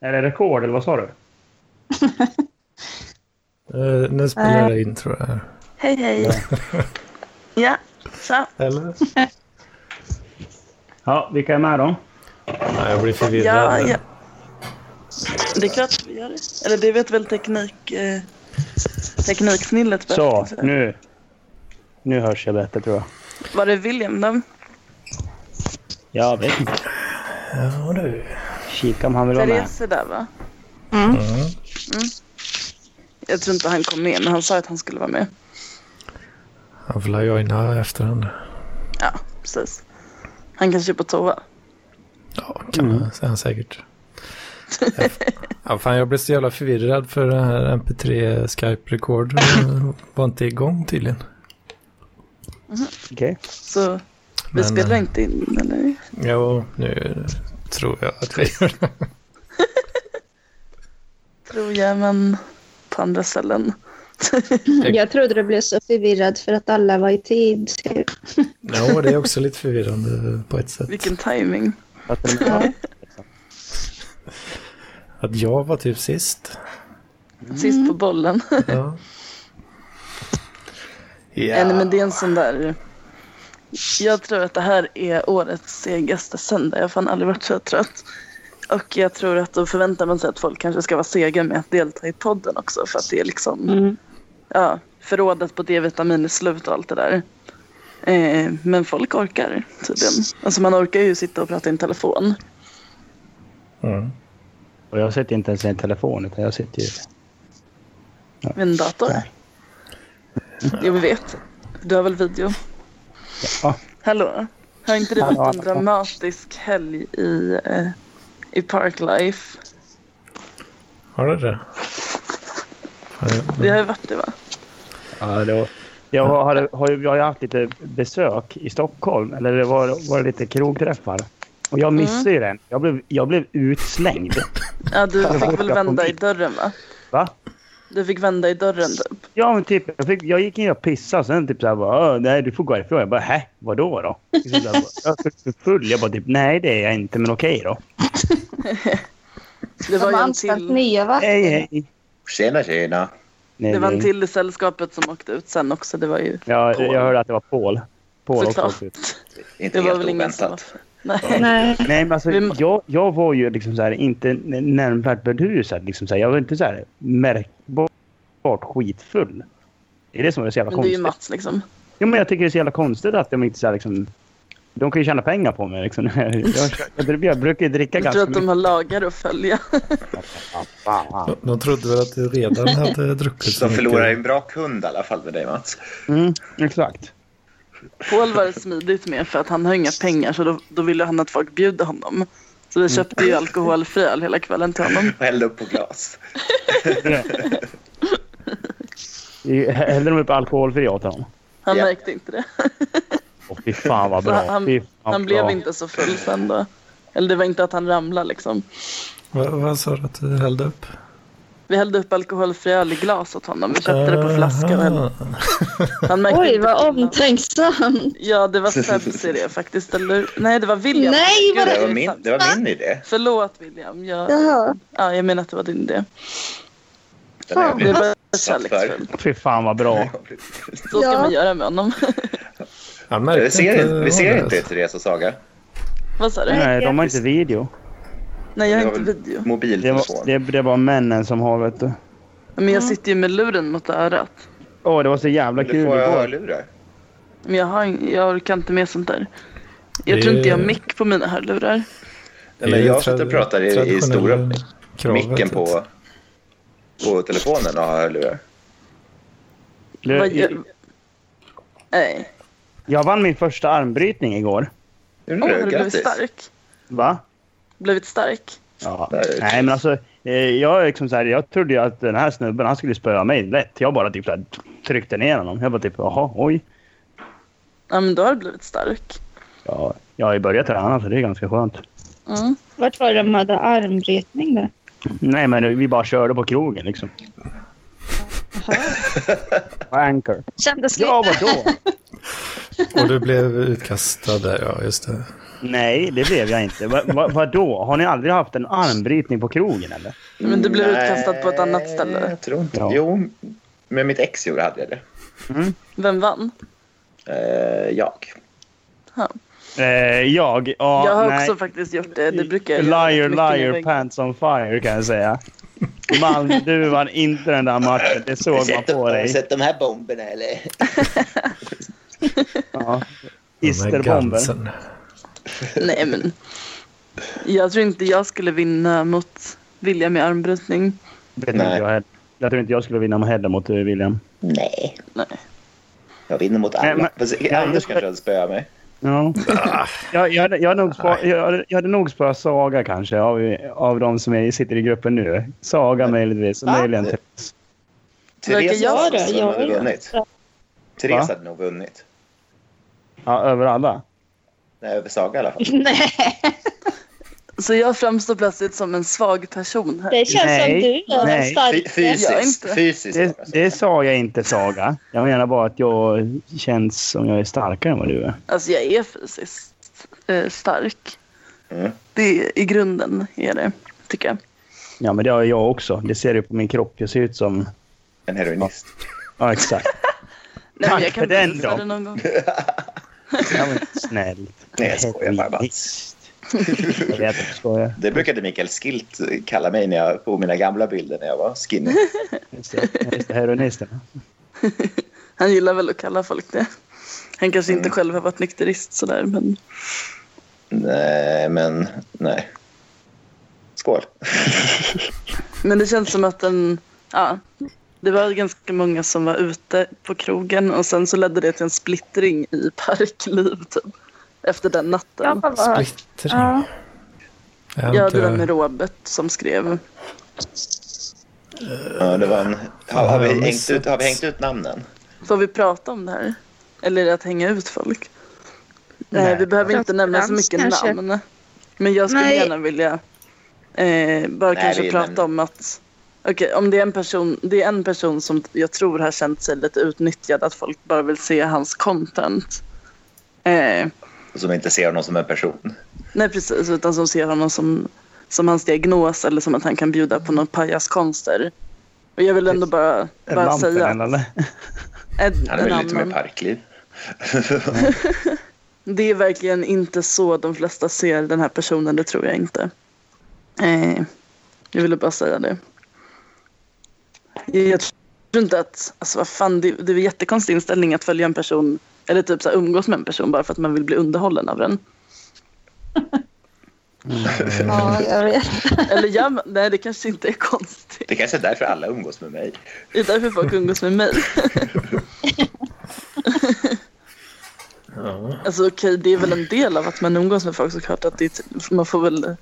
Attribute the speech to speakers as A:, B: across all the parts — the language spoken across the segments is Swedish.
A: Är det rekord eller vad sa du?
B: Eh, nu spelar jag in tror jag.
C: Hej hej. ja, så.
B: Eller?
A: Ja, vilka är med då?
B: Nej, jag blir
C: Ja,
B: förvirrad.
C: ja. Det är klart att vi gör det. Eller det vet väl teknik... Eh, tekniksnillet bäst.
A: Så,
C: Så.
A: nu. Nu hörs jag bättre tror jag.
C: Var det William då?
A: Jag vet inte.
B: ja du.
A: Kika om han vill vara med.
C: Therese där va?
B: Mm.
C: Jag tror inte han kom med men han sa att han skulle vara med.
B: Han får la joina efterhand.
C: Ja, precis. Han kanske är på toa.
B: Ja, kan man säga han säkert. Ja, f- ja, fan, jag blev så jävla förvirrad för den här MP3 Skype Record eh, var inte igång tydligen.
A: Okej.
C: Så vi
B: Men,
C: spelar
B: eh,
C: inte in eller?
B: Jo, nu tror jag att vi gör det.
C: Tror jag men på andra ställen.
D: Jag trodde det blev så förvirrad för att alla var i tid.
B: Jo, det är också lite förvirrande på ett sätt.
C: Vilken timing.
A: Fast de är-
B: Att jag var typ sist.
C: Sist på bollen.
B: Ja.
C: Ja. Nej, men det är en sån där... Jag tror att det här är årets segaste söndag. Jag har fan aldrig varit så trött. Och jag tror att då förväntar man sig att folk kanske ska vara sega med att delta i podden också. För att det är liksom... Ja, förrådet på D-vitamin är slut och allt det där. Eh, men folk orkar tydligen. Alltså man orkar ju sitta och prata i en telefon.
B: Mm.
A: Och jag sitter inte ens i en telefon utan jag sitter ju...
C: Med en dator. Jo, vi vet. Du har väl video?
A: Ja.
C: Hallå? Har inte du
A: Hallå,
C: haft en
A: hallå.
C: dramatisk helg i, eh, i Parklife?
B: Har du det? Har
C: Vi
B: du-
C: har ju varit det, va?
A: Ja, det var... Jag har, har, ju- jag har ju haft lite besök i Stockholm. Eller det var, var det lite krogträffar. Och jag missade ju den. Jag blev, jag blev utslängd.
C: Ja, du
A: Jag
C: fick
A: borta
C: väl
A: på
C: vända i
A: mitt.
C: dörren, va?
A: Va?
C: Du fick vända i dörren, typ.
A: Ja, men typ, jag, fick, jag gick in och pissade. Sen typ så här bara, "Åh, nej du får gå härifrån. Jag bara, hä? Vadå då? Liksom Så där bara, Jag är för full. Jag bara typ, nej det är jag inte, men okej då.
C: Det var ju
D: De har
C: en
D: anställt
C: till,
D: nya va?
A: Hej, hej.
E: Tjena, tjena.
A: Nej,
C: det var en
A: nej.
C: till i sällskapet som åkte ut sen också. Det var ju
A: Ja,
E: Paul.
A: jag hörde att det var Paul. Paul också.
C: såklart.
A: typ.
E: Inte
C: Det var
E: helt
C: väl ingen som var...
E: oväntat.
C: Nej.
D: Nej.
A: Nej, men alltså,
C: Vi-
A: jag, jag var ju liksom så här, inte n- nämnvärt berusad. Liksom så här. Jag var inte så här märkbart skitfull. Det är det som är så jävla
C: Men det är ju
A: konstigt.
C: Mats, liksom.
A: Jo, men jag tycker det är så jävla konstigt att de inte så här, liksom, De kan ju tjäna pengar på mig. Liksom. Jag, jag, jag brukar ju dricka
C: Jag
A: ganska
C: tror att de
A: mycket.
C: har lagar att följa.
B: De- De trodde väl att du redan hade druckit så
E: Som förlorar
B: mycket.
E: en bra kund i alla fall med dig, Mats.
A: Mm, exakt.
C: Paul var det smidigt med för att han har inga pengar så då, då ville han att folk bjuder honom. Så vi köpte
A: Mm.
C: ju alkoholfri öl hela kvällen till honom.
E: Och hällde upp på glas.
A: Hällde de upp alkoholfri åt honom?
C: Han
E: Ja.
C: märkte inte det.
A: Åh, fy fan vad bra.
C: Så han-
A: Fy fan
C: Han
A: vad
C: blev
A: bra.
C: inte så full sen då. Eller det var inte att han ramlade liksom.
B: Vad, vad sa du att du hällde upp?
C: Vi hällde upp alkoholfri öl i glas åt honom. Vi köpte det på flaska. Och hällde-
B: Aha.
C: han märkte
D: Oj,
C: inte
D: vad
C: skillnad.
D: omtänksam.
C: Ja, det var Sebs idé faktiskt. Eller... Nej, det var William.
D: Nej,
C: Gud,
D: vad
E: Det
C: jag
E: var
C: är
E: min,
C: Sebs.
E: det var min idé.
C: Förlåt William. Jag...
D: Jaha.
C: Ja, jag menar att det var din idé.
E: Den har jag
C: Det
E: blivit
C: var
E: utsatt för.
C: kärleksfullt.
A: Fy fan vad bra.
C: Så ska
D: Ja.
C: man göra med honom.
B: Han märkte
E: Vi ser, inte- vi
B: vad
E: ser
B: det
E: inte
B: är.
E: Therese och Saga.
C: Vad sa du?
A: Nej, de har inte video.
C: Nej, jag
E: Vi
C: har
E: har
C: inte
E: väl
C: video.
A: Det
E: mobiltelefon.
A: var, det, det var männen som har, vet du.
C: Men jag sitter ju med luren mot örat.
A: Åh, det var så jävla kul
E: Du får
A: igår.
E: hörlurar.
C: Men jag, har, ing- jag orkar inte med sånt där. Jag
B: Det
C: tror
B: är-
C: inte jag har mick på mina hörlurar.
E: Nej,
B: Det är
E: men
B: ju
E: jag sitter
B: trad-
E: och pratar i, i
B: traditionella
E: stora
B: kravet
E: micken
B: att-
E: på, på telefonen och har hörlurar.
C: Vad
A: Det-
C: gör- Nej,
A: Jag vann min första armbrytning igår.
E: Gjorde
C: Åh,
E: du?
C: har du blivit
E: Grattis.
C: stark?
A: Va?
C: Blivit stark?
A: Ja.
E: Där.
A: Nej, men alltså. eh, Jag, är liksom så här, jag trodde ju att den här snubben han skulle spöa mig lätt. Jag bara typ så här, tryckte ner honom. Jag bara typ, jaha, oj.
C: Ja, men då har du blivit stark.
A: Ja, jag har ju börjat träna så det är ganska skönt.
C: Mm.
D: Vart var det de hade armbrytning då?
A: Nej, men vi bara körde på krogen liksom. På Anchor.
D: Kändes lite...
A: Ja, vadå?
B: Och du blev utkastad där, ja just det.
A: Nej, det blev jag inte. Va, va, vadå? Har ni aldrig haft en armbrytning på krogen eller?
C: Men du blir
E: Nej,
C: utkastad på ett annat ställe.
E: Jag tror inte.
A: Ja.
E: Jo, med mitt ex gjorde hade jag det.
C: Vem vann?
E: Eh, jag.
A: Eh, jag? Ja,
C: jag har
A: nej.
C: också faktiskt gjort det. Det brukar jag göra
A: Liar,
C: mycket när jag
A: liar,
C: är-
A: pants on fire kan jag säga. Malmö, du vann inte den där matchen. Det såg man på dig.
E: sett de här bomberna eller?
A: Ja.
B: De här
A: Isterbomber.
B: Gansen.
C: Nej, men. Jag tror inte jag skulle vinna mot Vilja med armbrytning.
A: Vet inte
E: Nej.
A: Jag, heller. jag tror inte jag skulle vinna heller mot eh, William.
E: Nej.
C: Nej.
E: Jag vinner mot alla.
A: Nej, men-
E: Fast
A: Nej,
E: Anders
A: just det.
E: kanske hade spöat mig.
A: Ja.
E: Ah.
A: jag, jag, hade, jag, hade nog spå, jag, hade, jag hade nog spöat Saga kanske av, av de som är, sitter i gruppen nu. Saga möjligtvis och
E: Va?
A: möjligen Therese.
E: Therese
C: jag
E: hade
D: det? Jag
E: nog
D: är-
E: vunnit.
A: Va?
E: Therese hade nog vunnit.
A: ja, över alla.
E: Nej, över Saga i alla fall.
D: Nej,
C: Så jag framstår plötsligt som en svag person här.
D: det känns som
A: Nej,
D: du är den
A: nej.
E: Fy-
D: starka.
C: Jag är
E: Fysiskt.
C: inte.
E: Fysiskt.
A: Det,
E: alltså.
A: det sa jag inte Saga. Jag menar bara att jag känns som jag är starkare än vad du är.
C: Alltså jag är fysiskt eh, stark.
E: Mm.
C: Det är, I grunden är det, tycker jag.
A: Ja, men det har jag också. Det ser du på min kropp. Jag ser ut som...
E: En heroinist.
A: Ja, exakt.
C: Nej,
A: Tack
C: men jag
A: för
C: kan
A: den
C: visa
A: då.
C: det någon gång.
A: Ja, men snällt.
E: Nej, jag skojar bara, Mats.
A: Visst. Jag vet att du skojar.
E: Det brukade Mikael Skilt kalla mig när jag, på mina gamla bilder när jag var skinny.
A: Just det. Just det, heroinisterna.
C: Han gillar väl att kalla folk det. Han kanske
A: Mm.
C: inte själv har varit nykterist sådär, men
E: nej, men nej. Skål.
C: Men det känns som att den, ja, det var ganska många som var ute på krogen och sen så ledde det till en splittring i parkliv typ. Efter den natten.
D: Jag har bara hört.
B: Splittring.
D: Ja.
B: Jag har
C: Jag
B: inte-
C: hade den med Robert som skrev.
E: Ja, det var en, har, har,
B: har jag
E: vi hängt
B: missat?
E: ut, har vi hängt ut namnen?
C: Får vi prata om det här? Eller är det att hänga ut folk? Nej,
A: Nej.
C: vi behöver inte
D: Prata
C: nämna så
D: trams
C: mycket
D: kanske.
C: namn. Men jag skulle
D: Nej.
C: gärna vilja eh, bara
E: Nej,
C: kanske
E: vi
C: prata
E: nämner-
C: om att Okej, om det är, en person, det är en person som jag tror har känt sig lite utnyttjad, att folk bara vill se hans content. Eh,
E: Som inte ser honom som en person.
C: Nej precis, utan som ser honom som, som hans diagnos eller som att han kan bjuda på någon pajaskonster. Och jag vill ändå bara, bara
A: Lampen,
C: säga
A: eller?
C: en,
E: Han
C: en
E: är väl lite mer
C: annan.
E: parkliv.
C: Det är verkligen inte så de flesta ser den här personen, det tror jag inte. Eh, jag ville bara säga det. Jag tror inte att, alltså vad fan, det, det är en jättekonstig inställning att följa en person, eller typ så här, umgås med en person bara för att man vill bli underhållen av den.
D: Ja, jag vet.
C: Eller gör man, nej det kanske inte är konstigt.
E: Det kanske är därför alla umgås med mig.
C: Det är därför folk umgås med mig.
B: Ja.
C: Alltså okej, det är väl en del av att man umgås med folk såklart. Att det är, typ- man får väl,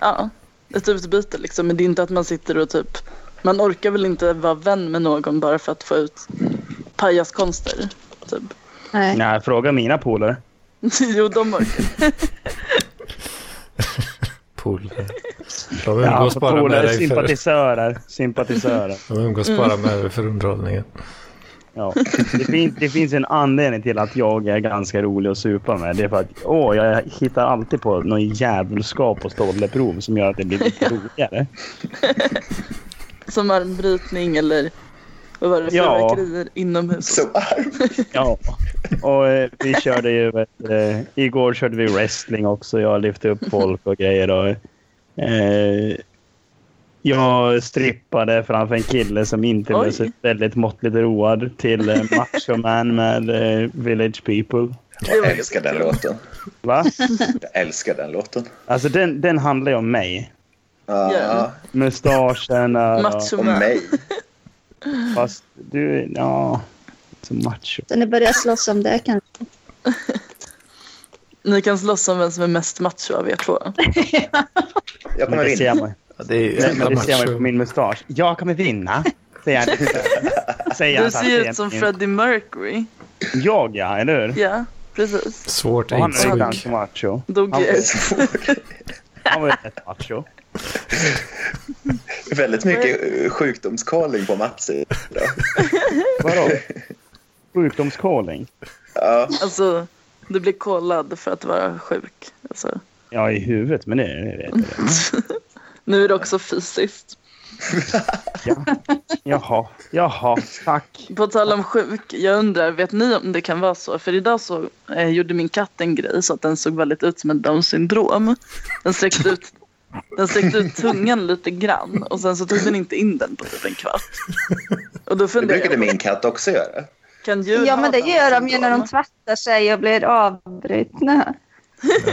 C: ja, ett utbyte liksom. Men det är inte att man sitter och typ, man orkar väl inte vara vän med någon bara för att få ut pajaskonster. Typ.
D: Nej.
A: Nej, fråga mina polare.
C: jo, de orkar.
B: Polare. De
A: Ja,
B: umgås bara med
A: polare,
B: dig för,
A: sympatisörer. Sympatisörer.
B: de umgås bara med dig för underhållningen.
A: Ja. Det, fin, det finns en anledning till att jag är ganska rolig att supa med. Det är för att åh, jag hittar alltid på någon djävulskap och stolleprov som gör att det blir lite roligare.
C: Som armbrytning eller vad var det,
A: Ja.
C: fyrverkerier inomhus.
E: Så arm.
A: Ja, och eh, vi körde ju... vet, Eh, igår körde vi wrestling också. Jag lyfte upp folk och grejer. Och, eh, jag strippade framför en kille som inte
C: Oj.
A: var så väldigt måttligt road till eh, Macho Man med eh, Village People.
C: Det var
E: Jag älskar den låten.
A: Va?
E: Jag älskar den låten.
A: Alltså den, den handlar ju om mig.
E: Ja,
C: Ja.
A: Mustascherna.
C: Macho
E: om
C: man.
E: mig.
A: Fast du... Ja. Så macho.
D: Så ni börjar slåss om det kanske.
C: Ni kan slåss om vem som är mest macho av er två.
E: Jag
A: Men
E: kommer
A: det ser
E: vinna.
A: man,
B: Ja, det är ju
A: nej, men
B: jävla
A: det ser man ju på
B: macho.
A: min mustasch. Jag kommer vinna. Säger han. Säger
C: Du
A: han
C: ser ju
A: fast
C: ut som
A: det är-
C: Freddie Mercury.
A: Jag ja, eller hur?
C: Ja, precis.
B: Svårt
A: Och han är ju
B: insug.
A: ganska macho.
C: Dog
A: Han
C: ut.
A: Han var ju rätt macho.
E: Väldigt mycket eh, sjukdomscalling på Mats idag.
A: Vadå? Sjukdomscalling?
E: Ja,
C: Alltså, du blir kollad för att vara sjuk. Alltså,
A: Ja, i huvudet, men det det vet jag.
C: nu är det också fysiskt.
A: Jaha, jaha, tack.
C: På tal om sjuk, jag undrar, vet ni om det kan vara så? För idag så eh, gjorde min katt en grej så att den såg väldigt ut som en down syndrom. Den sträckte ut, den sträckte ut tungan lite grann och sen så tog den inte in den på typ en kvart. Och då
E: Det
C: funderar
E: brukade
C: jag,
E: min katt också göra.
C: kan djur
D: Ja,
C: ha
D: men det
C: Downs
D: gör de ju när
C: syndrom?
D: de tvättar sig och blir avbrutna.
A: De,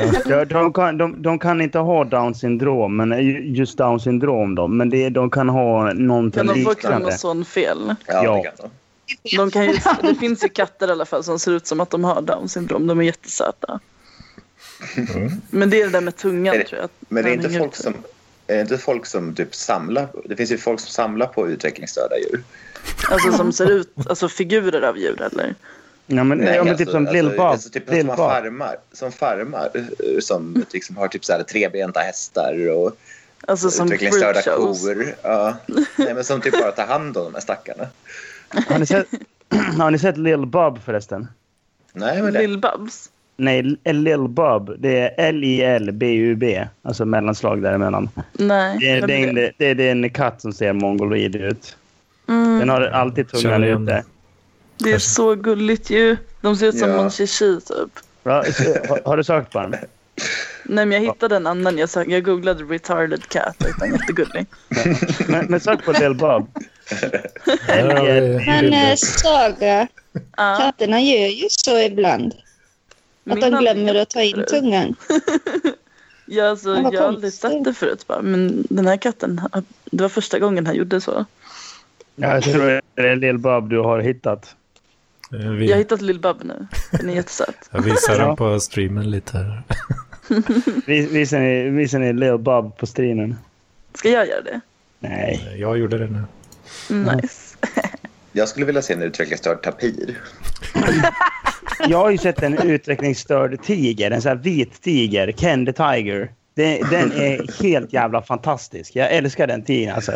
A: Alltså, de, kan, de, de kan inte ha down syndrom, men just down syndrom då. Men det, de kan ha någonting
C: Kan de få
A: liknande.
C: kromosomfel?
E: Ja,
A: Ja.
E: Det kan de.
C: De kan ju, det finns ju katter i alla fall som ser ut som att de har down syndrom. De är jättesöta. Men det är det där med tungan
E: Mm. Är det-
C: tror jag. att
E: Men det är
C: den
E: inte
C: hänger
E: folk
C: ut.
E: som... Är det inte folk som typ samlar? Det finns ju folk som samlar på utvecklingsstörda djur.
C: Alltså som ser ut, alltså figurer av djur eller?
A: Ja, men, ja, men typ som Lil Bob.
E: alltså typ
A: Lil
E: som har
A: Bob.
E: farmar, som farmar eh, som liksom har typ så här trebenta hästar och
C: Alltså som
E: utvecklingsstörda
C: freakshows.
E: kor. Ja. Nej, men som typ bara tar hand om de här stackarna.
A: Har ni sett, har ni sett Lil Bob förresten?
E: Nej, men det,
C: Lill-Babs.
A: Nej, Lil Bob. Det är L-I-L-B-U-B. Alltså mellanslag däremellan.
C: Nej.
A: Det är,
C: vem
A: det, är
C: är
A: en,
C: det?
A: det, är, det är en katt som ser mongoloid ut. Den
C: Mm,
A: har alltid tungan
B: Känner igen
A: ute.
C: det är så gulligt ju. De ser ut som
E: Ja.
C: Mon Chichi typ.
A: Va? Har, har du sökt på den?
C: Nej men jag hittade en annan. Jag, sök, jag googlade retarded cat och hittade en jättegullig.
A: Men, men sök på Lil Bob.
B: Här har vi
D: Men eh,
B: bilder.
D: Saga,
C: Ja,
D: katterna gör ju så ibland. Att
C: Ah, min
D: de
C: hade
D: glömmer att ta in
C: jättetrevlig.
D: tungan.
C: Ja, alltså,
D: Ja, vad
C: jag har aldrig
D: konstigt.
C: sett det förut. Bara. Men den här katten, det var första gången han gjorde så.
A: Ja, jag tror det är Lil Bob du har hittat.
B: Eh,
C: Jag har
B: vi-
C: hittat Lill Bab nu. Den är jättesöt.
B: Jag visar
A: Ja.
B: dem på streamen lite här.
A: Vis- Visar ni, visar ni Lil Bob på streamen?
C: Ska jag göra det?
A: Nej.
B: Jag gjorde det nu.
C: Nice.
E: jag skulle vilja se en utvecklingsstörd tapir.
A: Jag har ju sett en utvecklingsstörd tiger. En sån här vit tiger. Ken the Tiger. Den, den är helt jävla fantastisk. Jag älskar den tigern alltså.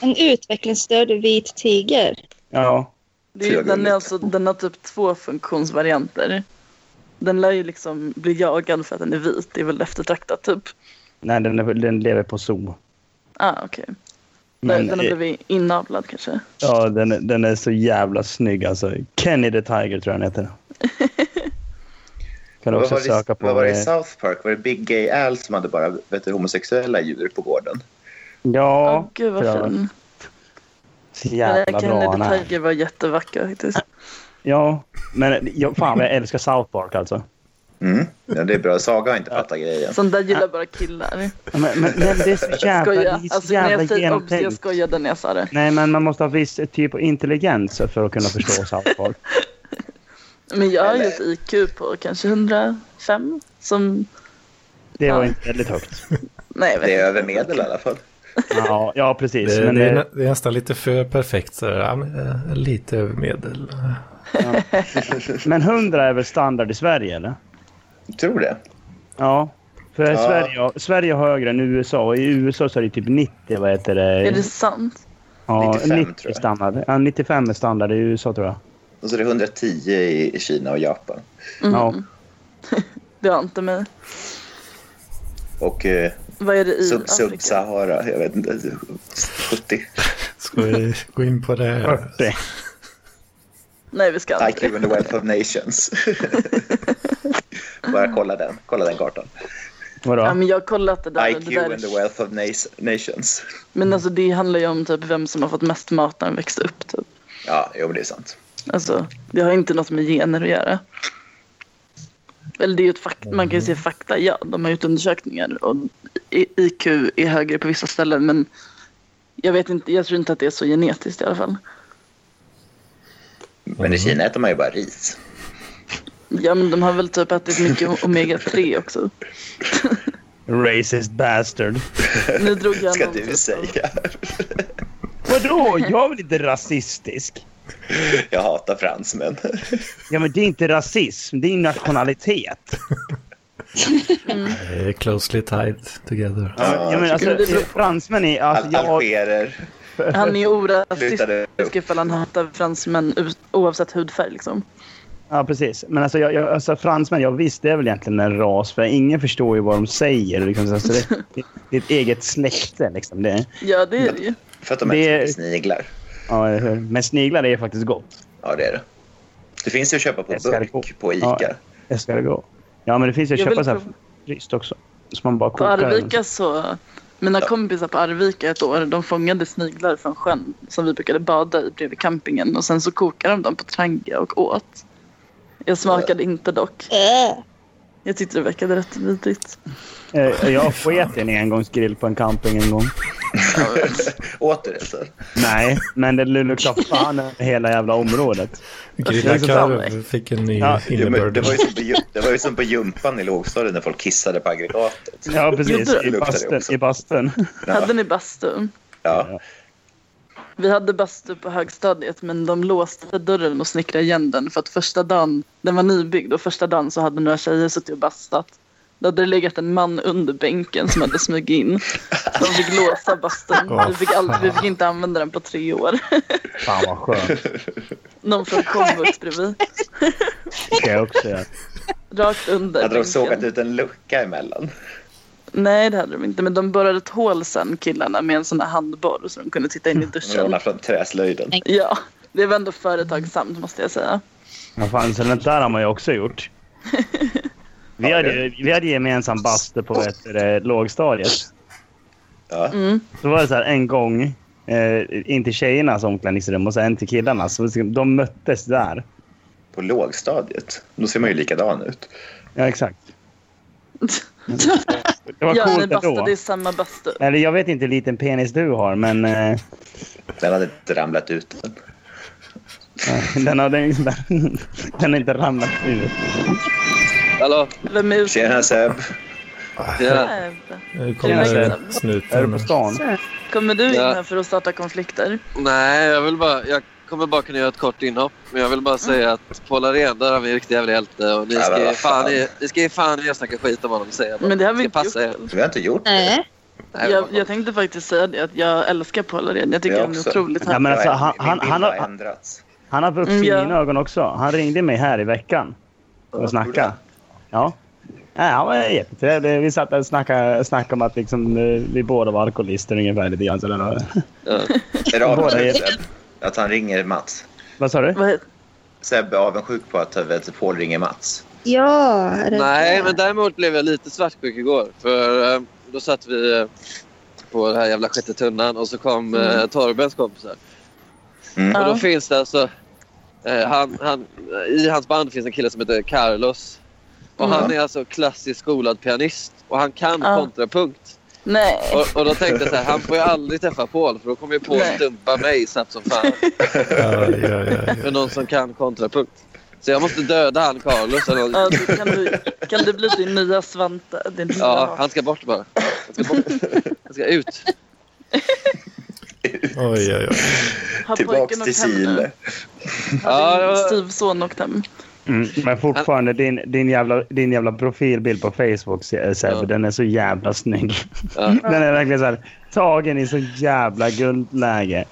D: En utvecklingsstörd vit tiger.
A: Ja.
C: Det är, ju- den, är alltså, den har typ två funktionsvarianter. Den lär ju liksom bli jagad för att den är vit. Det är väl eftertraktat typ.
A: Nej, den, är- den lever på zoo.
C: Ah, okej.
A: Men, eh,
C: Den har blivit inavlad kanske.
A: ja, den, är- den är så jävla snygg alltså. Kenny the Tiger tror jag den heter. Kan du
E: Vad
A: också
E: var, det,
A: söka på.
E: vad var det i
A: eh,
E: South Park? Var det Big Gay Al som hade bara vet du, homosexuella djur på gården?
A: Ja.
C: Åh, Ah, gud vad
A: tror jag.
C: fin.
A: Så
C: Den
A: jävla
C: där
A: bra han
C: Kennedy
A: är.
C: Tiger var jättevacker faktiskt.
A: Ja, men jag, fan jag älskar South Park alltså.
E: Mm. Ja, det är bra. Saga har inte fattat grejen.
C: Sånt där gillar bara killar.
A: Men, men, men det är så jävla, det
C: Skoja.
A: är så
C: Alltså, när
A: jävla
C: jag, säger, obs, jag
A: genomtänkt.
C: skojade när jag sa det.
A: Nej, men man måste ha viss typ av intelligens för att kunna förstå South Park.
C: Men jag har ju
E: Eller-
C: ett IQ på kanske 105. Som,
A: Det var
C: Ja.
A: inte väldigt högt.
C: nej jag vet
E: Det är
C: inte.
E: över medel i alla fall.
A: Ja, ja precis.
B: Det,
A: Men,
B: det, är,
A: eh,
B: nä- det är nästan lite för perfekt. Så, där. ja, men, eh, lite över medel.
A: men 100 är väl standard i Sverige, eller?
E: Tror det.
A: Ja. För
E: Ja.
A: Sverige, Sverige har högre än USA. Och I USA så är det typ 90, vad heter det?
C: Är det sant?
A: ja,
E: 95
A: 90
E: tror jag.
A: standard. Ja, 95 är standard i USA, tror jag.
E: Och så är det 110 i i Kina och Japan.
C: Mm.
A: Ja.
C: Det har inte mig.
E: Och eh,
C: Vad är det i
E: sub-
C: Afrika?
E: Sub-Sahara, jag vet inte, 70.
B: Ska vi gå in på det? här?
A: 40.
C: Nej vi ska
E: IQ
C: aldrig.
E: and the Wealth of Nations. Bara kolla den, kolla den kartan.
A: Vadå?
C: Ja, men jag har kollat det där.
E: IQ
C: det där
E: and the Wealth of nas- Nations.
C: men alltså det handlar ju om typ vem som har fått mest mat när den växte upp. Typ.
E: Ja, jo, men det är sant.
C: Alltså, det har inte något med gener att göra. Eller det är ju ett fakt- man kan ju se fakta, ja. De har gjort undersökningar och I- IQ är högre på vissa ställen men jag vet inte, jag tror inte att det är så genetiskt i alla fall.
E: Men
A: Mhm.
E: i Kina äter man ju bara ris.
C: Ja men de har väl typ ätit mycket o- omega-3 också.
A: Racist bastard.
C: Nu drog jag
E: Ska
C: någon typ
E: du
C: av-
E: säga.
A: Vadå? Jag är väl inte rasistisk?
E: Jag hatar fransmän.
A: Ja, men det är inte rasism, det är nationalitet.
B: Eh, Closely tied together.
A: Ja, men, ja, men alltså,
C: Men det beror på-
A: fransmän är... Alltså,
E: Al-
A: jag,
E: Algerer.
C: Han är
E: Sluta
C: orasistisk
E: nu.
C: ifall han hatar fransmän u- oavsett hudfärg liksom.
A: Ja, precis. Men alltså, jag, jag, alltså fransmän, jag visst det är väl egentligen en ras, för ingen förstår ju vad de säger. Liksom. Alltså, det, det, det är ett eget släkte. Liksom. Det,
C: Ja, det är det ju.
E: För att de
A: Det-
E: äter sniglar.
A: ja, eller hur? men sniglar är faktiskt gott.
E: Ja, det är det. Det finns ju att köpa på
A: Jag ska gå.
E: burk på
A: Ja.
E: Ica.
A: Det ska det gå. Ja, men det finns ju att
C: Jag
A: köpa
C: vill
A: så här
C: prova-
A: fryst också. Som man bara
C: På
A: kokar.
C: Arvika så... Mina kompisar på Arvika ett år, de fångade sniglar från sjön som vi brukade bada i bredvid campingen och sen så kokade de dem på trangia och åt. Jag smakade inte dock.
D: Äh.
C: Jag tyckte det verkade rätt vidrigt.
A: Eh, Jag sket i en engångsgrill på en camping en gång.
E: Åter det så.
A: Nej, men det luktar fan över hela jävla området.
B: Grilla
A: Alltså,
B: korv fick en ny
A: Ja,
E: Det, var-
B: innebörd.
E: det, var ju som på, ju- det var ju som på gympan i lågstadiet när folk kissade på aggregatet.
A: Ja, precis.
C: Gjorde det?
A: I
E: Luktar det
A: bastun.
E: också.
A: I bastun.
E: Ja,
C: Hade ni bastu?
E: ja.
C: Vi hade bastu på högstadiet men de låste dörren och snickrade igen den för att första dagen, den var nybyggd och första dagen så hade några tjejer suttit och bastat. Då hade det legat en man under bänken som hade smugit in. Så de fick låsa bastun.
B: Åh,
C: vi, fick aldrig, vi fick inte använda den på tre år.
A: Fan vad skönt.
C: Någon från komvux bredvid.
A: Det kan jag också göra.
C: Rakt under
E: Hade de
C: bänken.
E: sågat ut en lucka emellan?
C: Nej det hade de inte men de borrade ett hål sen killarna med en sån här handborr så Mm. de kunde titta in i duschen.
E: Råna från träslöjden.
C: Ja, det var ändå företagsamt måste jag säga.
A: Ja, fan, så det där har man ju också gjort. Vi
E: Ja,
A: hade,
E: det-
A: vi hade gemensam bastu på vet, du det, lågstadiet.
E: Ja.
A: Så var det så här en gång, eh, in till tjejernas omklädningsrum och sen till killarnas. Så liksom, De möttes där.
E: På lågstadiet. Då ser man ju likadan ut.
A: Ja, exakt. Det var
C: Ja, ni
A: coolt ändå.
C: bastade i samma bastu.
A: Eller jag vet inte hur liten penis du har, men eh,
E: Den hade inte ramlat ut än.
A: den, har, den, den har inte ramlat ut.
F: Hallå?
C: Vem är ute?
E: Tjena Seb.
F: Ja.
B: Nu
C: Tjena.
B: kommer
A: Är du
B: snuten.
A: på stan?
C: Kommer du in
F: Ja.
C: här för att starta konflikter?
F: Nej, jag vill bara... Jag kommer bara kunna göra ett kort inhopp. Men jag vill bara säga
C: Mm.
F: att Paul Arén, där har vi en riktig jävla hjälte. Och ni
E: Ja, men
F: ska ge
E: vad fan.
F: fan i, ni ska ge fan i att snacka skit om honom, säger jag bara.
C: Men det har vi
F: Ska
C: inte
F: passa
C: gjort.
F: er.
E: Vi har inte gjort det.
D: Nej.
F: Nej,
C: jag,
F: vad fan.
C: jag tänkte faktiskt säga det att jag älskar Paul Arén. Jag tycker
E: Jag
C: han är
E: också.
C: otroligt
A: Ja,
C: härlig.
A: men alltså, han,
E: Min
A: han,
E: bild
A: han,
E: har
A: har,
E: ändrats.
A: han har vuxit
C: Mm, ja.
A: i mina ögon också. Han ringde mig här i veckan och snackade. Ja. Nej, han var jättetrevlig. Vi satt där och snackade, snackade om att liksom, eh, vi båda var alkoholister ungefär. Lite grann, sådär.
F: Ja.
E: Är du avundsjuk
A: Båda-
E: Seb? Att han ringer Mats?
A: Vad sa du?
C: Vad heter-
E: Seb är avundsjuk på att vet, Paul ringer Mats.
D: Ja, är det
F: Nej,
D: det?
F: men däremot blev jag lite svartsjuk igår. För eh, då satt vi eh, på den här jävla sjätte tunnan och så kom
C: Mm.
F: eh, Torbens kompisar.
E: Mm.
F: Och då
C: Ja.
F: finns det alltså... Eh, han, han, I hans band finns en kille som heter Carlos. Och
E: Mm.
F: han är alltså klassiskt skolad pianist. Och han kan
C: Ja.
F: kontrapunkt.
C: Nej,
F: Och, och då tänkte jag så här, han får ju aldrig träffa Paul för då kommer ju Paul
C: Nej.
F: dumpa mig snabbt som fan.
B: Ja, ja, ja,
F: För någon som kan kontrapunkt. Så jag måste döda han Carlos. Eller något.
C: ja, det kan, du, kan det bli din nya Svante? Din nya
F: Ja, han ska bort bara. Han ska, bort. Han ska ut.
B: ja. Oj, oj, oj.
C: Har
E: Tillbaks
C: pojken
E: till
C: åkt hem
E: Chile.
C: nu?
F: Ja, det
C: Har din
F: var-
C: styvson åkt hem?
A: Mm, men fortfarande, din, din, jävla, din jävla profilbild på Facebook, Se- Seb,
F: Ja.
A: den är så jävla snygg.
F: Ja.
A: Den är verkligen så här, tagen i så jävla guldläge.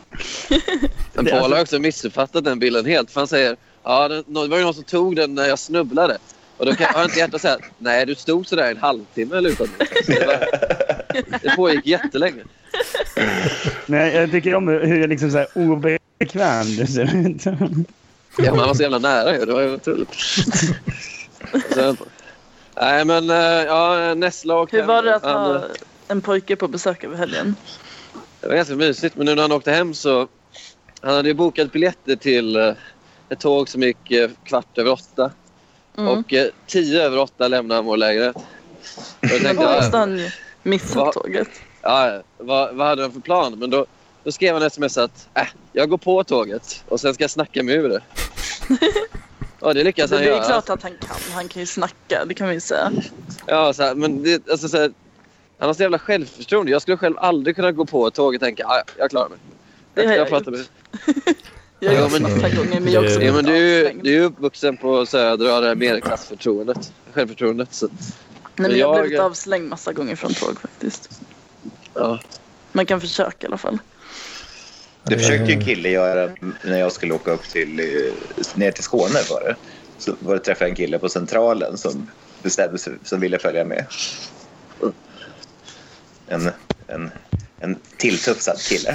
F: Men
A: Det-
F: Paul har
A: alltså-
F: också missuppfattat den bilden helt. För han säger ja, det, det var ju någon som tog den när jag snubblade. Och då kan, har inte hjärtat säga nej du stod sådär i en halvtimme eller utan. Det, var, det pågick jättelänge.
A: Men jag, jag tycker om hur hur liksom så här obekväm du ser ut.
F: Ja, man var så jävla nära ju. Det var ju otroligt. Så- Nej men eh, ja, Nessla åkte
C: Hur var det att
F: hem. Han, eh,
C: ha en pojke på besök över helgen?
F: Det var ganska mysigt, men nu när han åkte hem så... Han hade ju bokat biljetter till eh, ett tåg som gick eh, kvart över åtta.
C: Mm.
F: Och eh, tio över åtta lämnade han vår lägenhet. Och jag
C: Men
F: tänkte,
C: då måste
F: ja,
C: han ju missa
F: Va?
C: tåget.
F: ja, vad, vad hade han för plan? Men då, då skrev han sms att äh, jag går på tåget och sen ska jag snacka mig ur det. Ja, det lyckas
C: Det
F: han
C: är ju
F: göra.
C: klart att han kan. Han kan ju snacka, det kan vi ju säga.
F: Ja, så här, men det, alltså, så här, han har så jävla självförtroende. Jag skulle själv aldrig kunna gå på ett tåg och tänka "Ah, ja, ja, jag klarar mig.
C: Det
F: Jag,
C: har
F: jag
C: jag
F: pratar med...
C: Jag har
F: Ja,
C: gjort
F: men-
C: det ett par gånger men jag har också
B: Ja,
F: Ja, men du, är ju-
C: avslängd.
F: du är ju uppvuxen på Söder och har det här medelklassförtroendet. Självförtroendet. Så,
C: Nej, men jag har
F: jag-
C: blivit avslängd massa gånger från tåg faktiskt.
F: ja.
C: Man kan försöka i alla fall.
E: Det försökte ju en kille göra när jag skulle åka upp till, eh, ner till Skåne. Var det. Så var det träffade jag en kille på Centralen som bestämde sig, som ville följa med. En, en, en tilltufsad kille.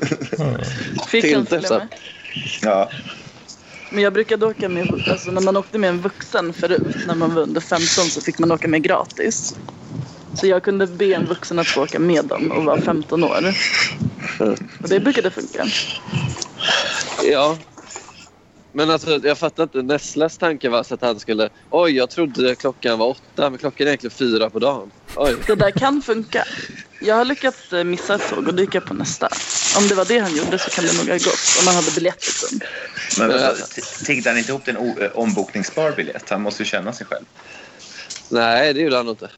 C: Fick han följa
F: Tilltufsad.
C: med?
E: Ja,
C: Men jag brukade åka med, alltså när man åkte med en vuxen förut, när man var under 15 så fick man åka med gratis. Så jag kunde be en vuxen att få åka med dem och vara 15 år. Och det brukade funka.
F: Ja. Men alltså, jag fattar inte. Nesslas tanke var så att han skulle... Oj, jag trodde klockan var åtta, men klockan är egentligen fyra på dagen. Oj.
C: Det där kan funka. Jag har lyckats eh, missa ett tåg och dyka på nästa. Om det var det han gjorde så kan det nog ha gått, om man hade biljett liksom.
E: men vänta, t- tiggde han inte ihop en o- eh, ombokningsbar biljett? Han måste ju känna sig själv.
F: Nej, det gjorde han inte.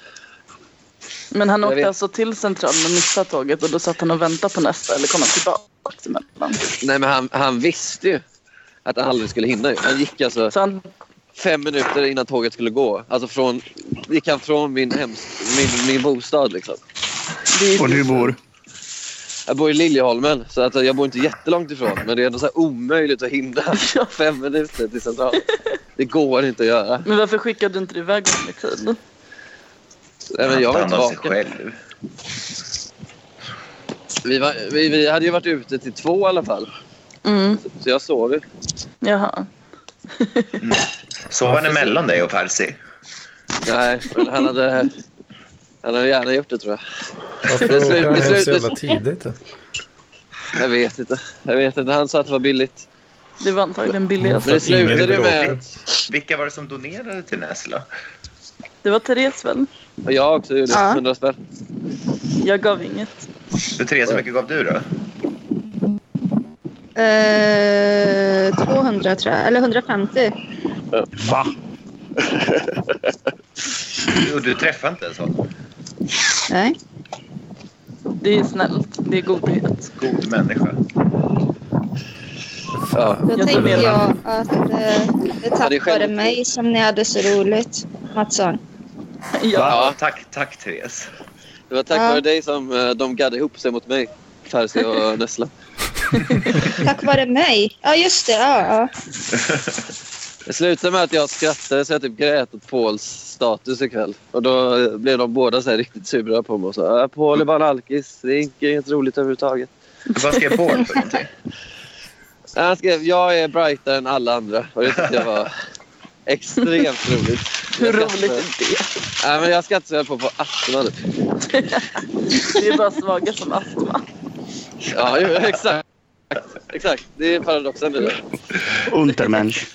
C: Men han
F: Jag vet.
C: åkte alltså till centralen och missade tåget och då satt han och väntade på nästa eller kom han tillbaka emellan.
F: Nej, men han, han visste ju att han aldrig skulle hinna. ju. Han gick alltså
C: Så han,
F: fem minuter innan tåget skulle gå. Alltså från, gick han från min, hems, min, min bostad. Liksom.
C: det är
G: Och du bor?
F: Jag bor i Liljeholmen, så att jag bor inte jättelångt ifrån. Men det är ändå så här omöjligt att hinna
C: Ja.
F: fem minuter till centralen. Det går inte att göra.
C: Men varför skickade du inte iväg honom i tid?
F: Nej, men jag
E: han
F: var
E: tar
F: inte
E: hand om sig
F: vaken.
E: själv.
F: Vi, var, vi, vi hade ju varit ute till två i alla fall.
C: Mm,
F: Så jag sov ju.
C: jaha.
E: Sov han emellan dig och Percy?
F: Nej, men han hade, han hade gärna gjort det tror jag.
B: Varför
F: Det
B: åker
F: slut-
B: han
F: det
B: hem så
F: slut-
B: jävla tidigt? då?
F: Jag vet inte. Jag vet inte. Han sa att det var billigt.
C: Det var antagligen billigast.
F: Men det slutade ju med
B: bråkar.
F: att
E: Vilka var det som donerade till Näsla?
C: Det var Therese väl?
F: och jag också gjorde
D: Ja.
F: 100 spänn.
C: Jag gav inget.
E: Du, Therese, hur mycket gav du då?
D: Eh, 200 tror jag, eller 150.
A: Va?
E: Jo, du träffade inte ens honom.
D: Nej.
C: Det är snällt. Det är godhet.
E: God människa.
F: Ja.
D: Då
C: Jag
D: tänkte
C: tror-
D: jag att eh, det
F: Ja, det är
D: tack vare
F: självklart.
D: mig som ni hade så roligt, Mattsson.
C: Ja.
F: Ja.
E: Tack, tack Therese.
F: Det var tack
D: Ja.
F: vare dig som eh, de gaddade ihop sig mot mig. Percy och Nessla.
D: Tack vare mig. Ja, just det. Ja, ja.
F: Det slutade med att jag skrattade så jag typ grät åt Pauls status ikväll. Och då eh, blev de båda så här riktigt sura på mig och sa "Äh, Paul är bara en alkis. Det är inte- inget roligt överhuvudtaget.
E: Vad skrev Paul för någonting?
F: Nej, Han skrev jag är brightare än alla andra och det tyckte jag var extremt roligt.
C: Hur
F: Jag ska
C: roligt
F: inte-
C: är det?
F: Nej, men jag ska inte säga på på astma nu.
C: Det är bara svaga som astma.
F: Ja, ju, exakt. Exakt, det är paradoxen i det.
A: Untermensch.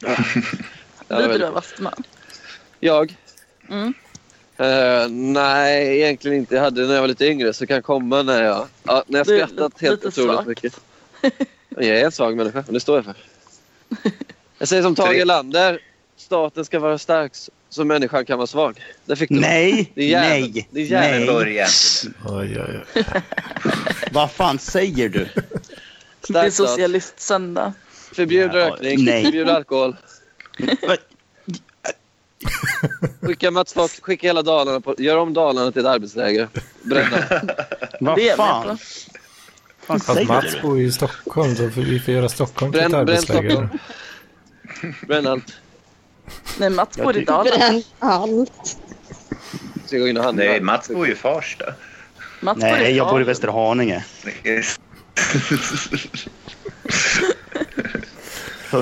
F: Ja, det är
C: Lider du
F: väldigt-
C: av astma?
F: Jag?
C: Mm.
F: Eh, nej, egentligen inte. Jag hade det när jag var lite yngre så kan komma när jag... Ja, när jag
C: Du är
F: skrattat
C: lite-
F: helt
C: lite
F: otroligt
C: svag.
F: mycket. Men Jag är en svag människa, men det står jag för. Jag säger som Tage
E: Tre.
F: Erlander. Staten ska vara stark så människan kan vara svag. Där fick du den.
A: Nej!
F: Det är jävligt.
A: Nej!
F: Det är jävligt
A: nej.
E: Börja inte nu.
B: Oj, oj, oj.
A: Vad fan säger du?
C: Det är
F: Stark stat.
C: socialistsöndag.
F: Förbjud
A: Ja,
F: rökning.
A: nej.
F: Förbjud alkohol.
A: Va?
F: Skicka Mats Fock, skicka hela Dalarna på, gör om Dalarna till ett arbetsläger. Bränna.
A: Vad
C: Det är jag
A: fan?
C: med
A: Vad
B: Fast
A: säger
B: Mats
A: du?
B: bor ju i Stockholm, så vi får göra Stockholm till ett
F: Bränn, bränn Stockholm.
B: arbetsläger.
F: Bränn allt.
C: Nej, Mats bor i Dalarna.
D: Bränn allt.
F: Ska gå in och handla.
E: Nej, Mats bor ju i Farsta.
C: Mats bor
A: Nej, jag bor i
C: Dalarna.
A: Västerhaninge.
F: Jag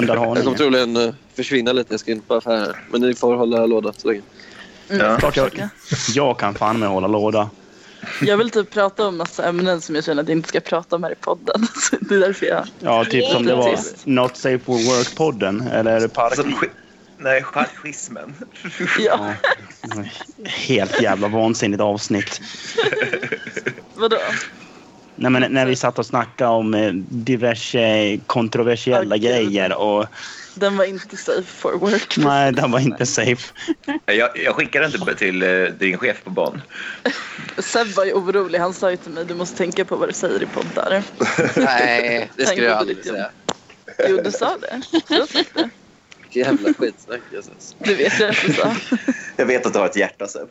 F: kommer
A: Hundarhaninge.
F: troligen eh, försvinna lite. Jag ska in på affären. Men ni får hålla låda så länge.
E: Ja.
A: Klart jag, jag kan fan med hålla låda.
C: Jag vill typ prata om massa ämnen som jag känner att jag inte ska prata om här i podden. Så Det är därför jag...
A: Ja, typ som det var
C: Precis.
A: Not Safe for Work-podden. Eller Park...
E: Som sk- Nej, schismen.
C: Ja,
A: Ja. Helt jävla vansinnigt avsnitt.
C: vadå?
A: Nej, men när vi satt och snackade om eh, diverse kontroversiella
C: Åh, gud.
A: grejer. Och,
C: Den var inte safe for work.
A: nej, den var inte safe.
E: Jag, jag skickade inte till eh, din chef på Bonn.
C: Seb var ju orolig. Han sa ju till mig du måste tänka på vad du säger i poddar.
F: Nej, det
C: Tänk
F: skulle jag
C: på
F: aldrig
C: ditt jobb.
F: säga.
C: Jo, du sa det. Jag sa det.
F: Jävla skitsnack. Jesus.
C: Det vet jag att du sa.
E: Jag vet att du har ett hjärta, Seb.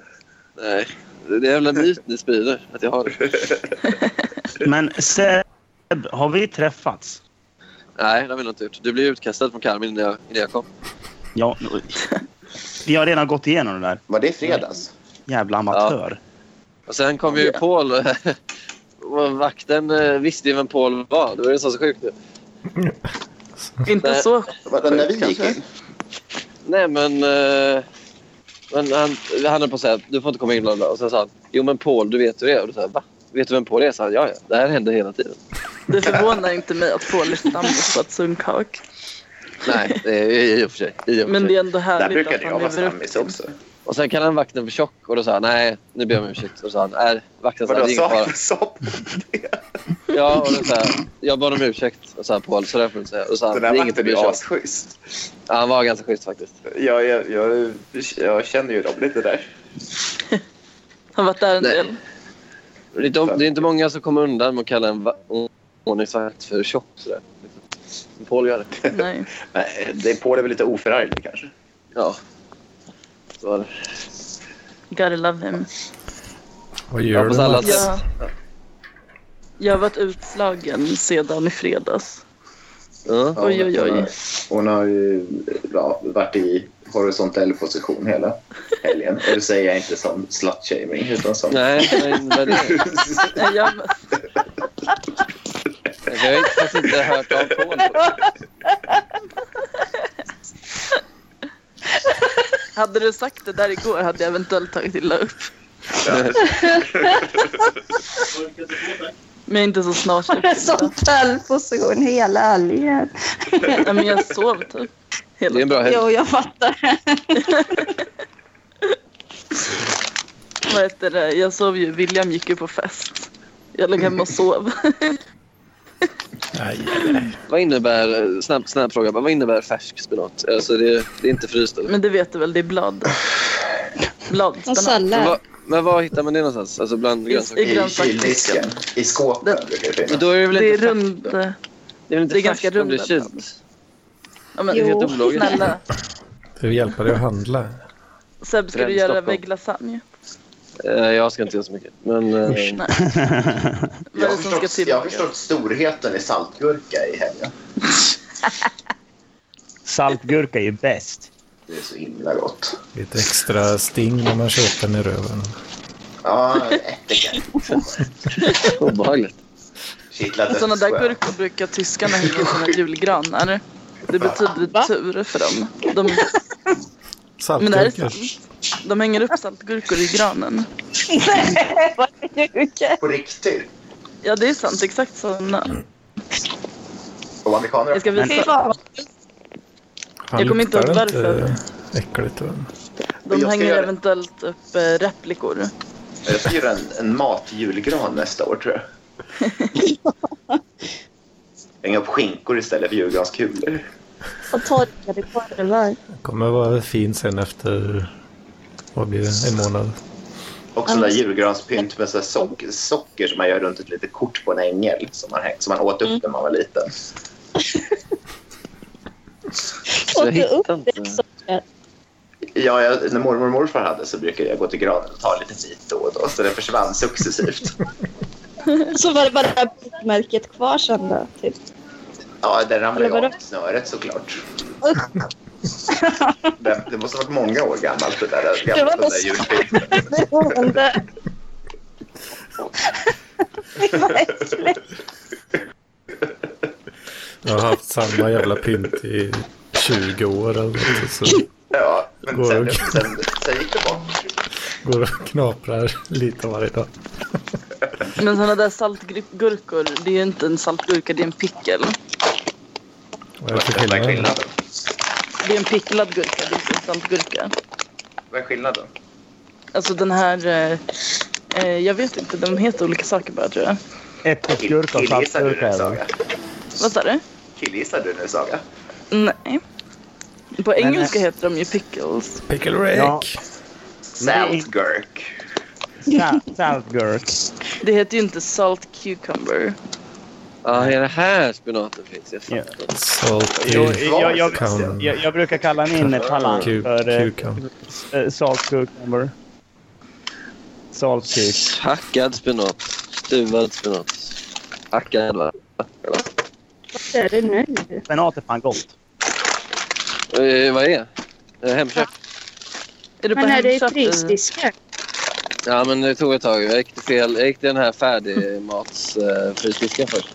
F: Nej. Det är en jävla myt ni sprider. Att jag har det.
A: Men Seb, har vi träffats?
F: Nej, det har vi nog inte gjort. Du blev utkastad från Karmin innan jag, innan jag kom.
A: Ja, vi har redan gått igenom det där.
H: Var det i fredags?
A: Jävla amatör.
F: Och sen kom ju Paul. och Vakten eh, visste ju vem Paul var. Det var ju så sjukt.
C: Inte
F: Nej.
C: så.
H: Var det när vi gick in?
F: Nej, men... eh, men han, han höll på att säga du får inte komma in. bla, bla. Och sen sa han jo, men Paul, du vet hur det är. Och då sa jag va? Vet du vem Paul är? Så han, ja, ja. Det här händer hela tiden.
C: Det förvånar inte mig att Paul är stammis på ett sunkak.
F: Nej, det är i och för sig. I och för
C: Men det
F: sig.
C: är ändå
H: Där
C: härligt
H: brukade jag
C: att
H: vara
C: han lever upp
H: stammis
C: till
H: också.
F: Och sen kallade han vakten för tjock. Och då sa han nej, nu ber jag om ursäkt. Och då sa han nej, vakten sa
H: Vadå,
F: det är ingen
H: sa
F: fara.
H: sa det?
F: Ja, och då sa jag jag bad om ursäkt. Och sa Paul, så där får du inte säga. Och då sa han,
H: Den
F: det
H: där
F: är inget att bry
H: vakten är
F: sig
H: ju
F: om.
H: asschysst.
F: Ja, han var ganska schysst faktiskt.
H: Jag, jag, jag, jag känner ju dem lite där.
C: Han har varit där en
F: Nej.
C: del.
F: Det är, inte, det är inte många som kommer undan med att kalla en va- ordningsvakt för tjock. Sådär. Men Paul gör det.
C: Nej.
H: Nej, det är på det väl lite oförargligt kanske.
F: Ja. Så var det.
C: Gotta love him.
B: Vad
F: Ja,
B: gör
F: fast
B: du?
F: alla-
B: Mats?
C: Jag, jag har varit utslagen sedan i fredags.
F: Ja.
C: Oj, oj, oj.
H: Hon har ju ja, varit i horisontell position hela helgen. Och det säger jag inte som slut-shaming utan som...
F: Nej, men vad är det?
C: Nej, Jag,
F: Alltså, jag har inte- faktiskt inte hört av Paul.
C: hade du sagt det där igår hade jag eventuellt tagit illa upp. Men inte så snart.
D: Horisontal position hela helgen.
C: Nej, men jag sov typ.
F: Det är en
C: Hela.
F: bra helg.
D: Jo, jag fattar.
C: Vad heter det? Jag sov ju. William gick ju på fest. Jag låg hemma och sov.
B: Nej,
F: Vad innebär, eh, snabb, snabb fråga, bara, vad innebär färsk spenat? Alltså det, det är inte fryst eller?
C: Men det vet du väl, det är blad.
D: Och
C: Bladspenat.
F: Men,
D: sallad.
F: vad, men var hittar man det någonstans? Alltså bland
C: I,
F: grönsaker?
C: i
H: I
C: grönsaksdisken.
H: kyldisken. I skåpen brukar det
F: Men
H: finnas.
F: då är det väl
C: Det är
F: inte färskt?
C: rund...
F: Det är väl
C: det
F: inte
C: är ganska
F: färskt om det är
C: runda
F: kylt?
C: Ja, men,
D: Jo.
F: Helt ologiskt.
C: snälla.
B: du hjälper dig att handla.
C: Seb, ska du
F: Trend
C: göra
F: Stockholm.
C: vägglasagne?
F: Eh, Jag ska inte göra så mycket. Men, eh,
C: Nej. Vad
H: Jag
C: är
H: har
C: det som ska
H: förstått- jag har
C: tillagas?
H: förstått storheten i saltgurka i helgen.
A: Saltgurka är ju bäst.
H: Det är så himla gott.
B: Lite extra sting när man köper den i röven.
H: Ja, ättika.
F: obehagligt.
H: Kittlade
C: Sådana där
H: skönt.
C: gurkor brukar tyskarna hänga i sina julgranar. Det betyder tur för dem. De, Men är det
B: Saltgurkor.
C: de hänger upp saltgurkor i granen.
D: Nej, vad sjukt.
H: På riktigt.
C: Ja, det är sant. Exakt sådana.
H: Och amerikaner
C: Jag ska
D: Fy
C: visa.
D: fan, vad
B: Fan,
C: jag kommer inte ihåg
B: luktar det inte Äckligt. va?
C: De
H: jag ska
C: hänger
H: göra det.
C: eventuellt upp eh, replikor.
H: Jag ska göra en, en matjulgran nästa år, tror jag. Hänga upp skinkor istället för julgranskulor.
D: Och torkade korvar.
B: Kommer vara fin sen efter, vad blir det, en månad?
H: Och sådana där julgranspynt med så här sock, socker som man gör runt ett litet kort på en ängel som man, häng- som man åt upp
D: Mm.
H: när man var liten.
F: Så jag
D: Åkte upp
F: hittar inte.
H: Ja, jag, när mormor och morfar hade så brukade jag gå till granen och ta lite bit då och då, så det försvann successivt.
D: Så var det bara bitmärket kvar sen då. Typ.
H: Ja, den ramlade
D: Eller
H: ju av
D: vadå?
H: snöret såklart. Det, det måste ha varit många år gammalt det där, det
D: Det var
H: gamla, det
D: nog
H: där
D: så.
H: julpyntet.
D: Beroende. Det var äckligt.
B: Jag har haft samma jävla pynt i 20 år eller något, så
H: Ja, men
B: Går
H: sen,
B: och-
H: sen, sen gick det bort.
B: går det och knaprar lite varje dag.
C: Men sådana där saltgurkor, det är ju inte en saltgurka, det är en pickel.
B: Vad är det för
H: Vad är
B: skillnad?
H: skillnaden?
C: Det är en picklad gurka, det är inte en saltgurka.
H: Vad är skillnaden?
C: Alltså den här... eh, Eh, jag vet inte, de heter olika saker bara tror jag.
A: Äppelgurka och
H: Killgissar du
A: saltgurka.
H: nu,
A: är det.
H: Saga?
C: Vad sa du?
H: Killgissar du nu, Saga?
C: Nej. På engelska
A: eh,
C: heter de ju pickles.
B: Pickle Rick!
A: Ja.
H: Saltgurk.
A: Sa- Saltgurk.
C: Det heter ju inte salt cucumber.
F: Ja, är det här spenaten finns? Jag
A: Ja.
F: fattar.
B: Salty
A: Jo, jag, jag,
B: Cucumber.
A: jag, jag brukar kalla min talang
B: cu-
A: för eh,
B: cucumber.
A: eh, saltcucumber. Saltkuk.
F: Hackad spenat. Stuvad spenat. Hackad va?
D: är det nu?
A: Spenat är fan gott.
F: Eh, vad är det? Eh, Hemköp?
C: Är du på
D: Men är det i
C: Hemköp?
D: frysdisken?
F: Ja, men det tog ett tag. Jag gick till, fel. Jag gick till den här färdigmatsfrysdisken först.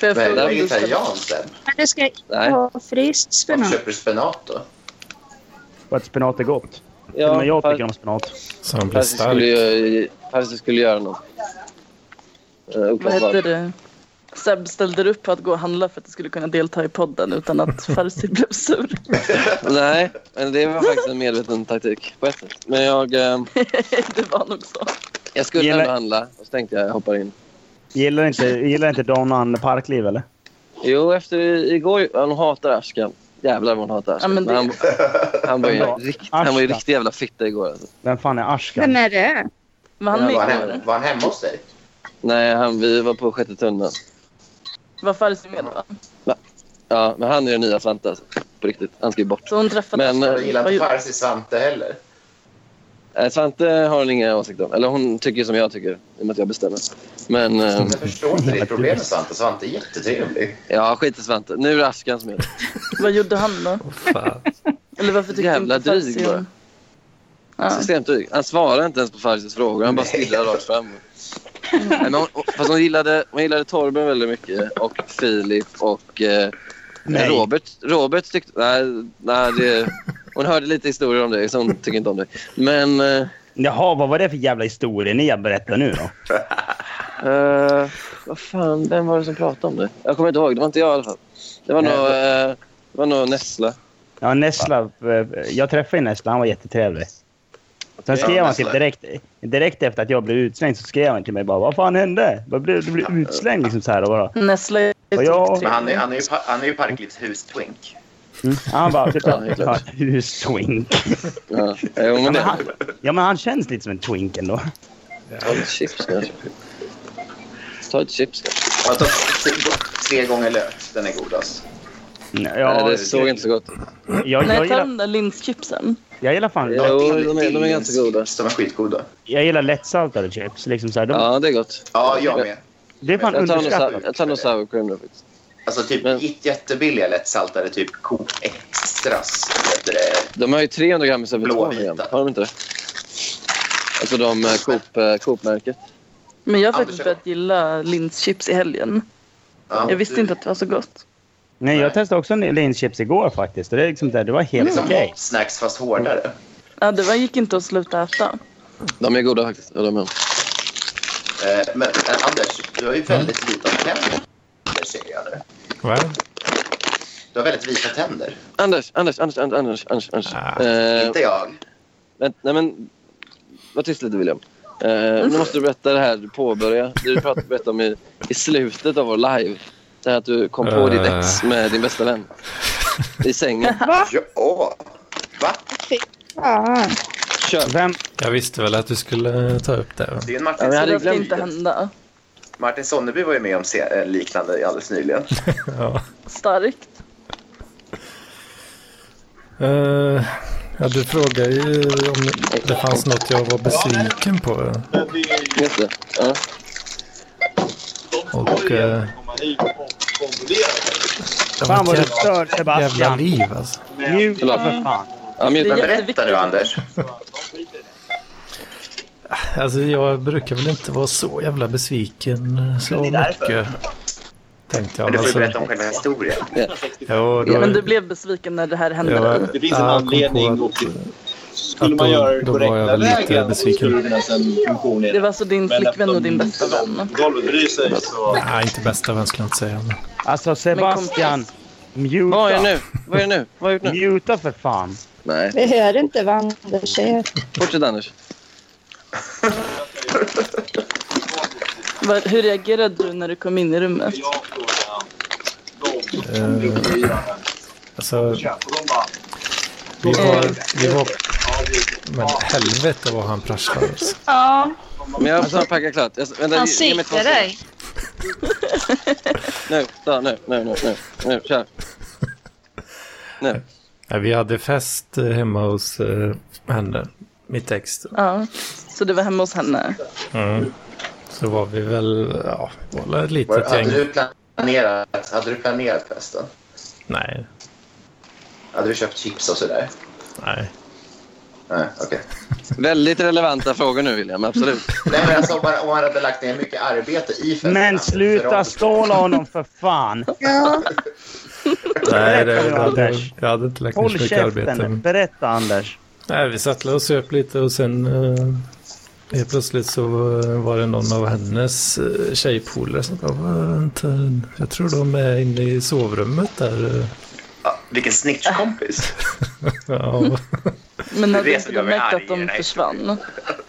C: Får jag
E: Men
C: fråga
E: är
C: om du ska-
E: vegetarian sen?
D: Men det ska inte
F: Nej.
D: ha fryst
E: Varför
D: spenat.
E: köper du spenat då?
A: Och att spenat är gott. Till och
F: Ja,
A: men jag
F: fast-
A: tycker om spenat.
B: Så han blir
F: fast jag skulle,
B: stark.
F: ju- fast jag skulle göra något. Uh,
C: Vad
F: oklart
C: heter
F: vad.
C: det? Seb ställde upp på att gå och handla för att du skulle kunna delta i podden utan att Farsi blev sur.
F: Nej, men det var faktiskt en medveten taktik på ett sätt. Men jag, eh,
C: det var nog så.
F: jag skulle
A: Gillar-
F: ändå handla och så tänkte jag jag hoppar in.
A: Gillar inte, gillar inte Donnan parkliv eller?
F: Jo, efter i- igår... Han hatar Ashkan. Jävlar vad han hatar Ashkan.
C: Ja, men
F: Men han, han, var ju
A: Ja,
F: en rikt, han var ju
A: Ashkan.
F: riktig jävla fitta igår. Alltså.
A: Vem fan är Ashkan?
D: Vem är det?
C: Var han
F: Ja,
C: med
E: Var han,
C: igår?
E: hem, var han hemma hos dig?
F: Nej, han, vi var på sjätte tunneln.
C: Var Farsi med då?
F: Ja, men han är den nya Svante. Alltså. På riktigt. Han ska ju bort.
C: Så hon träffade
F: Men,
E: Jag gillar
C: Vad
E: inte
C: gjorde-
E: Farsi Svante heller.
F: Eh, Svante har hon inga åsikter om. Eller hon tycker som jag tycker. I och med att jag bestämmer. Men eh,
E: Jag förstår inte ditt problem med Svante. Svante är jättetrevlig.
F: ja, skit i Svante. Nu är det Ashkan som är det.
C: Vad gjorde han då?
B: Åh, fan.
C: Eller varför tyckte
F: Jävla
C: inte Farsi
F: dryg
C: om- Ja.
F: bara. Systemtyg. Han svarar inte ens på Farsis frågor. Han bara
E: Nej.
F: stirrar rakt fram. Nej, men hon, fast hon gillade, hon gillade Torben väldigt mycket. Och Filip och... Eh,
A: Nej.
F: Robert, Robert tyckte... Nej, nej det, hon hörde lite historier om dig, så hon tycker inte om dig. Men... Eh,
A: Jaha, vad var det för jävla historia ni berättar nu då?
F: eh, vad fan, vem var det som pratade om det? Jag kommer inte ihåg. Det var inte jag i alla fall. Det var
A: Nej,
F: nog... Eh, det var nog Nessla.
A: Ja, Nessla, eh, jag träffade ju Nessla, han var jättetrevlig. Sen
E: Ja,
A: skrev han
E: Nessla.
A: typ direkt, direkt efter att jag blev utslängd så skrev han till mig bara vad fan hände? Vad blev, du blev utslängd liksom så här och bara.
C: Nessla är typ
A: Och jag,
E: Men han är, han är, ju, pa- han är ju Parklivs hus-twink.
A: Mm. han bara
F: Ja, det är klart.
A: "Ja, du är twink.
F: Ja, jo, men
A: Men
F: det...
A: han, ja men han känns lite som en twink ändå.
F: Ta ett chips kanske. Ta ett chips kanske.
E: Han tar tre gånger lök. Den är alltså. godast.
A: Mm, Ja,
F: nej, det såg inte så gott ut.
A: jag, jag,
C: Nej, ta
A: gillar,
C: de där linschipsen.
A: jag gillar fan
F: Ja. Jo, de är- de är ganska goda.
E: De är skitgoda.
A: jag gillar lättsaltade chips. Liksom så här, de,
F: Ja, det är gott.
E: Ja, jag med.
A: Det är fan
F: Jag tar nog
A: underskattat.
F: sa- jag tar nog sour cream då faktiskt.
E: Alltså typ
F: Men-
E: jätt- jättebilliga lättsaltade, typ Coop Extras. Heter det.
F: De har ju 300 gram istället för 200 gram.
E: Blåvita.
F: Har de inte det? Alltså de eh, Coop, eh, Coop-märket.
C: Men jag har
E: Anders,
C: faktiskt
E: jag-
C: börjat gilla linschips i helgen.
E: Ja,
C: Jag visste
E: du-
C: inte att det var så gott.
A: Nej, jag testade också en linschips igår faktiskt. Och det, är liksom, det det var
E: Det
A: helt
E: är
H: Mm.
E: som
A: okej.
E: snacks fast hårdare.
C: Ja, det var, gick inte att sluta äta.
F: De är goda faktiskt. Ja, de är.
E: Eh, Men eh, Anders, du har ju väldigt vita tänder. ser jag nu.
B: Va?
E: Du har väldigt vita tänder.
F: Anders, Anders, Anders, Anders, Anders, Anders. Anders.
B: Ah.
F: Eh,
E: Inte jag.
F: vänt, nej men, var tyst lite William. Eh, nu måste du berätta det här du påbörjade. Det du pratade berättade om i, i slutet av vår live. Det här att du kom på ditt ex med din bästa vän. I sängen.
E: Ja. Va?
D: Fan.
F: Kör.
A: Vem,
B: Jag visste väl att du skulle ta upp det. va?
E: Det är en
F: Ja,
E: Martin,
F: men
C: Så
F: hade
C: det ska
F: glömt
C: inte
F: det.
C: hända.
E: Martin Sonneby var ju med om se- eh, liknande alldeles nyligen.
B: Ja.
C: Starkt.
B: Eh, ja, du frågade ju om det fanns något jag var besviken på.
F: Just det. Ja.
B: Och eh, det
A: fan
B: var
A: vad du
B: ett
A: stör
B: jävla, jävla
A: Sebastian.
B: liv alltså.
A: Mjuta
F: Förlåt.
A: för fan.
F: Ja, men,
C: Det
E: Men
C: är
E: berätta
C: jätteviktigt.
E: nu, Anders.
B: Alltså jag brukar väl inte vara så jävla besviken eh, så mycket. Tänkte jag.
E: Men du får ju
B: alltså,
E: berätta om själva historien.
B: jo, då,
C: Men du blev besviken när det här hände
B: jag var-
C: dig.
G: Det finns en
B: ja, jag kom på
G: anledning
B: att-
G: och skulle
B: att
G: man
B: då-
G: göra det
B: då var jag
G: korrekta
B: väl lite
G: vägen så
B: besviken.
G: skulle det finnas en funktion i
C: Det
G: det.
C: var alltså din flickvän och din bästa vän.
G: Golvet bryr sig så...
B: Nej, inte bästa vän skulle jag inte säga. Men,
A: Alltså Sebastian.
F: vad är det
A: Mjuta.
F: nu? Vad är det nu? Vad har jag gjort nu?
A: Mjuta för fan.
F: Nej,
D: Vi hör inte vad Anders säger.
F: fortsätt Anders.
C: Vad- Hur reagerade du när du kom in i rummet?
B: eh, alltså, vi
C: Eh.
B: var, vi var... Men helvete vad han prasslar. Alltså.
D: Ja,
F: Men jag har snart packat klart. Jag, vänta,
D: han
F: ge- ge mig två
D: siktar dig.
F: sekunder. Nu, ta, nu, nu, nu, nu, nu, kör. Nu.
B: Ja, vi hade fest eh, hemma hos eh, henne, mitt ex. då.
C: Ja. Så du var hemma hos henne?
B: Så var vi väl, ja, vi var väl ett
E: Var,
B: litet
E: hade
B: gäng.
E: du planerat planerat, hade du planerat festen?
B: Nej,
E: Hade du köpt chips och sådär?
B: nej.
E: Nej, okej.
F: Väldigt relevanta frågor nu, William. Absolut.
E: Nej, men alltså om man, om man hade lagt ner mycket arbete i festen.
A: Men
E: alltså,
A: sluta
E: för-
A: ståla honom för fan!
D: Ja,
B: Nej, det, jag, hade,
A: Anders.
B: jag hade inte lagt ner så
A: Håll
B: mycket arbete.
A: käften!
B: men-
A: Berätta Anders!
B: Nej, vi satt och söp lite och sen eh, helt plötsligt så eh, var det någon av hennes eh, tjejpolare som bara "Vänta, Jag tror de är inne i sovrummet där. eh."
E: Ja, vilken snitchkompis.
B: Ja,
C: Men hade
E: Det
C: inte
E: som
C: de
E: gör mig
C: märkt
E: arg
C: att de
E: är-
C: försvann?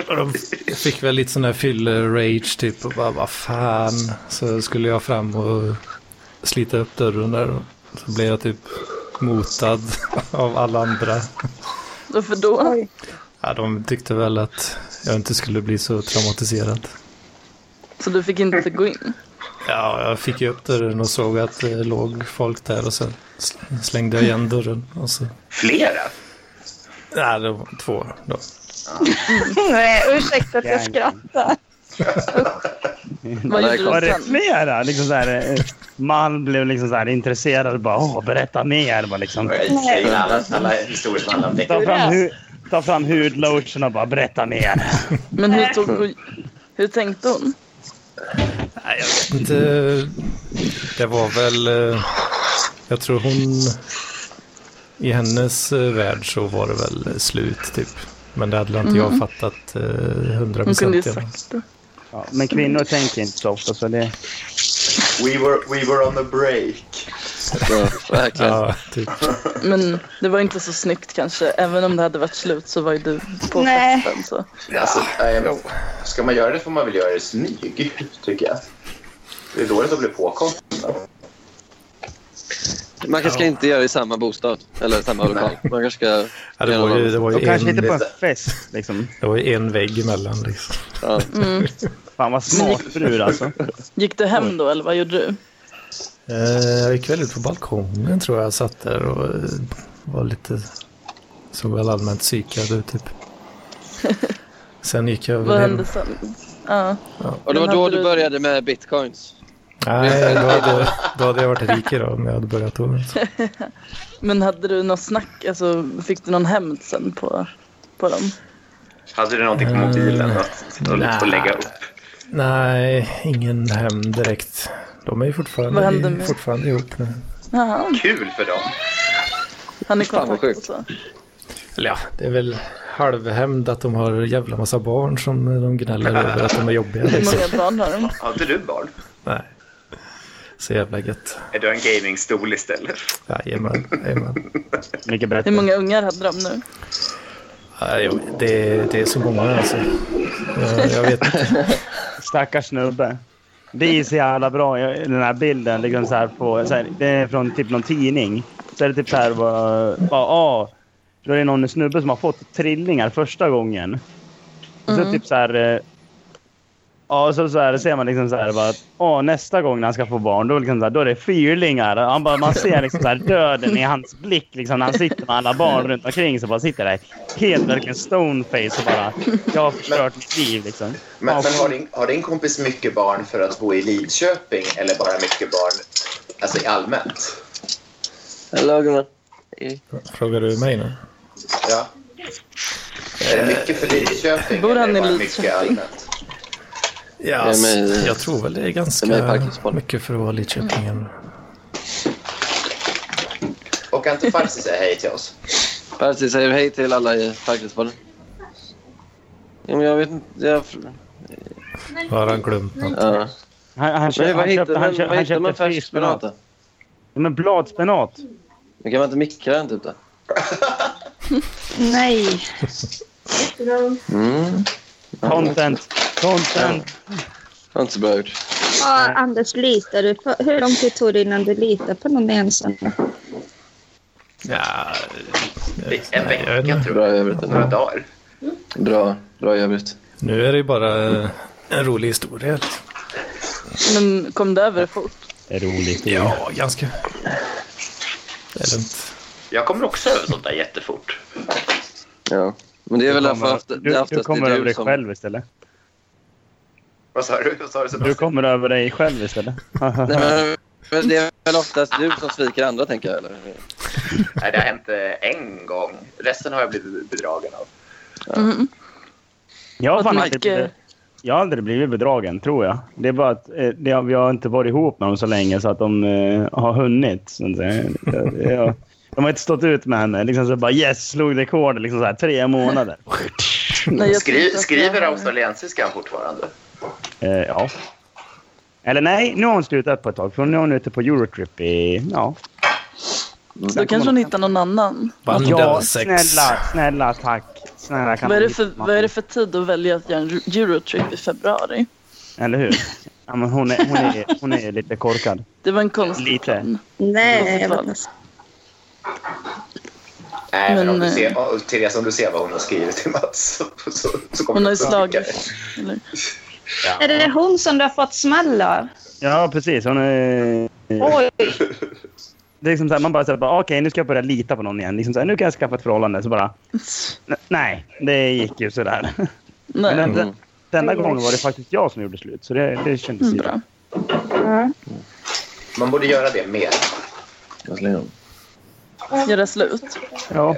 B: och de fick väl lite sån här fyll-rage typ och bara vad fan. Så skulle jag fram och slita upp dörren där och så blev jag typ motad av alla andra.
C: Varför då?
B: Ja, de tyckte väl att jag inte skulle bli så traumatiserad.
C: Så du fick inte gå in?
B: Ja, jag fick ju upp dörren och såg att det låg folk där och sen sl- slängde jag igen dörren. Och så...
E: Flera?
B: Nej, det var två då.
D: nej, ursäkta att jag skrattar.
C: Vad
F: Nej,
C: gjorde
A: Var
C: du
A: det
C: sen?
A: flera? Liksom så här, eh, Malm blev liksom så här intresserad och bara åh, berätta mer. Bara liksom,
E: Jag gick in alla, alla historier som handlar om det.
A: ta, fram hu- ta fram hudlotion och bara berätta mer.
C: Men hur, tog hon, hur tänkte hon?
B: Det, eh, det var väl... eh, Jag tror hon... I hennes eh, värld så var det väl slut typ. Men det hade inte jag fattat eh, hundra
C: Mm. Hon kunde ju
B: procent.
C: sagt det.
A: Ja, men kvinnor tänker inte så ofta så det...
E: We were, we were on a break.
F: Ja, verkligen.
B: Ja, typ.
C: Men det var inte så snyggt kanske. Även om det hade varit slut så var ju du på
D: Nej.
C: festen. Så.
E: Alltså, ehm, ska man göra det får man väl göra det i smyg, tycker jag. Det är dåligt att bli påkommen.
F: Man kanske ska inte göra det i samma bostad eller samma lokal. Man kanske ska...
B: Ja, det, var ju, det, var
A: Och
B: ju
A: kanske inte på
B: en,
A: en fest liksom.
B: det var ju en vägg emellan liksom.
F: Ja.
A: Fan vad smart brud alltså.
C: Gick du hem då eller vad gjorde du?
B: Eh, Jag gick väl ut på balkongen tror jag. Jag satt där och eh, var lite... Såg väl allmänt psykad ut typ. Sen gick jag
C: Vad
B: väl hem.
C: hände sen? Ja.
F: Och det var
C: Men
F: då
C: hade
F: du
C: du-
F: började med bitcoins.
B: Nej, då hade, då hade jag varit rik idag om jag hade börjat då.
C: Men hade du något snack? Alltså, fick du någon hämnd sen på, på dem?
E: Hade du någonting på mobilen att sitta och, och lägga upp?
B: Nej, ingen hem direkt. De är ju fortfarande,
C: Vad hände
B: vi är
C: med-
B: fortfarande ihop nu.
C: Jaha,
E: Kul för dem.
C: han är
F: Fan, vad
C: kontakt och
F: sjukt.
C: så.
B: Eller ja, det är väl halvhämnd att de har jävla massa barn som de gnäller över att de är jobbiga.
C: Hur
B: Liksom.
C: många barn har de?
E: Har inte du barn?
B: Nej. Så jävla gött.
E: Är du en gamingstol istället?
B: Jajamän, jajamän.
A: Mycket
C: Hur
A: bättre.
C: många ungar hade de nu?
B: Ja, jo, det, det är så många alltså. Jag, jag vet inte.
A: Stackars snubbe. Det är så jävla bra, Jag- den här bilden. Liksom så här på, så här, det är från typ någon tidning. Så är det typ så här bara... bara ah, då är det någon snubbe som har fått trillingar första gången. Och så typ så här... eh, Ja, och så, så här ser man liksom så här bara att åh, nästa gång när han ska få barn då, liksom så här, då är det fyrlingar. Han bara, man ser liksom så här döden i hans blick liksom, när han sitter med alla barn runt omkring så bara sitter där helt verkligen stoneface och bara jag har förstört mitt liv liksom.
E: Men,
A: Ja,
E: men har, din, har din kompis mycket barn för att bo i Lidköping eller bara mycket barn alltså i allmänt?
F: Hello, gumman.
B: Frågar du mig nu?
E: Ja. Är det mycket för Lidköping
C: Bor
E: eller
C: han
E: är det
C: i
E: bara
C: Lidköping?
E: mycket allmänt?
B: Ja,
F: alltså, men-
B: jag tror väl det är
F: Det är med
B: ganska
F: parkinsboll.
B: mycket för att vara Lidköping. ändå.
E: Och kan inte Farsi säga hej till oss?
F: Percy säger hej till alla i Parkridsbollen. Ja, men jag vet inte. Jag...
B: Har han glömt något?
F: Ja.
A: Han, han,
F: Men
A: köpte,
F: vad
A: han
F: hittar
A: köpte, han
F: man,
A: köpte,
F: vad
A: han
F: hittar
A: köpte
F: man färsk spenat
A: färskspinat.
F: då?
A: Men bladspenat.
F: Men kan man inte mikra den typ då?
D: Nej.
F: Mm.
A: Content. Content.
F: Det var inte så bra gjort.
D: Ja, Anders, litar du på, hur lång tid tog det innan du litade på någon ensam?
B: Ja,
E: En
B: jag vet
E: vecka
B: inte.
E: tror
F: Bra
E: jag.
F: i övrigt.
E: Några
F: ändå.
E: dagar.
F: Bra, bra i övrigt.
B: nu är det ju bara eh, en rolig historia.
C: Men kom du över det fort?
A: Det är roligt.
B: Ja, ganska. Det är lugnt.
E: Jag kommer också över sånt där jättefort.
F: Ja. Men det är väl
A: Du
F: därför
A: kommer,
F: after- det är
A: du, du
F: oftast
A: kommer över
F: det är du
A: dig
F: som...
A: själv istället.
E: Vad sa du? Vad sa du
A: Du
E: Sebastian?
A: kommer över dig själv istället.
F: Nej, men, Men det är väl oftast du som sviker andra, tänker jag? Eller?
E: Nej, det har hänt eh, en gång. Resten har jag blivit bedragen av.
C: Mm.
A: Jag har,
C: Att
A: fan
C: Mike,
A: aldrig blivit,
C: eh,
A: jag har aldrig blivit bedragen, tror jag. Det är bara att eh, det, har- vi har inte varit ihop med dem så länge så att de eh, har hunnit. Så att säga. Jag, jag, de har inte stått ut med henne. Liksom så bara yes, slog rekord. Liksom så här, tre månader.
C: Nej, jag tror
E: Skri
C: inte att
E: skriver
C: jag har-
E: australiensiskan fortfarande?
A: Eh, ja. Eller nej, nu har hon slutat på ett tag. För nu är hon ute på Eurotrip i... Ja.
C: Då kanske hon hittar någon annan.
A: ja,
B: Banden sex.
A: snälla, snälla tack. Snälla, kan
C: Vad är,
A: man
C: det för,
A: hitta-
C: vad är det för tid att välja att göra en Eurotrip i februari?
A: Eller hur? Ja, men hon, är, hon, är, hon är lite korkad.
C: Det var en konstig
A: Lite.
C: plan.
D: Nej, vad taskigt.
E: Nej, men,
C: Men,
E: om du
C: eh,
E: ser, oh, Therese, om du ser vad hon har skrivit till Mats så, så, så kommer
C: Hon har ju
E: du att tycka det.
C: slagit. Eller?
D: Är det hon som du har fått smäll av?
A: Ja, precis. Hon är...
E: Mm.
D: Oj!
A: Det är liksom så här, man bara säger bara, okej nu ska jag börja lita på någon igen. Liksom så här, nu kan jag skaffa ett förhållande. Så bara, "N- nej, det gick ju sådär. Men
C: Nej,
A: den,
C: Mm.
A: den, denna gången var det faktiskt jag som gjorde slut. Så det, det kändes ju
C: bra.
D: Ja.
E: Man borde göra det mer.
F: Jag slänger dem.
C: Göra slut.
A: Ja,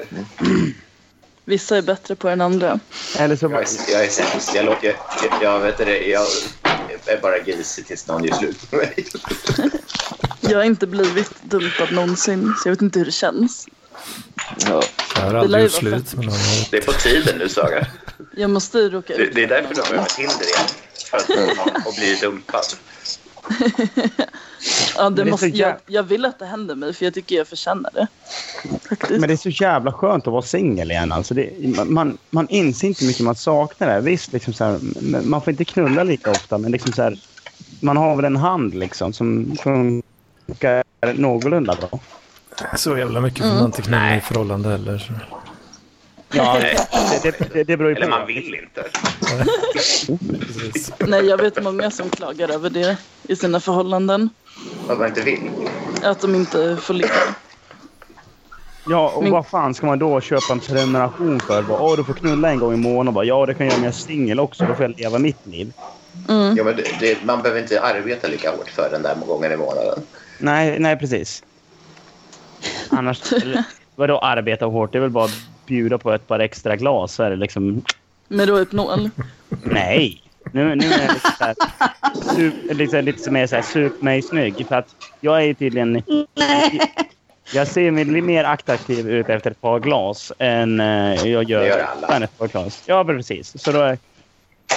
C: Vissa är bättre på den andra.
A: eller så
E: Jag
A: bara,
E: är, jag är sämst. Jag, låter, jag, jag, vet det, jag är bara grisig tills någon gör slut med mig.
C: Jag har inte blivit dumpad någonsin, så jag vet inte hur det känns.
F: Ja.
B: Jag har
C: lär
B: aldrig
C: ju
B: gjort
C: vara
B: slut med någon.
E: Det är på tiden nu, Saga.
C: Jag måste ju råka
E: Det,
C: ut
E: det är därför du har börjat med Tinder igen. För att man- och blir dumpad.
C: ja, det
A: det är
C: måste,
A: så jävla-
C: jag, jag vill att det händer mig, för jag tycker jag förtjänar det. Faktiskt.
A: men det är så jävla skönt att vara singel igen. Alltså det, man- man, man inser inte hur mycket man saknar det. här. Visst, liksom så här, men man får inte knulla lika ofta, men liksom så här, man har väl en hand liksom som funkar någorlunda bra.
B: Så jävla mycket får man inte knulla i förhållande heller. så.
A: Ja, det, det, det, det beror ju på.
E: Eller man vill inte.
B: Precis.
C: Nej, jag vet många som klagar över det i sina förhållanden.
E: Att man inte vill.
C: Att de inte får ligga.
A: Ja, och
C: Men-
A: vad fan ska man då köpa en prenumeration för? Bara, Åh, du får knulla en gång i månaden. Bara, ja, det kan jag göra när jag är singel också. Då får jag leva mitt liv.
C: Mm.
E: Ja, men det, det, man behöver inte arbeta lika hårt för den där gången i månaden.
A: Nej, nej precis. Annars... eller, vadå arbeta hårt? Det är väl bara att bjuda på ett par extra glas. Så är det liksom...
C: Med Rohypnol.
A: Nej! Nu, nu är jag lite, så här, sup, liksom, lite mer så här, sup mig snygg. För att jag är ju tydligen... Jag ser mig mer attraktiv ut efter ett par glas än eh, jag gör,
E: Det gör alla.
A: än ett par glas. Ja, men precis. Så då är,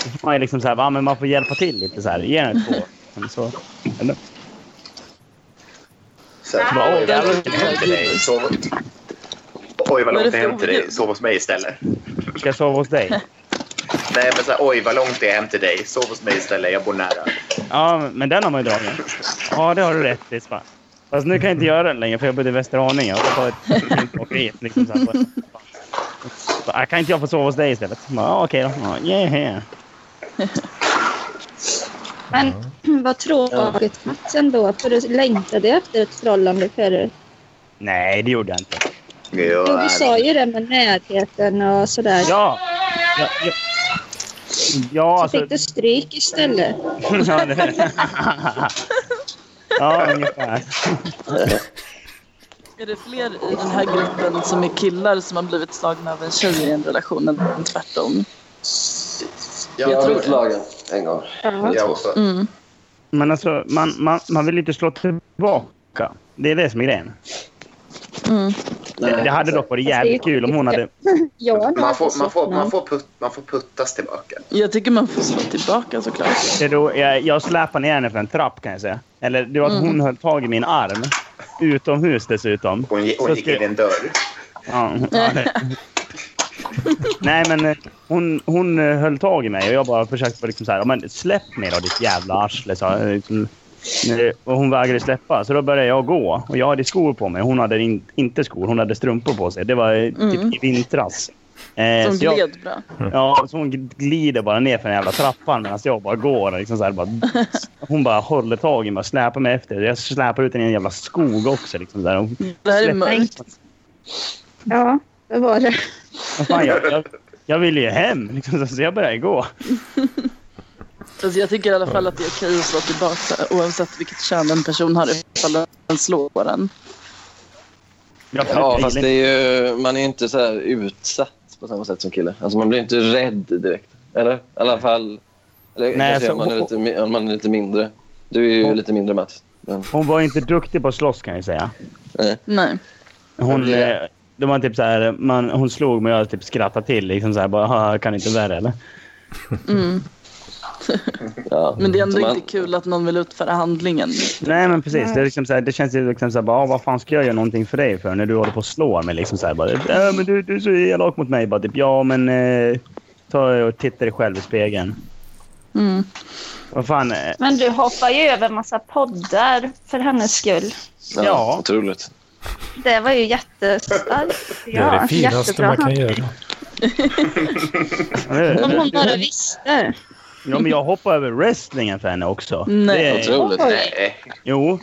A: då får man ju liksom så här, ah, men man får hjälpa till lite så här. Ge den två. Eller Så, eller?
E: Så att,
A: Bara,
E: oj,
A: "Oj,
E: vad
A: jävlar."
E: långt det hem till dig. Sov... Oj, vad
C: Vad är
E: långt
C: det
E: det
C: för
E: hem till dig.
C: oljud?
E: Sov hos mig istället.
A: Ska jag sova hos dig?
E: Nej, men så här, oj, vad långt det är hem till dig. Sov hos mig istället. Jag bor nära.
A: Ja, men den har man ju dragit. Ja, det har du rätt i. Spa. Fast nu kan jag inte göra den längre för jag bodde i Västerhaninge. Och då var ett fint åkeri, liksom, så här, på- så, "Ah, kan inte jag få sova hos dig istället? Bara, Ja, okej då. Ja, yeah.
D: Men
E: Mm.
D: vad tråkigt Mats ändå, för du längtade efter ett förhållande förut.
A: Nej, det gjorde jag inte.
D: Jo, du sa ju det med närheten och sådär.
A: Ja! Ja, ja. ja
D: Så
A: alltså...
D: fick du stryk istället.
A: ja, det... ja, ungefär.
C: Är det fler i den här gruppen som är killar som har blivit slagna av en tjej i en relation än tvärtom?
E: Jag,
F: Jag har
E: tror
F: blivit
E: det.
F: slagen en gång.
D: Ja.
E: Jag också.
C: Mm.
A: Men alltså, man, man, man vill inte slå tillbaka. Det är det som är grejen.
C: Mm.
A: Det, det hade dock
D: alltså,
A: varit jävligt kul om hon hade...
D: Jag har nog
E: Man får,
D: aldrig
E: man,
D: sett
E: får, man,
D: någon.
E: får put, man får puttas tillbaka.
C: Jag tycker man får slå tillbaka såklart.
A: Det är då, jag, jag släpade ner henne för en trapp kan jag säga. Eller det var att
E: Mm.
A: hon höll tag i min arm. Utomhus dessutom.
E: Hon, gi-
A: Så
E: hon gick
A: ska-
E: in i en dörr.
A: Ja, ja, det- Nej men eh, hon, hon eh, höll tag i mig och jag bara försökte bara liksom så här, "Ja, men släpp mig då ditt jävla arsle. Så, eh, och hon vägrade släppa så då började jag gå. Och jag hade skor på mig. Hon hade in, inte skor, hon hade strumpor på sig. Det var eh, typ
C: Mm.
A: i vintras. Eh,
C: Som
A: så jag-
C: gled bra.
A: Ja, så hon glider bara ner för den jävla trappan medan jag bara går. och Liksom så här, bara, hon bara håller tag i mig och släpar mig efter. Jag släpar ut henne i en jävla skog också. Liksom, där. Och,
C: Det här är
A: Släpp-
C: mörkt.
D: Ja, det var det.
A: vad fan, jag, jag, jag vill ju hem, liksom, så- så jag börjar gå.
C: Alltså jag tycker i alla fall att det är okej att slå tillbaka oavsett vilket kön en person har ifall den slår en.
A: Jag
F: Ja, fast det
A: det...
F: är ju, man är ju inte så här utsatt på samma sätt som kille. Alltså man blir inte rädd direkt. Eller? I alla fall... Eller,
A: Nej,
F: Nej,
C: alltså,
F: kanske
A: så-
F: om man, är lite, mi- om man är lite mindre. Du är ju lite mindre Mats. Men,
A: Hon var inte duktig på att slåss kan jag säga.
C: Nej.
A: Hon,
F: Ja.
A: eh, det var typ så här, man, hon slog mig och jag typ skrattade till. Liksom så här, bara, "Haha, kan det inte värre eller?
C: Mm.
F: ja.
C: Men det är ändå
F: Så man-
C: inte kul att någon vill utföra handlingen.
A: Nej men precis. Det, är liksom så här, det känns ju liksom så här, bara, "Ah, vad fan ska jag göra någonting för dig för när du håller på att slå mig? Liksom så här, bara, äh, men du, du är så elak mot mig. Bara, typ, ja men eh, ta och titta dig själv i spegeln.
C: Mm.
A: Vad fan. eh,
D: Men du hoppar ju över massa poddar för hennes skull.
F: Ja,
A: Ja.
F: otroligt.
D: Det var ju jättestarkt.
B: Det är det finaste man kan göra.
D: Om hon bara visste.
A: Ja, men jag hoppar över wrestlingen för henne också.
C: Nej.
A: Det är,
F: Otroligt.
E: Nej,
A: jo,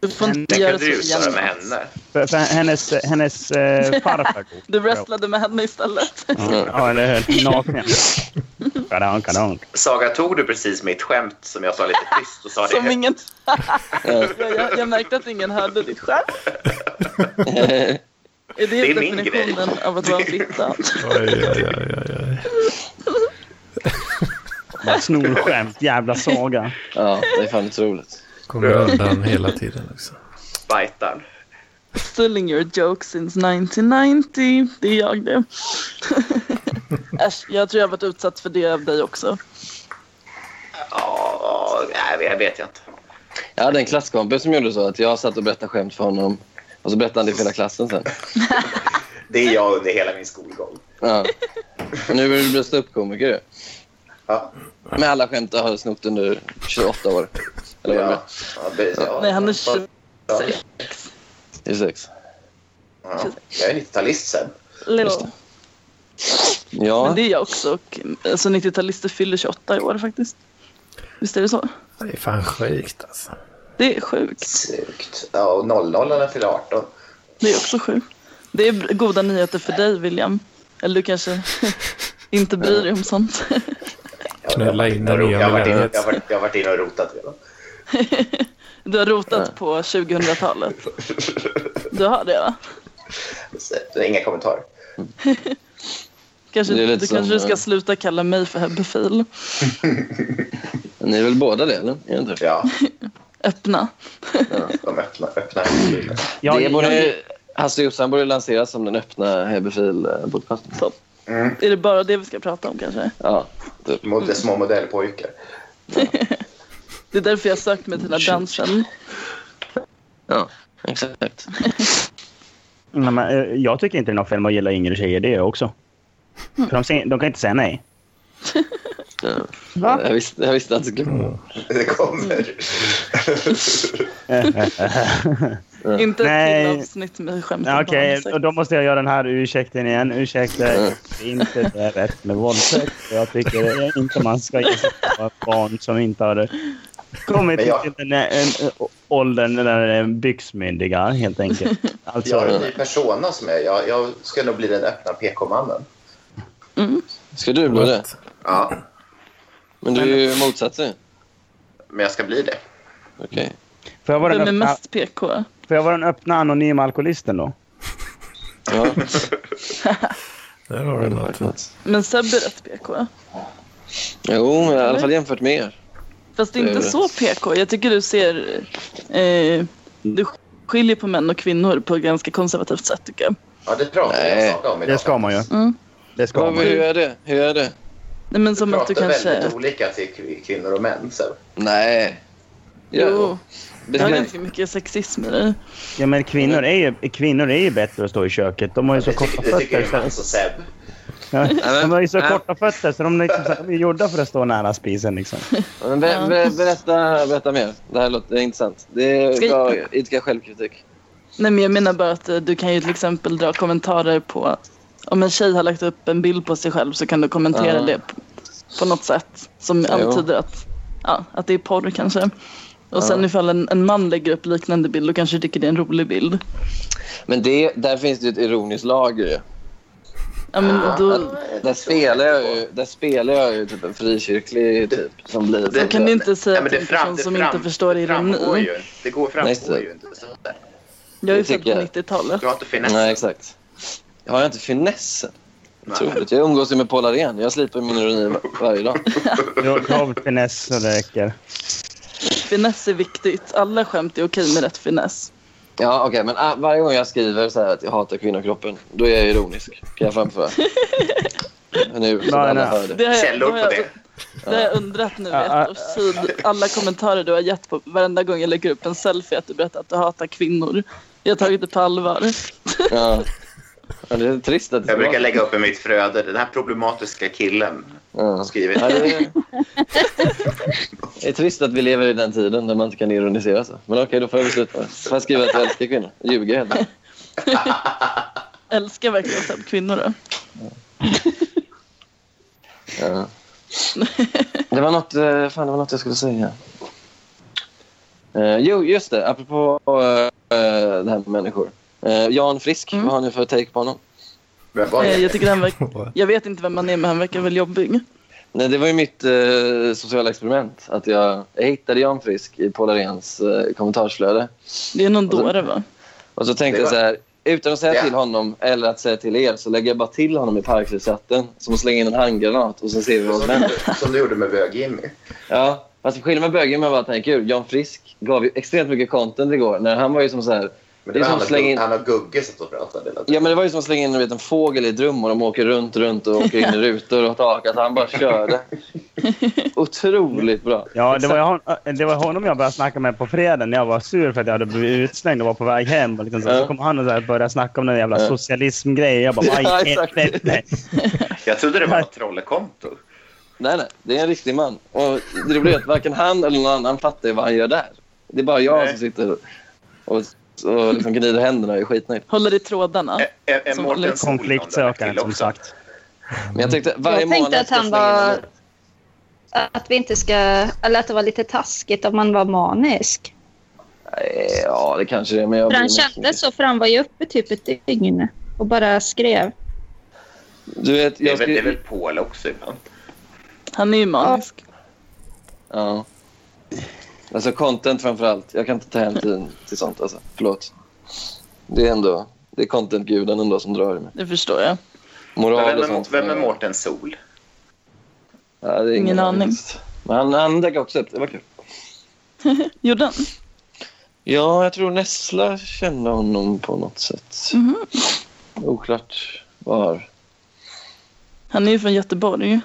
C: Du får inte
E: den
C: göra
E: kunde
C: så
E: du utföra med
C: jämnt.
E: henne.
A: för, för hennes, hennes eh, farfar.
C: Du wrestlade med henne istället.
A: Ja, eller hur? Naken. Kadonk, kadonk.
E: Saga, tog du precis mitt skämt som jag sa lite tyst och sa det
C: Som
E: högt?
C: ingen... jag, jag, jag märkte att ingen hörde ditt skämt. Är det,
E: är min
C: definitionen av att vara en fitta?
B: Oj, oj, oj, oj, oj.
A: Bara Snor skämt, jävla saga.
F: Ja, det är fan otroligt.
B: Kommer undan hela tiden också.
E: Bajtan.
C: Stealing your joke since 1990. Det är jag det. Äsch, jag tror jag har varit utsatt för det av dig också.
E: Ja, nej, jag vet jag inte.
F: Jag hade en klasskompis som gjorde så att jag satt och berättade skämt för honom. Och så berättade han det för hela klassen sen.
E: Det är jag under hela min skolgång.
F: Ja. Och Nu vill du bli ståuppkomiker ju.
E: Ja.
F: Med alla skämt jag har snott under 28 år. Eller vad det
E: Ja.
F: var.
E: Ja, det- ja.
C: Nej, han är 20.
E: Ja.
F: 26.
E: Ja. Jag är 90-talist sen.
F: Ja,
C: Men det är jag också. Och, alltså 90-talister fyller 28 i år faktiskt. Visst är det så?
B: Det är fan sjukt alltså.
C: Det är sjukt.
E: Sjukt. Ja, och 00 till 18.
C: Det är också sjukt. Det är goda nyheter för dig, William. Eller du kanske inte bryr dig om sånt.
E: Jag-
B: Knulla in det
E: jag- jag-
B: nya
E: jag har varit inne-
B: millenniet.
E: Jag har varit- jag har varit inne och rotat redan.
C: Du har rotat på 2000-talet. Du har det, va?
E: Så, det är Inga kommentarer.
C: Kanske,
F: Det
C: du
F: är lite
C: kanske
F: som,
C: du ska
F: eh,
C: sluta kalla mig för hebefil.
F: ni är väl båda det eller? Är det inte?
E: Ja,
C: Öppna.
E: de öppnar. öppnar.
A: Jag,
F: det borde,
A: jag,
F: Hasse och Jossan borde lanseras som den öppna hebefil-podcasten.
C: Är det bara det vi ska prata om kanske?
F: Ja.
E: Mot de små modellpojkar.
C: Det är därför jag har sökt mig till den här branschen.
F: ja, exakt.
A: nej, men, eh, jag tycker inte det är något fel med att gilla yngre tjejer. Det är jag också. För de, säger, de kan inte säga nej.
F: Ja.
A: Va?
F: Jag, visste, jag visste att det skulle komma.
E: Det kommer.
C: Inte
A: Nej.
C: ett killavsnitt med skämt om
A: Ja, Okej,
C: barnsex.
A: då- då måste jag göra den här ursäkten igen. Ursäkta, jag tycker inte det är rätt med våldtäkt. Jag tycker inte man ska ge sig på ett barn som inte har kommit
E: Men jag-
A: till den eh, eh, åldern när de är byxmyndiga, helt enkelt. Alltså,
E: Jag har en ny persona som är. Jag, jag ska nog bli den öppna PK-mannen.
F: Ska du bli det?
E: Ja,
F: Men du är ju motsatsen.
E: men jag ska bli det.
F: Okej.
A: får, jag vara
C: Vem är
A: den öppna,
C: mest PK?
A: får jag vara den öppna anonyma alkoholisten då?
F: Ja.
B: Där har du något.
C: Men Seb är rätt PK.
F: Jo, men i alla fall jämfört med er.
C: Fast det är
F: Det är
C: inte
F: det.
C: så PK. Jag tycker du ser... Eh, du skiljer på män och kvinnor på ett ganska konservativt sätt tycker jag.
E: Ja, det pratar jag
F: Nej,
E: och Saga om idag.
A: Det ska man ju.
C: Mm.
A: Det ska
F: Vad,
A: man.
F: hur är det? Hur är det?
C: Nej, men som
E: pratar
C: att du kanske...
E: väldigt olika till kv- kvinnor och män. Så.
F: Nej. Ja,
C: Jo, det har
F: bestäm-
C: ganska mycket sexism i dig.
A: Ja, men kvinnor är, ju, kvinnor är ju bättre att stå i köket. De har ju så
E: Det
A: korta
E: tycker, det tycker
A: fötter.
E: ju Mats
A: så-
E: och Seb.
A: Ja, De har ju så
F: Nej.
A: korta fötter så de, liksom, så här, de är gjorda för att stå nära spisen. Liksom.
F: Men be, be, berätta, berätta mer. Det här låter det är intressant. Det är
C: Ska-
F: bra att idka självkritik.
C: Nej, men jag menar bara att eh, du kan ju till exempel dra kommentarer på... Om en tjej har lagt upp en bild på sig själv så kan du kommentera
F: Ja.
C: det på, på något sätt som
F: Ja, jo.
C: antyder att, ja, att det är porr kanske. Och sen ifall en, en man lägger upp liknande bild då kanske du tycker det är en rolig bild.
F: Men det, där finns det ju ett ironiskt lager. ju.
C: Ja, men då,
F: Där spelar jag ju, där spelar jag ju typ en frikyrklig typ som blir...
C: då kan du inte säga
E: Nej,
C: att
E: men
C: det
E: det
C: är en
E: fram,
C: person
E: det
C: som
E: fram,
C: inte förstår
E: det framgår
C: ironi.
E: ju. Det går
F: Nej,
E: framgår
F: det-
E: ju inte. Så där.
C: Jag är ju
F: Det
C: född på
F: tycker jag.
C: 90-talet.
E: Du har inte finess.
F: Nej, exakt. Jag har inte finessen. Otroligt. Jag umgås ju med Paul Arén. Jag slipar min ironi varje dag.
A: Du har- du har väl finess så det räcker.
C: Finess är viktigt. Alla skämt är okej med rätt finess.
F: Ja, okej. men ah, varje gång jag skriver så här att jag hatar kvinnokroppen, då är jag ironisk. Kan jag framföra? nu, så att
A: Nej,
F: alla
A: nej.
F: hör det.
C: Det har jag,
E: Källor
C: då har jag,
E: på det.
C: det har jag undrat nu i
A: Ja,
C: ett års tid. Alla kommentarer du har gett på varenda gång jag lägger upp en selfie att du berättar att du hatar kvinnor. Jag har tagit det på allvar.
F: Ja. ja. Det är trist att det
E: Jag
F: ska
E: brukar
F: vara.
E: lägga upp i mitt flöde. Den här problematiska killen
F: Ja.
E: skriver
F: Ja, det, är... det är trist att vi lever i den tiden där man inte kan ironisera så. Men okej, då får jag besluta. Får jag skriva att jag älskar kvinnor? Ljuger helt enkelt.
C: Älskar verkligen att ta upp kvinnor då.
F: Ja. Det var något, eh, fan, det var något jag skulle säga. Eh, jo, just det. Apropå eh, eh, det här med människor. Eh, Jan Frisk,
C: Mm.
F: vad har ni för take på honom?
E: Vem var
C: Eh,
E: det?
C: Jag, tycker han verk- jag vet inte vem han är men han verkar väl jobbig.
F: Nej, det var ju mitt eh, sociala experiment. Att jag, jag hittade Jan Frisk i Paul Aréns eh, kommentarsflöde.
C: Det är någon dåre va?
F: Och så tänkte
E: Det
F: jag
E: var-
F: så här. Utan att säga
E: Ja.
F: till honom eller att säga till er så lägger jag bara till honom i Parkslivschatten. Som att slänga in en handgranat och sen ser vi vad som händer.
E: Som, som du gjorde med Bög-Jimmy.
F: Ja, fast skillnaden med bögen med vad han tänker Jan Frisk gav ju extremt mycket content igår. När han var ju som så här...
E: Men
F: Det
E: det
F: är
E: var
F: som
E: han,
F: att slänga
E: och-
F: in,
E: han och Gugge satt och pratade hela
F: ja,
E: tiden.
F: men det var ju som att slänga in en liten fågel i ett rum och de åker runt, runt och åker in i rutor och tak. Alltså han bara körde. Otroligt bra.
A: Ja, det var, ju hon, det var honom jag började snacka med på fredagen när jag var sur för att jag hade blivit utslängd och var på väg hem. Och liksom så.
F: Ja.
A: så kom han och så här började snacka om den jävla
F: Ja.
A: socialismgrejen. Jag bara,
F: Ja,
A: vad i
F: exakt.
A: helvete?
E: Jag trodde det var ett trollekonto.
F: Nej, nej. Det är en riktig man. Och det blir att varken han eller någon annan fattar ju vad han gör där. Det är bara jag
E: Nej.
F: som sitter och, och liksom gnider händerna och är skitnöjd.
C: Håller i trådarna.
E: Ä- ä- ä-
C: Som
E: Mårten
C: Alex.
E: Solon lade
A: Konfliktsökaren
E: till
A: som
E: också.
A: sagt.
F: Men jag tänkte varje
D: Jag tänkte
F: månad
D: att
F: ska jag
D: han
F: slänga in en
D: var...
F: ny.
D: Att vi inte ska... Eller att det var lite taskigt om man var manisk.
F: Nej, Ja, det kanske det är. Men jag
D: För han
F: bryr mig inte så mycket.
D: kände så, för han var ju uppe typ ett dygn och bara skrev.
F: Du vet,
E: Det är
F: jag
E: väl, det är
F: skulle...
E: väl Paul också ibland.
C: Han är ju manisk.
F: Ja. Alltså content framför allt. Jag kan inte ta hänsyn till sånt. Alltså. Förlåt. Det är ändå... Det är content-guden ändå som drar i mig.
C: Det förstår jag.
E: Men
F: Moral
E: Vem
F: och
E: är,
F: sånt.
E: vem är Mårten Sol?
F: Ja, det är
C: Ingen aning.
F: Men han, han dök också upp. Det var kul.
C: Gjorde han?
F: Ja, jag tror Nessla kände honom på något sätt.
C: Mhm.
F: Oklart var.
C: Han är ju från Göteborg.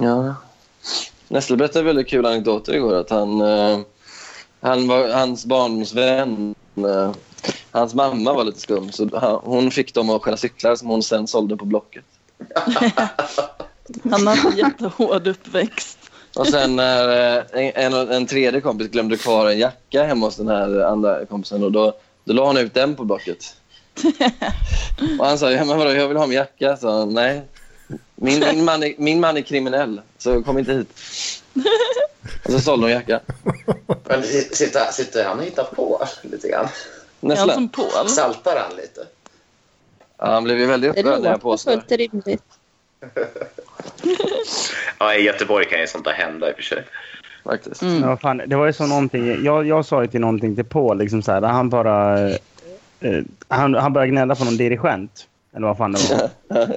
F: Ja. Nessla berättade en väldigt kul anekdoter igår. Att han, eh, han var, hans barndomsvän, eh, hans mamma var lite skum. Så han, hon fick dem att stjäla cyklar som hon sen sålde på Blocket.
C: Han har en jättehård uppväxt.
F: Och sen när eh, en, en, en tredje kompis glömde kvar en jacka hemma hos den här andra kompisen och då, då la han ut den på Blocket. Och han sa, ja, men vadå, jag vill ha min jacka. Så han, nej. Min, min, man är, min man är kriminell, så kom inte hit. Och så sålde hon jackan.
E: Men si- sitter, sitter han och hittar på lite grann?
C: Är han
F: Näsla.
C: som Paul?
E: Saltar han lite?
F: Ja, han blev ju väldigt
D: Det
F: upprörd när
D: låter
F: jag
C: Mm.
F: påstår.
D: fullt rimligt.
E: Ja, i Göteborg kan ju sånt där hända i och för sig.
F: Faktiskt.
A: Men
C: Mm.
A: vad fan, det var ju som någonting, jag, jag sa ju till någonting till Paul, liksom så här, han bara... Eh, han, han började gnälla på någon dirigent. Eller vad fan det var.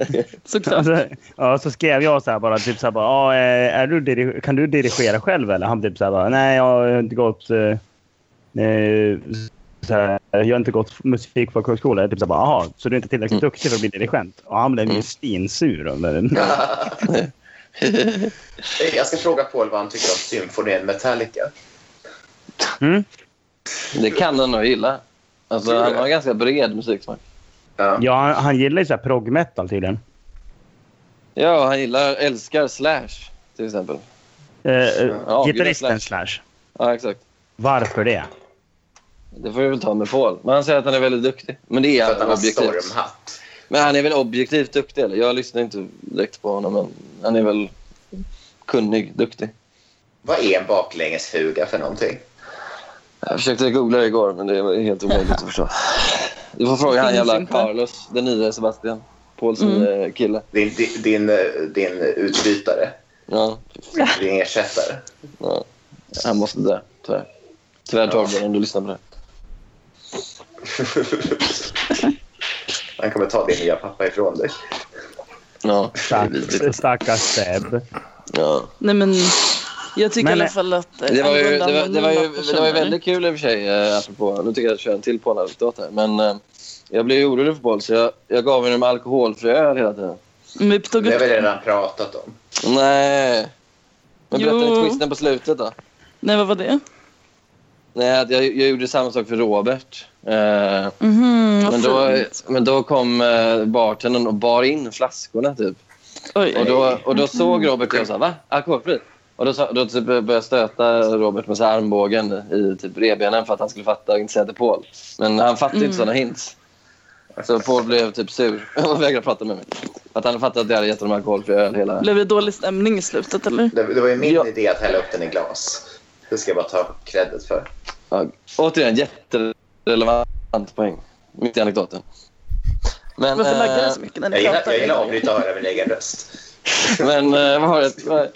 C: Såklart.
A: Alltså, ja, så skrev jag så här bara, typ så här bara, "Ja, eh, är du diri- kan du dirigera själv eller? Han typ så här bara, nej jag har inte gått, eh, eh, så här, jag har inte gått musikfolkhögskola. Jag Typ så här bara, aha, så du är inte tillräckligt duktig för att bli dirigent? Och han blev ju svinsur. över den.
E: Jag ska fråga Paul vad han tycker om symfonin Metallica.
A: Mm?
F: Det kan han nog gilla. Alltså, han har ganska bred musiksmak.
E: Ja.
A: Ja, han, han gillar ju så här prog metal tydligen.
F: Ja, han gillar, älskar Slash, till exempel.
A: Eh, eh,
F: Ja,
A: gitarristen
F: gillar
A: slash.
F: Ja, exakt.
A: Varför det?
F: Det får vi väl ta med Paul. Men han säger att han är väldigt duktig. Men det är
E: För att han
F: han
E: har
F: objektivt.
E: stormhatt.
F: Men han är väl objektivt duktig? Eller? Jag lyssnar inte direkt på honom, men han är väl kunnig, duktig.
E: Vad är en baklängesfuga för någonting?
F: Jag försökte googla det igår, men det är helt omöjligt att förstå. Du får fråga han
C: finns
F: jävla
C: inte. Mm.
F: Carlos, den nya Sebastian. Pauls nya kille.
E: Din, din, din, eh, din utbytare.
F: Ja,
E: Din ersättare.
F: ja. Han måste dö, tyvärr. Tyvärr Torben, om du lyssnar på det.
E: Han kommer ta din nya pappa ifrån dig.
F: Ja, det är
A: Stack-
F: vidrigt.
A: Stackars Seb. Eh,
F: ja.
C: Nej men jag tycker
A: Men,
C: i alla fall att... eh,
F: Det var ju, det
C: angående
F: var, det var ju,
C: anonyma
F: det var ju
C: personer-
F: väldigt kul i och för sig, eh, apropå, nu tycker jag att jag kör en till på en anekdot här. Men eh, jag blev ju orolig för Paul, så jag, jag gav honom alkoholfri öl hela tiden.
C: Men Vi tog
E: Det har
C: upp...
E: vi redan pratat om.
F: Nej. Men berätta
C: Jo.
F: lite twisten på slutet då.
C: Nej vad var det?
F: Nej, att jag, jag gjorde samma sak för Robert. Eh,
C: Mhm, vad
F: men, då,
C: fint.
F: men då kom eh, bartendern och bar in flaskorna typ.
C: Oj,
F: Och då, och då
C: Mm.
F: såg Robert och jag så här, va? Alkoholfri? Och då, sa- då typ började jag stöta Robert med så här armbågen i typ revbenen för att han skulle fatta och inte säga till Paul. Men han fattade
C: Mm.
F: inte sådana hints. Så Paul blev typ sur och vägrade prata med mig. För att han fattade att jag hade gett honom alkoholfri öl hela...
C: Blev det dålig stämning i slutet eller?
E: Det, det var ju min
F: Ja.
E: idé att hälla upp den i glas. Det ska jag bara ta credit för.
F: Ja, återigen, jätterelevant poäng. Mitt i anekdoten. Men,
C: Varför laggar du
F: eh,
C: så mycket när
E: Jag
C: ni
E: gillar, jag gillar att
C: pratar?
E: avbryta och höra min egen röst.
F: men eh, vad var det? Vad-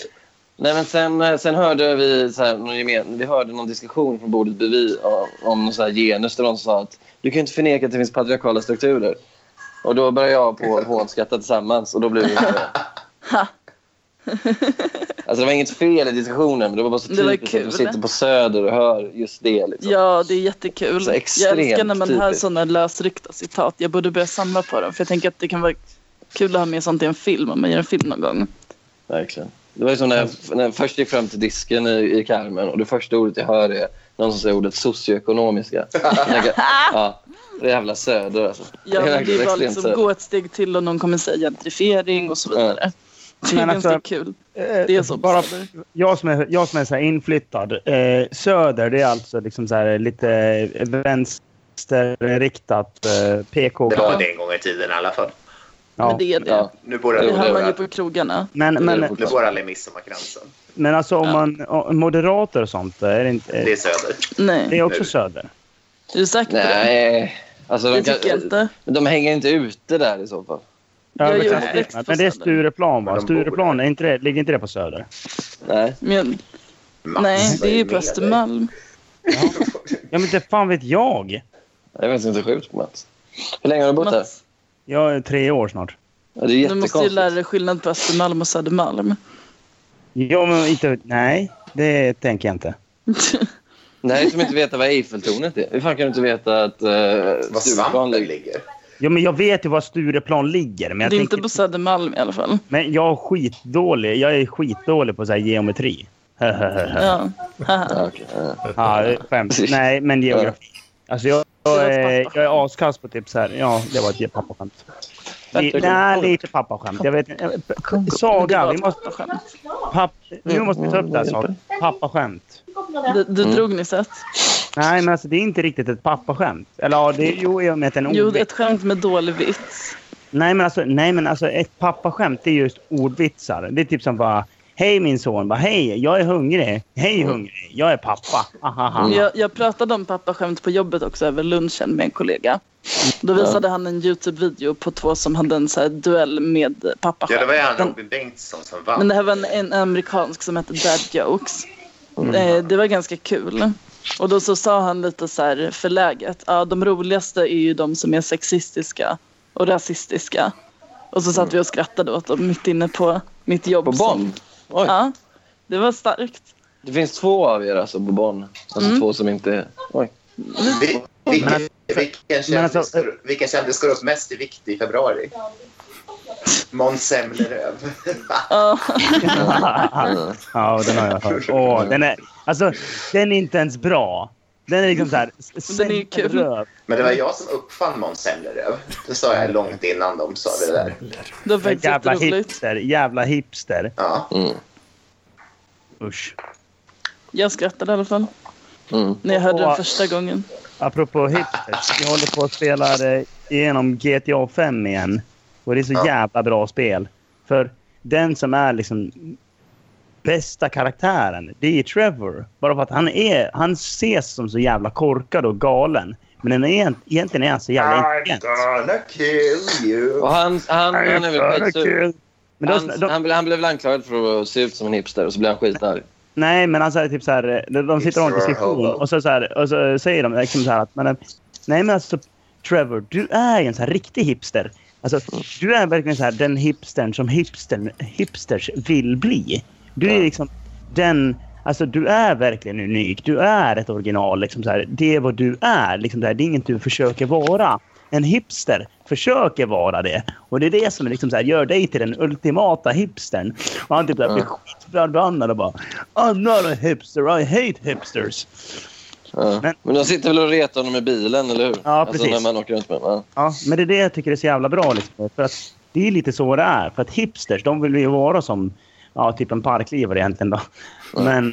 F: Nej, men sen, eh, sen hörde vi, så här, någon gemen, vi hörde någon diskussion från bordet bredvid om, om någon så här genus där någon sa att du kan ju inte förneka att det finns patriarkala strukturer. Och då började jag på hånskratta tillsammans och då blev det...
C: Ha.
F: Alltså det var inget fel i diskussionen men det var bara så
C: Det var
F: typiskt att du
C: kul.
F: sitter på söder och hör just det. Liksom.
C: Ja, det är jättekul.
F: Så
C: Jag
F: extremt
C: älskar när man hör
F: typiskt.
C: sådana lösryckta citat. Jag borde börja samla på dem för jag tänker att det kan vara kul att ha med sånt i en film om man gör en film någon gång.
F: Verkligen. Det var ju som när jag,
C: Mm.
F: när jag först gick fram till disken i, i Carmen och det första ordet jag hör är någon som säger ordet socioekonomiska. Jag tänker, ja, det är jävla söder alltså.
C: Ja,
F: är
C: men det
F: verkligen
C: är bara
F: extremt
C: liksom
F: söder.
C: gå ett steg till och någon kommer säga gentrifiering och så vidare. Det är
A: Men
C: ganska
A: alltså-
C: kul.
A: Eh,
C: Det är så.
A: Bara jag som är, jag som är så här inflyttad. Eh, söder, det är alltså liksom så här lite vänsterriktat eh, PK.
E: Det var det en gång i tiden i alla fall.
A: Ja.
C: Men det är det.
F: Ja.
E: Nu bor
F: Jo,
C: Det
E: alla,
C: hör
F: det är
C: man ju
F: det.
C: på krogarna.
A: Men,
F: Det är det
A: men,
E: nu
F: fortfarande.
E: bor alla i Midsommarkransen.
A: men alltså om man... o- Moderater och sånt, är det inte...
E: Det
A: eh,
E: är söder.
A: Det
C: Nej,
A: är också söder.
C: är du säker på det?
F: Nej, alltså de,
C: Det tycker jag
F: kan,
C: inte.
F: men de hänger inte ute där i så fall.
A: Ja,
C: Jag är
A: men
C: ju
A: kanske-
C: uppväxt på
A: men det är
C: Söder.
A: Stureplan
E: Men
A: va?
E: de bor
A: Stureplan, är inte det, ligger inte det på söder?
F: Nej.
C: Men,
E: Mats,
C: nej,
E: vad
C: det är ju
E: med
C: på Östermalm.
A: Ja men inte fan vet jag!
F: Jag är faktiskt inte sjukt Mats. Hur länge har du bott där?
C: Mats,
A: Jag är tre år snart.
F: Ja, det är
C: du måste ju
F: jättekonstigt.
C: lära dig skillnad på Östermalm och Södermalm.
A: Ja men inte... Nej, det tänker jag inte.
F: Det här är som att inte veta vad Eiffeltornet är. Hur fan kan du inte veta att
E: dig?
F: uh,
E: Var
F: Stureplan
E: svampen
F: ligger?
E: ligger.
A: Ja men jag vet ju var Stureplan ligger. Men jag,
C: det är
A: tänker,
C: inte på Södermalm i alla fall.
A: men jag är skitdålig. Jag är skitdålig på så här geometri.
C: Ja. Haha.
F: Ja, okej, ja.
A: ja, skämt. Nej, men geografi. Alltså jag, jag, är, jag är askass på typ så här. Ja, det var ett pappaskämt. Li- Nej, lite pappaskämt. Jag vet inte. Saga, vi måste...
C: skämt.
A: Papp, nu måste vi ta upp det här snart. Pappaskämt.
C: Du, du
F: Mm.
C: drog nyss ett.
A: Nej, men alltså det är inte riktigt ett pappaskämt. Eller ja, det, jo, i och med att det är en
C: Jo,
A: ordvits.
C: ett skämt med dålig vits.
A: Nej, men alltså, nej, men alltså ett pappaskämt det är just ordvitsar. Det är typ som bara... Hej min son, bara hej, jag är hungrig. Hej
C: Mm.
A: hungrig, jag är pappa. Ahaha.
C: Jag, jag pratade om pappaskämt på jobbet också över lunchen med en kollega. Då visade han en Youtube-video på två som hade en så här duell med
E: Ja, det
C: pappaskämt.
E: var ju han Robin Bengtsson som vann.
C: Men det här var en, en amerikansk som hette Dad Jokes. Eh, det var ganska kul. Och då så sa han lite så här förläget. Ja, de roligaste är ju de som är sexistiska och rasistiska. Och så satt vi och skrattade åt dem mitt inne på mitt jobb.
F: På
C: som-
F: Bonn? Oj.
C: Ja, det var starkt.
F: Det finns två av er alltså på Bonn. Alltså två som inte är... Oj.
E: Vi, vilken,
A: Men
E: vilken,
A: men
E: kändis,
A: alltså-
E: går- vilken kändis går upp mest i vikt i februari? Måns Zelmerlöw.
C: Ja,
A: Ja, den har jag hört. Åh, den är, alltså, den är inte ens bra. Den är liksom så här... s-
C: Den är ju kul.
A: röv.
E: Men det var jag som uppfann Måns Zelmerlöw. Det sa jag långt innan de sa det där.
C: det var faktiskt
A: Jävla
C: jätteroligt.
A: hipster. Jävla hipster.
E: Ja.
F: Mm.
A: Usch.
C: Jag skrattade i alla fall
F: Mm.
C: när jag hörde den
A: Åh.
C: första gången.
A: Apropå hipster. Jag håller på att spela eh, igenom GTA 5 igen. Och det är så
E: Ja.
A: jävla bra spel. För den som är liksom bästa karaktären, det är Trevor. Bara för att han är, han ses som så jävla korkad och galen. Men den är egent- egentligen är han så jävla
G: I'm
A: intelligent.
G: gonna kill you.
F: Och han, han, han är väl
A: Fan,
F: skitsur.
A: kul. Men då,
F: Han,
A: de,
F: han, blev- han blev väl anklagad för att se ut som en hipster och så blev han skitarg.
A: Nej, men han säger typ så här... De, de sitter och har en
G: Mr.
A: diskussion
G: Hobo.
A: och så, så, här, och så säger de liksom så här att... Men, eh, nej, men alltså Trevor, du är ju en så här riktig hipster. Alltså, du är verkligen så här den hipstern som hipstern, hipsters vill bli. Du är
F: Ja.
A: liksom den... Alltså du är verkligen unik. Du är ett original. Liksom så här. Det är vad du är. Liksom det, här. det är inget du försöker vara. En hipster försöker vara det. Och det är det som liksom så här, gör dig till den ultimata hipstern. Och han typ så här, blir skitförbannad och bara I'm not a hipster, I hate hipsters.
F: Ja.
A: Men-
F: Men, de sitter väl och retar honom i bilen, eller hur?
A: Ja, precis.
F: Alltså när man åker runt med honom.
A: Ja, men det är det jag tycker är så jävla bra. Liksom, för att det är lite så det är. För att hipsters, de vill ju vara som ja, typ en parklivare egentligen. Då. Men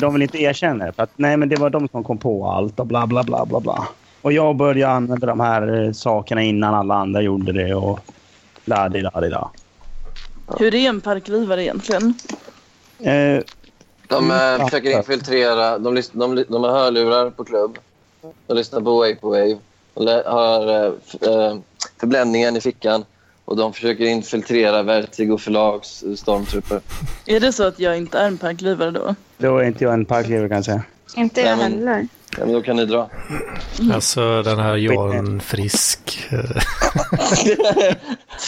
A: de vill inte erkänna det. För att, nej, men det var de som kom på allt och bla, bla, bla, bla, bla. Och jag började använda de här eh, sakerna innan alla andra gjorde det och la di la di la.
C: Hur är en parklivare egentligen?
A: Eh,
F: De eh,
A: Mm.
F: försöker infiltrera. De, lys- de, ly- de har hörlurar på klubb. De lyssnar på Wave på Wave. De lä- har eh, f- eh, förbländningen i fickan. Och de försöker infiltrera Vertigo förlags eh, stormtrupper.
C: Är det så att jag inte är en parklivare då?
A: då är inte jag en parklivare kanske.
D: Inte
F: Nej,
D: jag
F: men-
D: heller.
F: Ja, men då kan ni dra.
B: Alltså den här
E: Mm.
B: Jan Frisk. eh,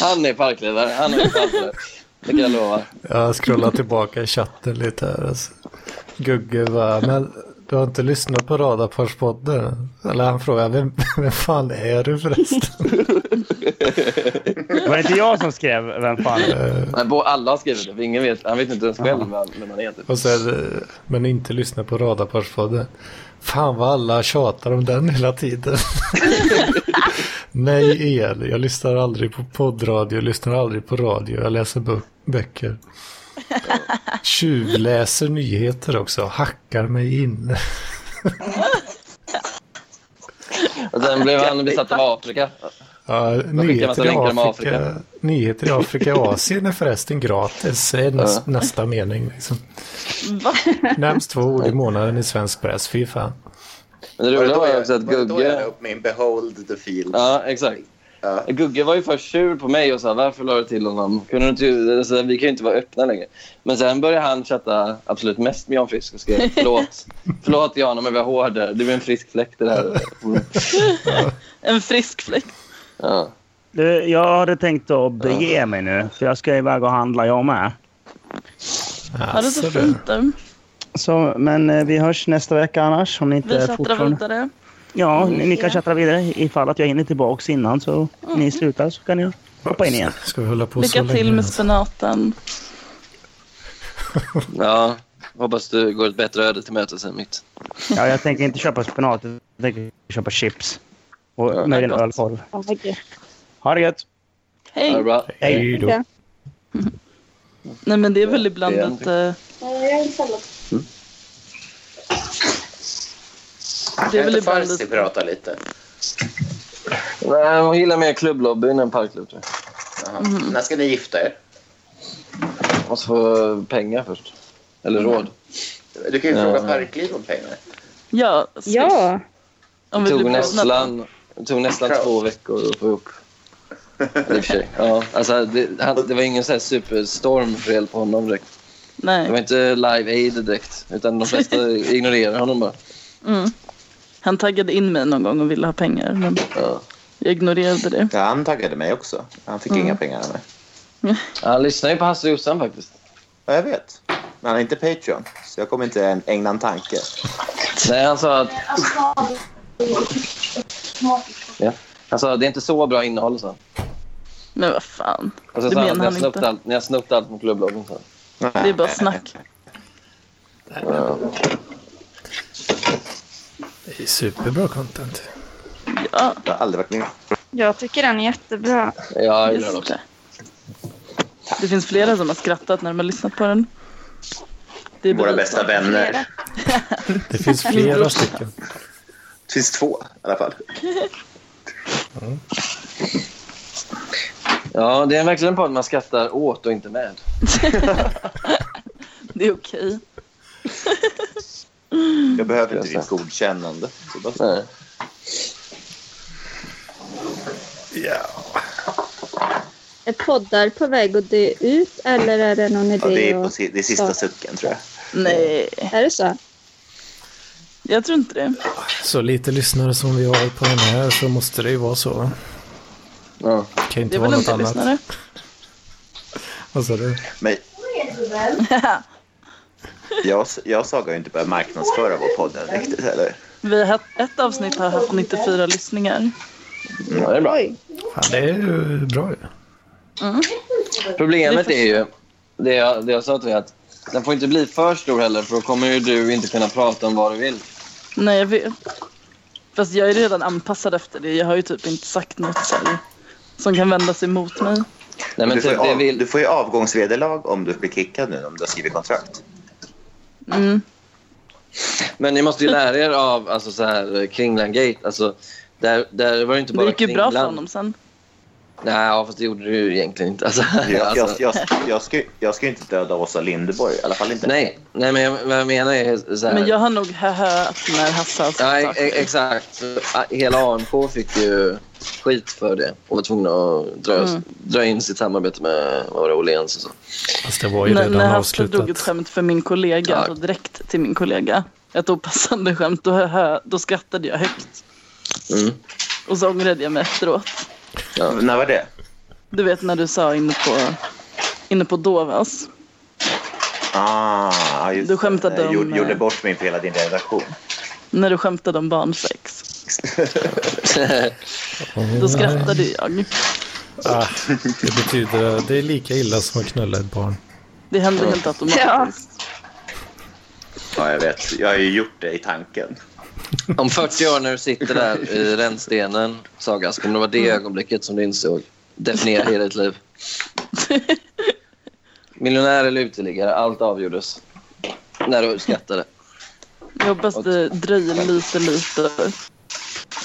F: Han är parkledare. Han är parkledare. Det kan jag lova.
B: Jag scrollar tillbaka i chatten lite här. Alltså. Gugge bara, men du har inte lyssnat på Radarparspodden? Eller han frågar, vem, vem fan är du förresten?
A: Var det inte jag som skrev vem fan
B: Eh,
F: Nej, bo- alla har skrivit det. för Ingen vet, han vet inte ens själv vem vem han är. Typ.
B: Och sen, eh, men inte lyssna på Radarparspodden. Fan vad alla tjatar om den hela tiden. Nej, el. Jag lyssnar aldrig på poddradio, lyssnar aldrig på radio, jag läser bö- böcker. Tjuvläser nyheter också, hackar mig in.
F: Och sen blev han besatt av Afrika.
B: Ja,
F: massa
B: nyheter, i
F: länkar om
B: Afrika,
F: Afrika.
B: nyheter i Afrika och Asien är förresten gratis, är näst,
F: Ja.
B: nästa mening. Liksom.
C: Va?
B: Närmst två ord i månaden i svensk press, fy fan.
F: Men
E: Var
F: det
E: det
F: roliga
E: då
F: var ju
E: jag,
F: också att
E: var det då jag la
F: Gugge...
E: upp min Behold the Fields?
F: Ja, exakt.
E: Ja.
F: Gugge var ju först sur på mig och sa varför la du till honom? Kunde du inte, alltså, vi kan ju inte vara öppna längre. Men sen började han chatta absolut mest med Jan Frisk och skrev förlåt. förlåt Jan om jag var hård där. Du är en frisk fläkt det där. Mm.
C: En frisk fläkt.
F: Ja.
A: Du, jag hade tänkt att bege mig nu, för jag ska iväg och handla jag med.
C: Ja, det
B: Alltså,
C: är så fint där.
A: Så, men eh, vi hörs nästa vecka annars om ni
C: Vi
A: inte
C: chattar
A: fortfarande...
C: vidare.
A: Ja, ni, ni kan chatta vidare ifall att jag hinner tillbaks innan så ni slutar så kan jag hoppa in igen.
B: Ska vi hålla på så
C: Lycka
B: länge?
C: till med
B: alltså?
C: spenatan.
F: ja, hoppas du går ett bättre öde till mötes än mitt.
A: Ja, jag tänker inte köpa spenat, jag tänker köpa chips. Och
F: Ja,
A: möjligen
F: gott.
A: ölkorv.
D: Ja, vad gött.
A: Ha det gött!
F: Ha det
C: Hej.
F: bra.
A: Hej!
B: Hej då.
D: Ja.
C: Nej men det är väl ibland
F: Det är
C: att... eh, Det är
E: Kan
C: väl
E: inte
C: ibland
E: Farsi
C: att...
E: prata lite?
F: Nej, hon gillar mer klubblobbyn än parklubb. tror
E: Jaha. När ska ni gifta er?
F: jag. Måste få pengar först. Eller
C: Mm.
F: råd.
E: Du kan ju
F: Ja.
E: fråga Parkliv om pengar.
C: Ja, swish.
D: Ja,
C: Om vi
F: Det tog
C: blir nästan...
F: nästan, det tog nästan
E: Krav.
F: två veckor att få ihop. I och för sig. Ja, alltså det, han, det var ingen så här superstorm fel på honom direkt. Det var
C: Nej.
F: inte Live Aid direkt. Utan de flesta ignorerar honom bara.
C: Mm. Han taggade in mig någon gång och ville ha pengar. Men
F: Ja.
C: jag ignorerade det.
E: Ja, han taggade mig också. Han fick inga pengar av mig.
F: Han lyssnar ju på Hasse och Jossan faktiskt.
E: Ja, jag vet. Men han är inte Patreon, så jag kommer inte ägna en tanke.
F: Nej, han sa att... Ja. Han sa det är inte så bra innehåll, sa han.
C: Men vad fan.
F: Och sen
C: Det
F: sa han
C: menar
F: att ni har
C: han
F: snott
C: inte.
F: allt, ni har snott allt från klubbloggen, sa han.
C: Det är bara snack.
B: Det är superbra content.
C: Ja,
E: Jag har aldrig varit med.
D: jag tycker den är jättebra.
F: Ja, jag gillar den
C: just
F: också.
C: det. Det finns flera som har skrattat när de har lyssnat på den. Det är
E: Våra
C: bevis.
E: bästa vänner.
D: Flera.
B: Det finns flera stycken.
E: Det finns två i alla fall.
F: Ja, det är verkligen en podd man skrattar åt och inte med.
C: Det är okej.
E: Jag behöver inte
F: Just
E: ditt godkännande. Så bara,
F: Nej.
D: Är poddar på väg att dö ut eller är det någon idé?
E: ja, det, är på,
D: att-
E: si- det är sista sucken tror jag.
C: Nej,
D: Är det så?
C: jag tror inte det.
B: Så lite lyssnare som vi har på den här så måste det ju vara så. va?
F: Ja.
B: Kan ju inte
C: Det är
B: vara
C: väl en
B: något
C: del
B: annat.
C: lyssnare.
B: Vad sa du?
E: Men jag, jag Saga har ju inte börjat marknadsföra vår podd än riktigt heller.
C: Vi har haft, ett avsnitt har haft 94 lyssningar.
F: ja, det är bra.
B: Fan, det är ju bra ju.
F: Problemet är ju, det jag, det jag sa till dig, att den får inte bli för stor heller för då kommer ju du inte kunna prata om vad du vill.
C: Nej, jag vet. Fast jag är redan anpassad efter det. Jag har ju typ inte sagt något så här, som kan vändas emot mig.
F: Nej, men
E: du, får
F: typ,
E: ju
F: det
E: av,
F: vill,
E: du får ju avgångsvederlag om du blir kickad nu om du har skrivit kontrakt.
C: Mm.
F: Men ni måste ju lära er av alltså, så här, Kringland Gate. Alltså, där, där var det inte bara
C: Det gick ju bra
F: Kringland.
C: för honom sen.
F: Nej, ja, fast det gjorde du ju egentligen inte. Alltså,
E: Jag, jag,
F: alltså,
E: jag, jag, ska, ju- jag ska ju inte döda Åsa Linderborg, i alla fall inte.
F: nej, nej, men jag, vad jag menar är så här.
C: Men jag har nog höhöat när Hasse har sagt
F: Ja, e-
C: saker.
F: e- exakt. Så, a- Hela ANK fick ju skit för det och var tvungna att dra,
C: Mm.
F: dra in sitt samarbete med vad var det, Åhléns och så.
B: Fast det var ju
C: när,
B: redan
C: när Hasse drog ett
B: avslutat.
C: skämt för min kollega,
F: Ja.
C: alltså direkt till min kollega, ett opassande skämt, då, hö, då skrattade jag högt.
F: Mm.
C: Och så ångrade jag mig efteråt.
E: När var det?
C: Du vet när du sa inne på, inne på Dovas.
E: Ah, just
C: Du
E: det.
C: skämtade
E: Jag gjorde,
C: om- eh,
E: gjorde bort mig för hela din redaktion.
C: När du skämtade om barnsex. Då skrattade jag.
B: Ah, det betyder det är lika illa som att knulla ett barn.
C: Det hände helt
D: Ja.
C: automatiskt.
E: Ja, jag vet. Jag har ju gjort det i tanken.
F: Om 40 år när du sitter där i rännstenen, Saga, så kommer det vara det
C: Mm.
F: ögonblicket som du insåg definiera hela ditt liv. Miljonär eller uteliggare, allt avgjordes när du skrattade.
C: Jag hoppas det dröjer lite, lite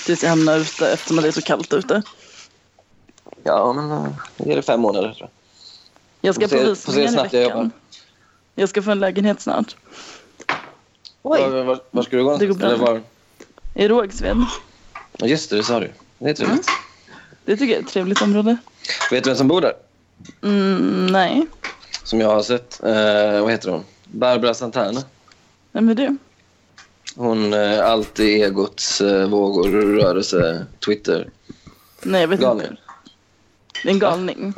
C: tills jag hamnar ute eftersom det är så kallt ute.
F: Ja, men eh, ge det fem månader. Tror
C: Jag ska
F: Får se-
C: på
F: får se hur
C: visningen i
F: snabbt jag jobbar.
C: veckan. Jag ska få en lägenhet snart.
F: jag. Var, var, var ska du gå?
C: Det går bra.
F: Eller var...
C: I Rågsved.
F: Ja, Just det, det sa du. Det är trevligt.
C: Mm. Det tycker jag är ett trevligt område.
F: Vet du vem som bor där?
C: Mm, nej.
F: Som jag har sett. Eh, vad heter hon? Barbara Santana.
C: Vem är du?
F: Hon eh, alltid egots eh, vågor, rörelse, Twitter.
C: Nej, jag vet
F: Galning.
C: inte. Det är en galning.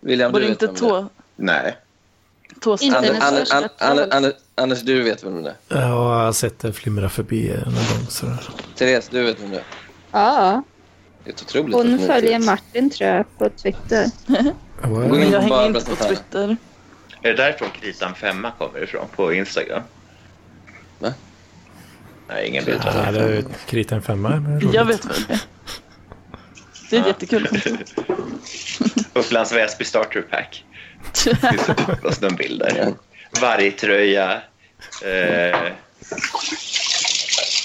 F: William,
C: Var
F: du
C: det
F: vet
C: inte
F: vem det är.
C: tå,
E: Nej.
C: tåstrand?
D: Inte Internet
F: Anders, Anders,
D: största
F: Anders,
D: troll.
F: Anders, Anders, du vet vem det är.
B: Jag har sett det flimra förbi någon gång. Sådär.
F: Therese, du vet vem det är.
D: Ja,
F: Det är ett otroligt.
D: hon
F: att ni
D: följer
F: vet.
D: Martin tror jag på Twitter.
F: Gå
B: Wow.
C: Men
F: in på
C: jag hänger
F: Barbara
C: inte på
F: Santana.
C: Twitter.
E: Är det därifrån kritan femma kommer ifrån? På Instagram?
F: Va?
E: Nej, ingen bild.
B: Ja, det är ju krit en femma. det är roligt.
C: Jag vet vad det är. Det är ett jättekul konto.
E: Upplands Väsby Starter Pack. Det finns någon bild där. Vargtröja. Eh, nej,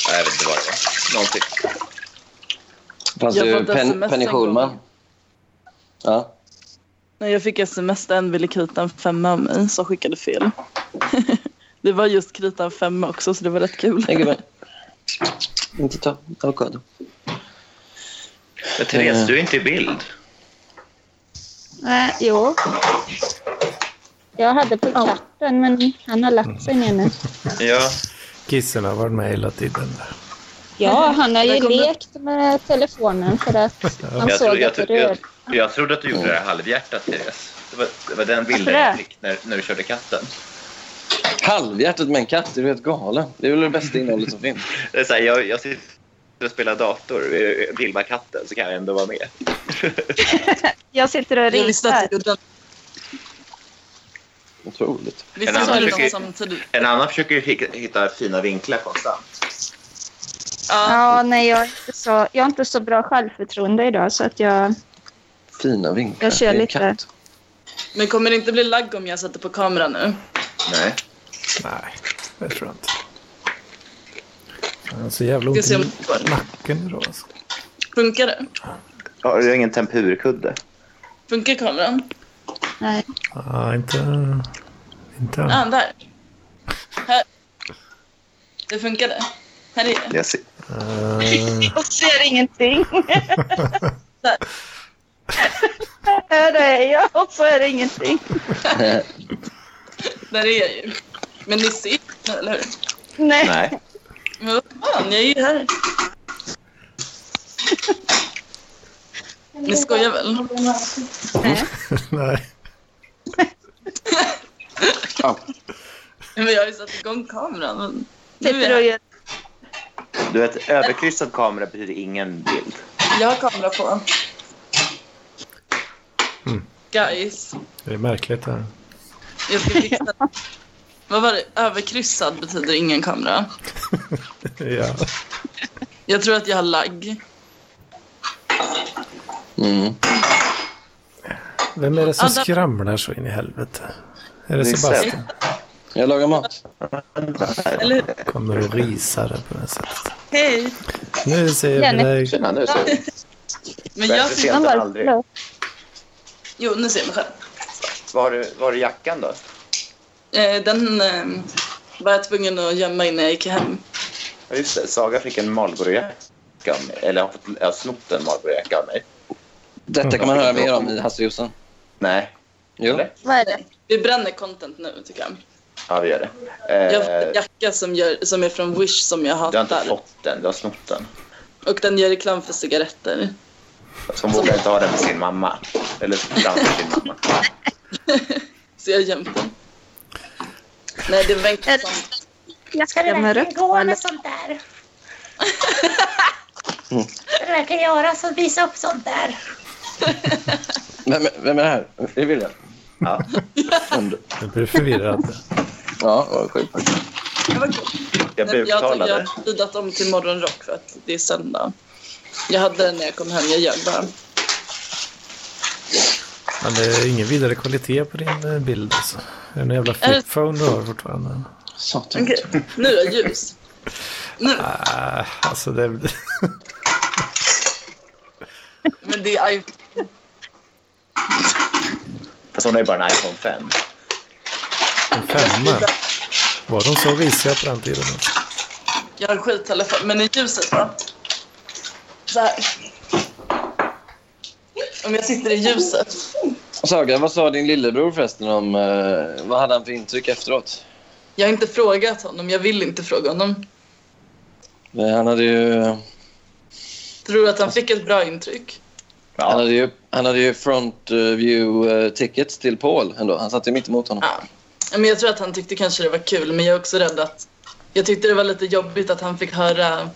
E: jag vet inte vad det var. Någonting.
F: Fanns
C: Jag
F: ju
C: har fått
F: Pen,
C: SMS
F: Penny
C: en gång.
F: Schulman. Ja.
C: Nej, jag fick sms där en ville krita en femma av mig som skickade fel. det var just krita en femma också så det var rätt kul.
F: Nej, gubben. Inte ta avokado.
E: Men Therese, du är inte i bild.
D: Nej, jo. Jag hade på katten men han har lagt sig ner nu.
E: Ja.
B: Kissen har varit med hela tiden.
D: Ja, han har
C: Där
D: ju
C: kom den.
D: lekt med telefonen för att han
E: Jag,
D: såg
E: tro, jag,
D: att det
E: tro, jag,
D: rörde.
E: jag trodde att du gjorde det här halvhjärtat, Therese. Det var, det var den bilden
D: Varför
E: jag
D: det?
E: fick när, när du körde katten.
F: Halvhjärtat med en katt, är du helt galen? Det är väl det bästa innehållet som finns.
E: Det är så här, jag, jag sitter och spelar dator, filmar katten, så kan jag ändå vara med.
D: Jag sitter och ritar.
F: Otroligt.
C: Vi
E: En annan
C: såg dem
E: försöker-
C: samtidigt.
E: En annan försöker ju hick- hitta fina vinklar konstant.
D: Ja, nej, jag, är inte så, jag har inte så bra självförtroende idag så att jag...
F: Fina vinklar.
D: Jag kör
F: Det är en
D: lite.
F: katt.
C: Men kommer det inte bli lagg om jag sätter på kameran nu?
E: Nej.
B: Nej, det tror jag inte. Han har så jävla
C: Ska
B: ont
C: se om
B: i
C: det går.
B: nacken idag. Alltså.
C: Funkar det?
E: Har du ingen tempurkudde?
C: Funkar kameran?
D: Nej.
B: Ah, inte... Inte
C: Ja,
B: än.
C: ah, där. Det funkade. Här är det.
E: Jag ser.
F: Mm.
B: Eh,
D: Jag ser ingenting. här är jag och så är det ingenting.
C: Där är jag ju. Men ni ser inte, eller hur?
D: Nej.
E: Nej.
C: Men vad fan, jag är ju här. Ni skojar väl?
D: Nej.
B: nej.
C: Men jag har ju satt igång kameran. Men nu är
D: Sitter och
C: jag,
D: gör...
E: Du vet, överkryssad kamera betyder ingen bild.
C: jag har kamera på. Guys,
B: Det är märkligt det här.
C: jag ska fixa. Vad var det? Överkryssad betyder ingen kamera.
B: Ja.
C: Jag tror att jag har lagg.
F: Mm.
B: Vem är det som
C: Adam-
B: skramlar så in i helvete? Är det
E: Det är
B: Sebastian?
F: Jag lagar mat.
C: Eller hur?
B: Kommer och risar här på det här sättet.
C: Hej!
B: Nu ser vi
D: Jenny.
B: dig.
E: Tjena, nu så.
C: Men jag ser...
E: sent än aldrig.
C: Jo, nu ser jag mig själv.
E: Var har du, var har du jackan då?
C: Eh, Den eh, var jag tvungen att gömma innan jag gick hem.
E: Ja, just det. Saga fick en Marlboro-jacka av mig. Eller har fått, jag har snott en Marlboro-jacka av mig.
F: Detta kan man höra mer om i Hasseljosan.
E: Nej.
F: Jo.
E: Eller?
D: Vad är det?
C: Vi bränner content nu, tycker jag.
E: Ja, vi gör det.
C: Jag har fått en
E: Eh,
C: jacka som, gör, som är från Wish som jag
E: du har inte
C: hatar.
E: fått den. Du har snott den.
C: Och den gör reklam för cigaretter.
E: Så hon vågar inte ha den för sin mamma. Eller framför sin mamma.
C: Så jag har gömt den. Nej, det var inte sånt.
I: Jag ska
D: Lämnar
I: verkligen
D: upp
I: gå
D: alla-
I: med sånt där. Jag ska verkligen göra så visa upp sånt där.
F: Vem, vem är det här? Är det William?
E: Ja.
B: Jag blir förvirrad.
F: Ja, vad sjukt.
C: Det var coolt.
E: Jag
C: Nej,
E: blev
C: Jag har- jag
E: uttalad.
C: har tidat om till morgonrock för att det är söndag. Jag hade den när jag kom hem. Jag ljög bara.
B: Men det är ingen vidare kvalitet på din eh, bild alltså. Det är en jävla
C: Är det-
B: flipphone du har fortfarande.
F: Satan.
C: Okej, nu är det ljus. Nu.
B: Ah, alltså det...
C: Men det är iPhone.
E: Fast hon har ju bara en iPhone 5.
B: En femma. Var de så risiga på den tiden?
C: Jag har skittelefon. Men i ljuset va? Så här. Om jag sitter i ljuset.
F: Saga, vad sa din lillebror förresten om... eh, vad hade han för intryck efteråt?
C: Jag har inte frågat honom. Jag vill inte fråga honom.
F: Eh, Han hade ju...
C: Tror du att han fick ett bra intryck?
F: Han
E: Ja.
F: hade ju, han hade ju front eh, view eh, tickets till Paul ändå. Han satt ju mitt emot honom.
C: Ja. Men jag tror att han tyckte kanske det var kul, men jag är också rädd att... Jag tyckte det var lite jobbigt att han fick höra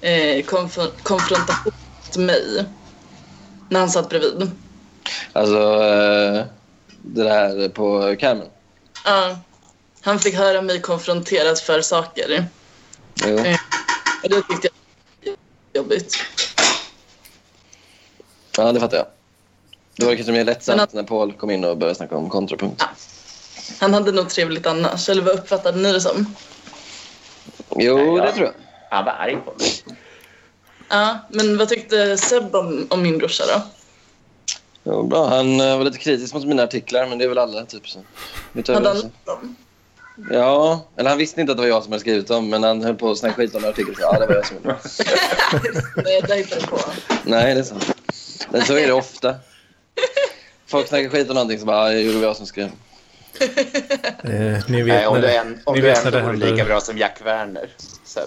C: eh, konf- konfrontation mot mig när han satt bredvid.
F: Alltså eh, det där på Carmen.
C: Ja. han fick höra mig konfronteras för saker.
F: Jo.
C: Och det tyckte jag var jobbigt.
F: Ja, det fattar jag. Det var kanske mer
C: Men
F: lättsamt
C: att-
F: när Paul kom in och började snacka om kontrapunkt.
C: Han hade nog trevligt annars, eller vad uppfattade ni det som?
F: Jo,
E: Ja.
F: det tror jag.
E: Han var arg på mig.
C: Ja, men vad tyckte Seb om, om min brorsa då?
F: Jo, bra. Han eh, var lite kritisk mot mina artiklar, men det är väl alla. Typ, så. Mitt
C: Hade han
F: överens.
C: läst dem?
F: Ja, eller han visste inte att det var jag som hade skrivit dem, men han höll på att snacka skit om artikeln. Så, ja, det var jag som gjorde det.
C: Nej, det hittade jag på.
F: Nej, det är sant. Men så är det ofta. Folk snackar skit om någonting, så bara, ja, det var jag som skrev.
B: Eh, ni vet
E: Nej, om
B: när,
E: du, en, om
B: ni
E: du
B: vet när
E: ändå
B: det
E: vore lika
B: händer.
E: bra som Jack Werner. Så,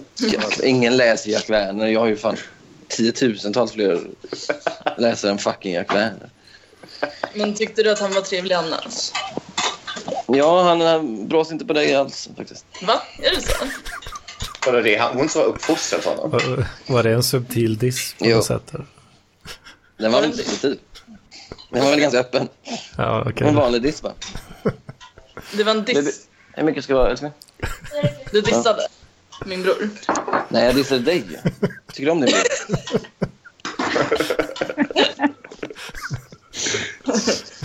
F: Ingen läser Jack Werner. Jag har ju fan tiotusentals fler läsare än fucking Jack Werner.
C: Men tyckte du att han var trevlig annars?
F: Ja, han, han brås inte på dig alls faktiskt.
C: Va? Är det så?
E: kolla det, han, hon som har uppfostrat honom.
B: Var- Var det en subtil diss på
F: Jo.
B: något sätt? eller?
F: Den var väl inte så tid. Den var väl ganska öppen.
B: Ja, okej.
F: En vanlig diss bara.
C: Det var en diss.
F: Det- Hur mycket ska du ha älskling?
C: Du dissade min bror.
F: Mm. Nej, jag dissade dig. Tycker du om det? Bill?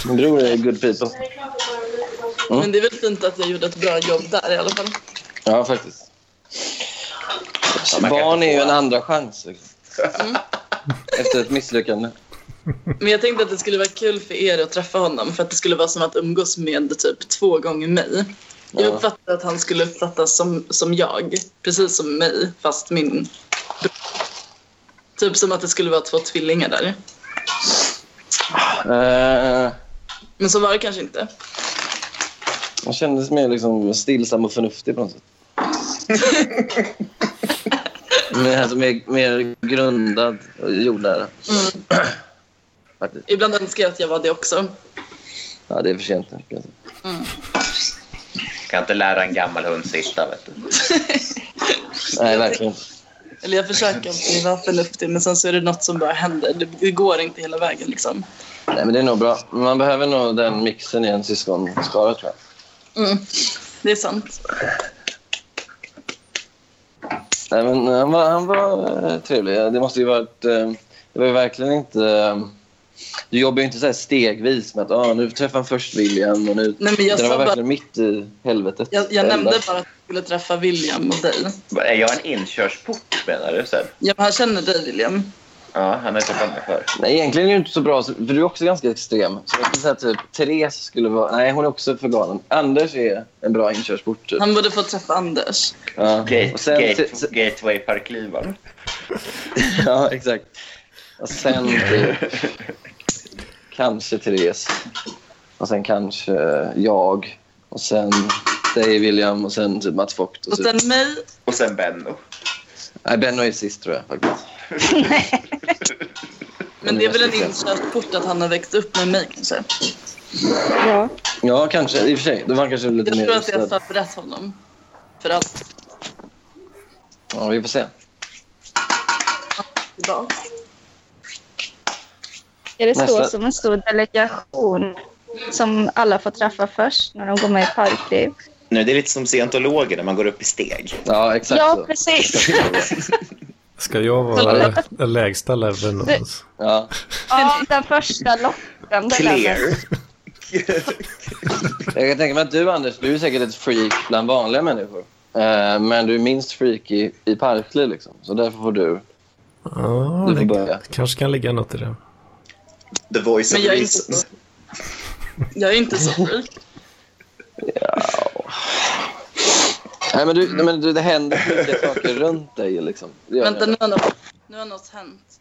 F: Min bror är good people. Mm.
C: Men det är väl fint att jag gjorde ett bra jobb där i alla fall.
F: Ja, faktiskt.
E: man kan
F: Barn
E: inte
F: är ju
E: få- Mm.
F: en andra chans. liksom. Efter ett misslyckande.
C: Men jag tänkte att det skulle vara kul för er att träffa honom för att det skulle vara som att umgås med typ två gånger mig. Jag uppfattade att han skulle uppfattas som, som jag, precis som mig, fast min... bro- Typ som att det skulle vara två tvillingar där.
F: Eh,
C: Men så var det kanske inte.
F: Han kändes mer liksom stillsam och förnuftig på något sätt. mer, alltså, mer, mer grundad och jordnära. Faktiskt.
C: Ibland önskar jag att jag var det också.
F: Ja, det är för sent nu. kan jag säga.
E: Kan inte lära en gammal hund sitta. Vet du.
F: Nej, verkligen inte.
C: Eller jag försöker alltid vara förnuftig, men sen så är det något som bara händer. Det, det går inte hela vägen liksom.
F: Nej, men det är nog bra. Man behöver nog den mixen i en syskonskara, tror jag.
C: Mm. Det är sant.
F: Nej, men eh, han var, han var eh, trevlig. Eh, Det måste ju varit... eh, Det var ju verkligen inte... eh, Du jobbar ju inte så här stegvis med att ah, nu träffar han först William och nu...
C: Nej, men jag
F: det
C: sa
F: var
C: bara-
F: verkligen mitt i helvetet.
C: Jag, jag nämnde
F: Eller-
C: bara att jag skulle träffa William och dig.
E: Är jag en inkörsport menar du? Sen?
C: Ja, men han känner dig, William.
E: Ja, han har träffat mig förr.
F: Nej, egentligen är det inte så bra, för du är också ganska extrem. Så jag skulle säga typ Therese skulle vara... Nej, hon är också för galen. Anders är en bra inkörsport. Typ.
C: Han borde få träffa Anders.
F: Ja.
E: Gate,
F: Och sen,
E: gate,
F: se- se-
E: gateway Parklivan.
F: ja, exakt. Och sen typ, kanske Therese. Och sen kanske eh, jag. Och sen dig, William. Och sen typ Mats Vogt.
C: Och
F: Och typ.
C: sen mig.
E: Och sen Benno.
F: Nej, Benno är sist tror jag faktiskt.
C: Men det är väl en inkörsport att han har växt upp med mig kanske.
D: Ja.
F: Ja, kanske. I och för sig. Då var han kanske lite
C: Jag
F: mer
C: tror att jag har
F: rustad.
C: förberett honom. För allt
F: Ja, vi får se.
C: idag.
D: Är det så
F: Nästa.
D: som en stor delegation som alla får träffa först när de går med i parkliv?
E: Nej, det är lite som scientologer när man går upp i steg.
F: Ja, exakt
D: Ja,
F: så.
D: precis.
B: Ska jag vara den lägsta leveln? alltså?
F: Ja.
D: Ja, den första lockande.
E: Clear.
F: Jag kan tänka mig att du, Anders, du är säkert ett freak bland vanliga människor. Eh, men du är minst freak i, i Parkliv, liksom. Så därför får du,
B: Ja,
F: du får
B: det
F: börja.
B: kanske kan ligga något i det.
E: The voice
C: Men
E: of
C: jag är inte
E: reason.
C: så. Jag är inte så freak.
F: Nej, men, du, nej, men du, det händer mycket saker runt dig, liksom. Det gör
C: Vänta,
F: det.
C: nu har något, nu har något hänt.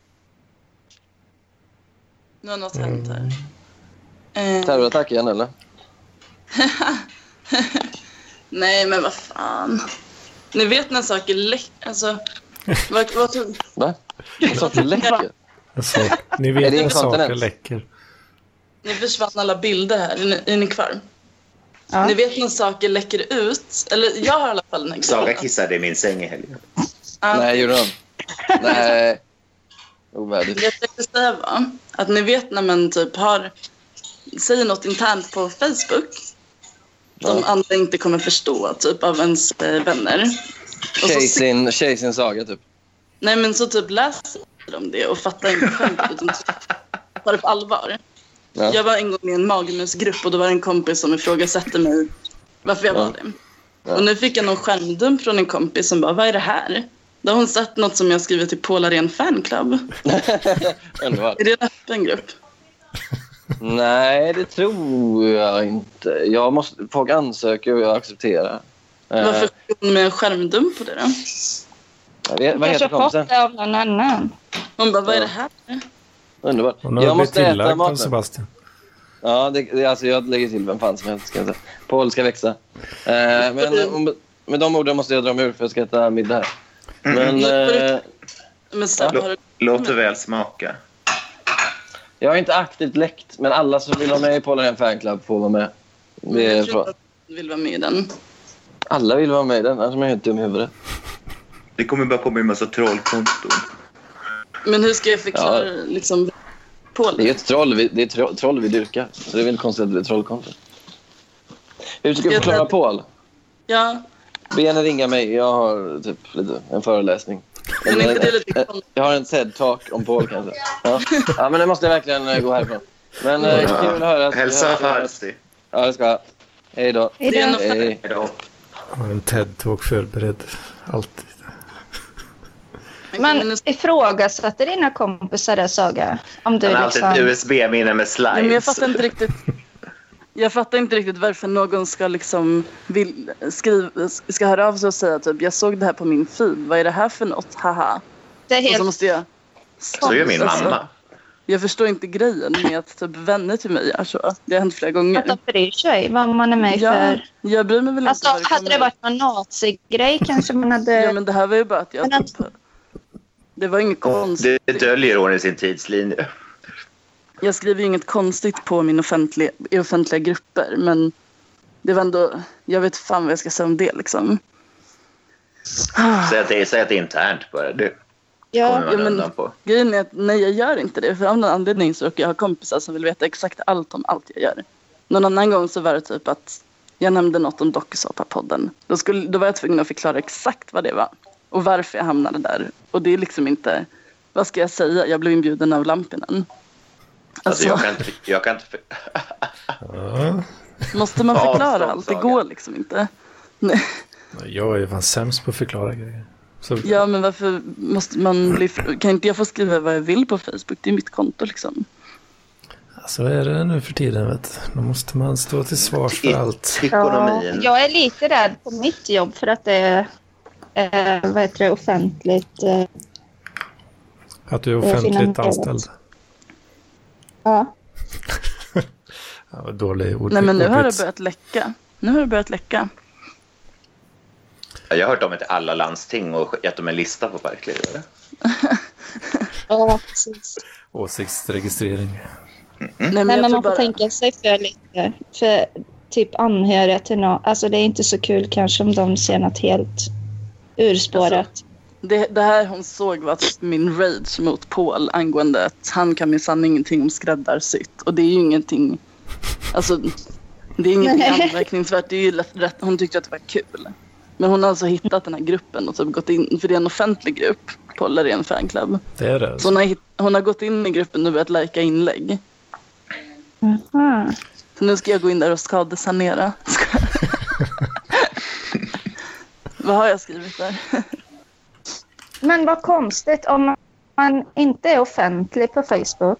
C: Nu har något hänt här. Eh,
F: Terrorattack igen, eller?
C: nej, men vad fan. Ni vet när saker läcker. Alltså, vad, vad tror
F: Va? Så att du läcker?
B: Alltså, ni
F: Är
B: vet
F: det
B: när saker
F: inkontinens?
B: läcker.
C: Nu försvann alla bilder här. Är ni, är ni kvar?
D: Ja.
C: Ni vet när saker läcker ut? Eller jag har i alla fall den här
E: Saga
C: grejen.
E: kissade i min säng i helgen.
C: Ja.
F: Nej, gjorde hon? Nej. Ovärdigt.
C: Det jag tänkte säga var att ni vet när man typ har, säger något internt på Facebook som
F: Ja.
C: andra inte kommer förstå, typ av ens eh, vänner. Och så,
F: Tjej
C: se-
F: sin- Tjej sin saga, typ.
C: nej men så typ läser de det och fattar inte själv utan typ tar det på allvar.
F: Ja.
C: Jag var en gång med i en magmusgrupp och då var det en kompis som ifrågasatte mig varför jag
F: Ja.
C: var det.
F: Ja.
C: Och nu fick jag någon skärmdump från en kompis som bara, vad är det här? Då har hon sett något som jag skrivit till Paula Ren fanclub.
F: Underbart.
C: Är det en öppen grupp?
F: Nej, det tror jag inte. Jag måste, folk ansöker och jag accepterar. Eh,
C: Varför kom hon med en skärmdump på det då?
F: Eh, vad- vad
D: Kanske
F: heter
D: fått
F: kompisen?
D: det av någon annan.
C: Hon bara, vad är
F: Ja.
C: det här?
F: Underbart.
B: Och nu har det
F: Jag
B: blivit
F: måste äta
B: tillagt av
F: maten.
B: Sebastian.
F: Ja, det, det, alltså jag lägger till vem fan som helst. Ska jag säga. Paul ska växa. Eh, men eh, om- med de orden måste jag dra mig ur för jag ska äta middag här. Men
C: Mm.
F: eh,
C: Men sen
E: Ja.
C: har du...
E: Låt det väl smaka.
F: jag har inte aktivt läckt, men alla som vill ha med i Paul är en fanclub får vara med. Vi
C: Jag
F: är
C: tror inte
F: bra.
C: att du vill vara med i den.
F: Alla vill vara med i den, annars är man helt dum i huvudet.
E: Det kommer bara komma en massa trollkonton.
C: Men hur ska jag förklara
F: Ja.
C: liksom Paul?
F: Det är ju ett troll vi, det är tro, troll vi dyrkar, så det är väl konstigt att det är trollkonto. Hur ska vi
C: Jag tror
F: förklara
C: att-
F: Paul?
C: Ja,
F: Be henne ringa mig, jag har typ lite, en föreläsning.
C: men är inte det lite
F: Eh,
C: konstigt?
F: Jag har en TED-talk om Paul kanske. Ja. ja, men nu måste jag verkligen eh, gå härifrån. Men eh, kul att höra. att-
E: Hälsa Farsi.
F: Ja, det ska jag. Hej då.
C: Det är en offert.
F: Hej.
E: Hej då.
B: Jag har en TED-talk förberedd. Alltid.
C: Men,
D: Man ifrågasätter dina kompisar det, Saga. Om du
E: Han har alltid ett
D: liksom...
E: USB-minne med
C: men jag
E: slides.
C: fattar inte riktigt. Jag fattar inte riktigt varför någon ska liksom vill, skriva, ska höra av sig och säga typ jag såg det här på min feed. Vad är det här för något? Haha.
D: Det är
C: Och så
D: helt...
C: måste jag.
E: Så gör min
C: Alltså,
E: mamma.
C: Jag förstår inte grejen med att typ vänner till mig gör så. Det har hänt flera gånger.
D: Att de bryr sig vad man är med
C: Ja,
D: för.
C: jag bryr mig väl
D: Alltså,
C: inte. vad
D: hade det
C: kommer-
D: varit någon nazigrej kanske man hade...
C: Ja, men det här var ju bara att jag...
D: Men alltså-
C: Typ, det var inget konstigt.
E: Det döljer hon i sin tidslinje.
C: Jag skriver ju inget konstigt på min offentliga, i offentliga grupper. Men det var ändå... Jag vet fan vad jag ska säga om det liksom.
E: Säg att det, säg att det är internt bara. Det
D: ja.
E: kommer man
C: Ah. ja, men-
E: undan på.
C: Grejen är att nej, jag gör inte det. För av någon anledning så råkar jag ha kompisar som vill veta exakt allt om allt jag gör. Någon annan gång så var det typ att jag nämnde något om dokusåpa-podden. Då, skulle- då var jag tvungen att förklara exakt vad det var och varför jag hamnade där. Och det är liksom inte... Vad ska jag säga? Jag blev inbjuden av Lampinen.
E: Alltså,
C: Alltså,
E: jag kan inte... Jag kan inte för-
B: Ja.
C: måste man
E: Ja,
C: förklara
E: sånt,
C: allt? Det
E: Saga.
C: går liksom inte. Nej.
B: Jag är fan sämst på att förklara grejer. Så,
C: Ja, men varför måste man bli... Kan inte jag få skriva vad jag vill på Facebook? Det är mitt konto liksom.
B: så är det nu för tiden vet du. Då måste man stå till svars för allt.
E: Ekonomin.
D: Ja, jag är lite rädd på mitt jobb för att det är eh, vad heter det, offentligt. Eh,
B: Att du är
D: Det är
B: offentligt
D: finansiellt.
B: anställd.
D: ja.
B: Ja, vad dålig ord,
C: Nej, men nu har det
B: ordvits.
C: börjat läcka. Nu har det börjat läcka.
E: Jag har hört om det till alla landsting och gett dem en lista på Parkliv. eller?
D: ja, precis.
B: Åsiktsregistrering.
C: Nej, men
D: Nej,
C: jag
D: men
C: tror
D: man får
C: bara-
D: tänka sig för lite. För typ anhöriga till någon. Alltså det är inte så kul kanske om de ser något helt urspårat.
C: Det, det här hon såg var typ min rage mot Paul angående att han kan minsann ingenting om skräddarsytt. Och det är ju ingenting, alltså det är ingenting
D: Nej.
C: anmärkningsvärt. Det är ju lätt, rätt, hon tyckte att det var kul. Men hon har alltså hittat den här gruppen och typ gått in, för det är en offentlig grupp, Paul är en fanclub.
B: Det är det. alltså.
C: Så hon har, hitt- hon har gått in i gruppen och börjat lajka inlägg. Alltså-
D: Aha.
C: Så nu ska jag gå in där och skadesanera. Vad har jag skrivit där?
D: Men vad konstigt om man inte är offentlig på Facebook.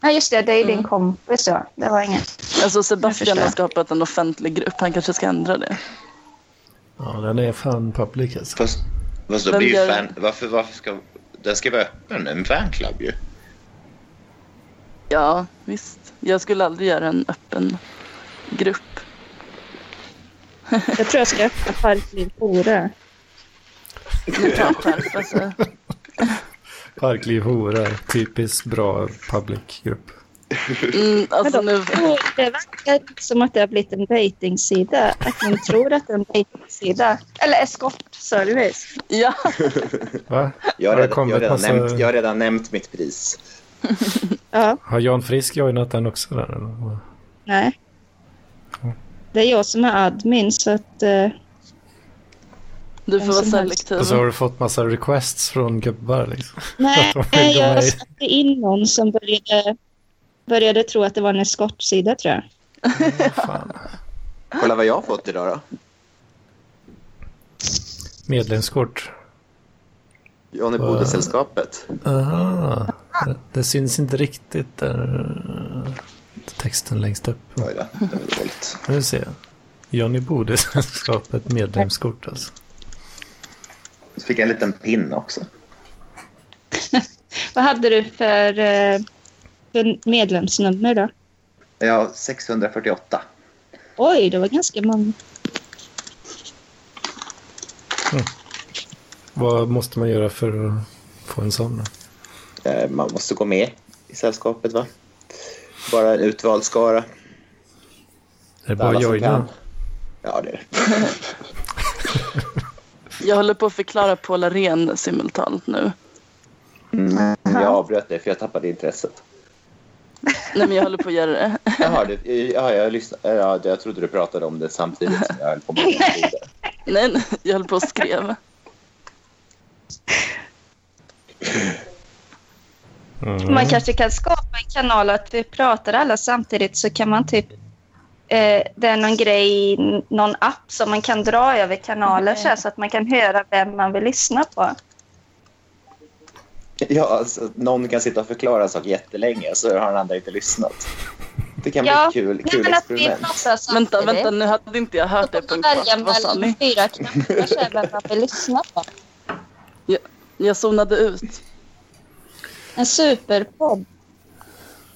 D: Nej, just det. Det är din kompis. Ja. Det var inget.
C: Alltså
D: Jag
C: Sebastian
D: förstår.
C: har skapat en offentlig grupp. Han kanske ska ändra det.
B: Ja, den är fan public alltså.
E: Fast, fast då
C: Vem
E: blir ju
C: gör-
E: fan... Varför, varför ska... Den ska vara öppen, en fanclub ju.
C: Ja, visst. Jag skulle aldrig göra en öppen grupp.
D: Jag tror jag ska öppna Parkliv Fore.
C: Men ta skärp, alltså.
B: Parkliv Hora, typiskt bra public-grupp.
C: Mm, alltså nu...
D: Och Det verkar som att det har blivit en dejtingsida. Att man tror att det är en dejtingsida. Eller eskortservice.
C: Ja,
B: Va?
E: Jag har
B: Har det
E: redan, jag har
B: kommit
E: redan,
B: massa-
E: nämnt, jag har redan nämnt mitt pris.
D: Ja,
B: Har Jan Frisk joinat den också? Där, eller?
D: nej. Det är jag som är admin så att... eh,
C: du får
D: Vem
C: vara
D: som helst.
C: selektiv.
B: Och så har du fått massa requests från gubbar liksom.
D: nej,
B: Varför
D: nej,
B: de är-
D: jag släppte in någon som började, började tro att det var en eskortsida tror jag.
B: Fan.
E: Kolla vad jag har fått idag då.
B: Medlemskort.
E: Johnny Bode-sällskapet.
B: Aha. Det, det syns inte riktigt där. Texten längst upp.
E: Oj då, det var dåligt.
B: Nu ser jag. Johnny Bode sällskapet medlemskort alltså.
E: Så fick jag en liten pin också.
D: Vad hade du för, eh, för medlemsnummer då?
E: Jag har 648.
D: Oj, det var ganska många.
B: Vad måste man göra för att få en sån? då?
E: Eh, Man måste gå med i sällskapet va? Bara en utvald skara.
B: Är det bara
E: Alla
B: att
E: som
B: joina?
E: kan. Ja, det är det.
C: Jag håller på att förklara Paul Arén simultant nu.
E: Jag avbröt det för jag tappade intresset.
C: Nej, men jag håller på att göra det.
E: Jaha, du, ja, jag, lyssnade, ja, jag trodde du pratade om det samtidigt som jag höll på med det.
C: Nej, nej, jag håller på och skrev.
B: Mm.
D: Man kanske kan skapa en kanal att vi pratar alla samtidigt så kan man typ... Eh, det är någon grej, i någon app som man kan dra över kanaler så, här, så att man kan höra vem man vill lyssna på.
E: Ja, alltså, någon kan sitta och förklara en sak jättelänge så har den andra inte lyssnat. Det kan
D: Ja.
E: bli ett kul,
D: Nej,
E: kul
D: men att vi
E: experiment.
D: pratar samtidigt.
C: Vänta, vänta, nu hade inte jag hört det på en
D: Välja
C: kvart. Vad sa
D: mellan
C: ni?
D: fyra knappar så är vem man vill lyssna på.
C: Jag zonade ut.
D: En superpodd.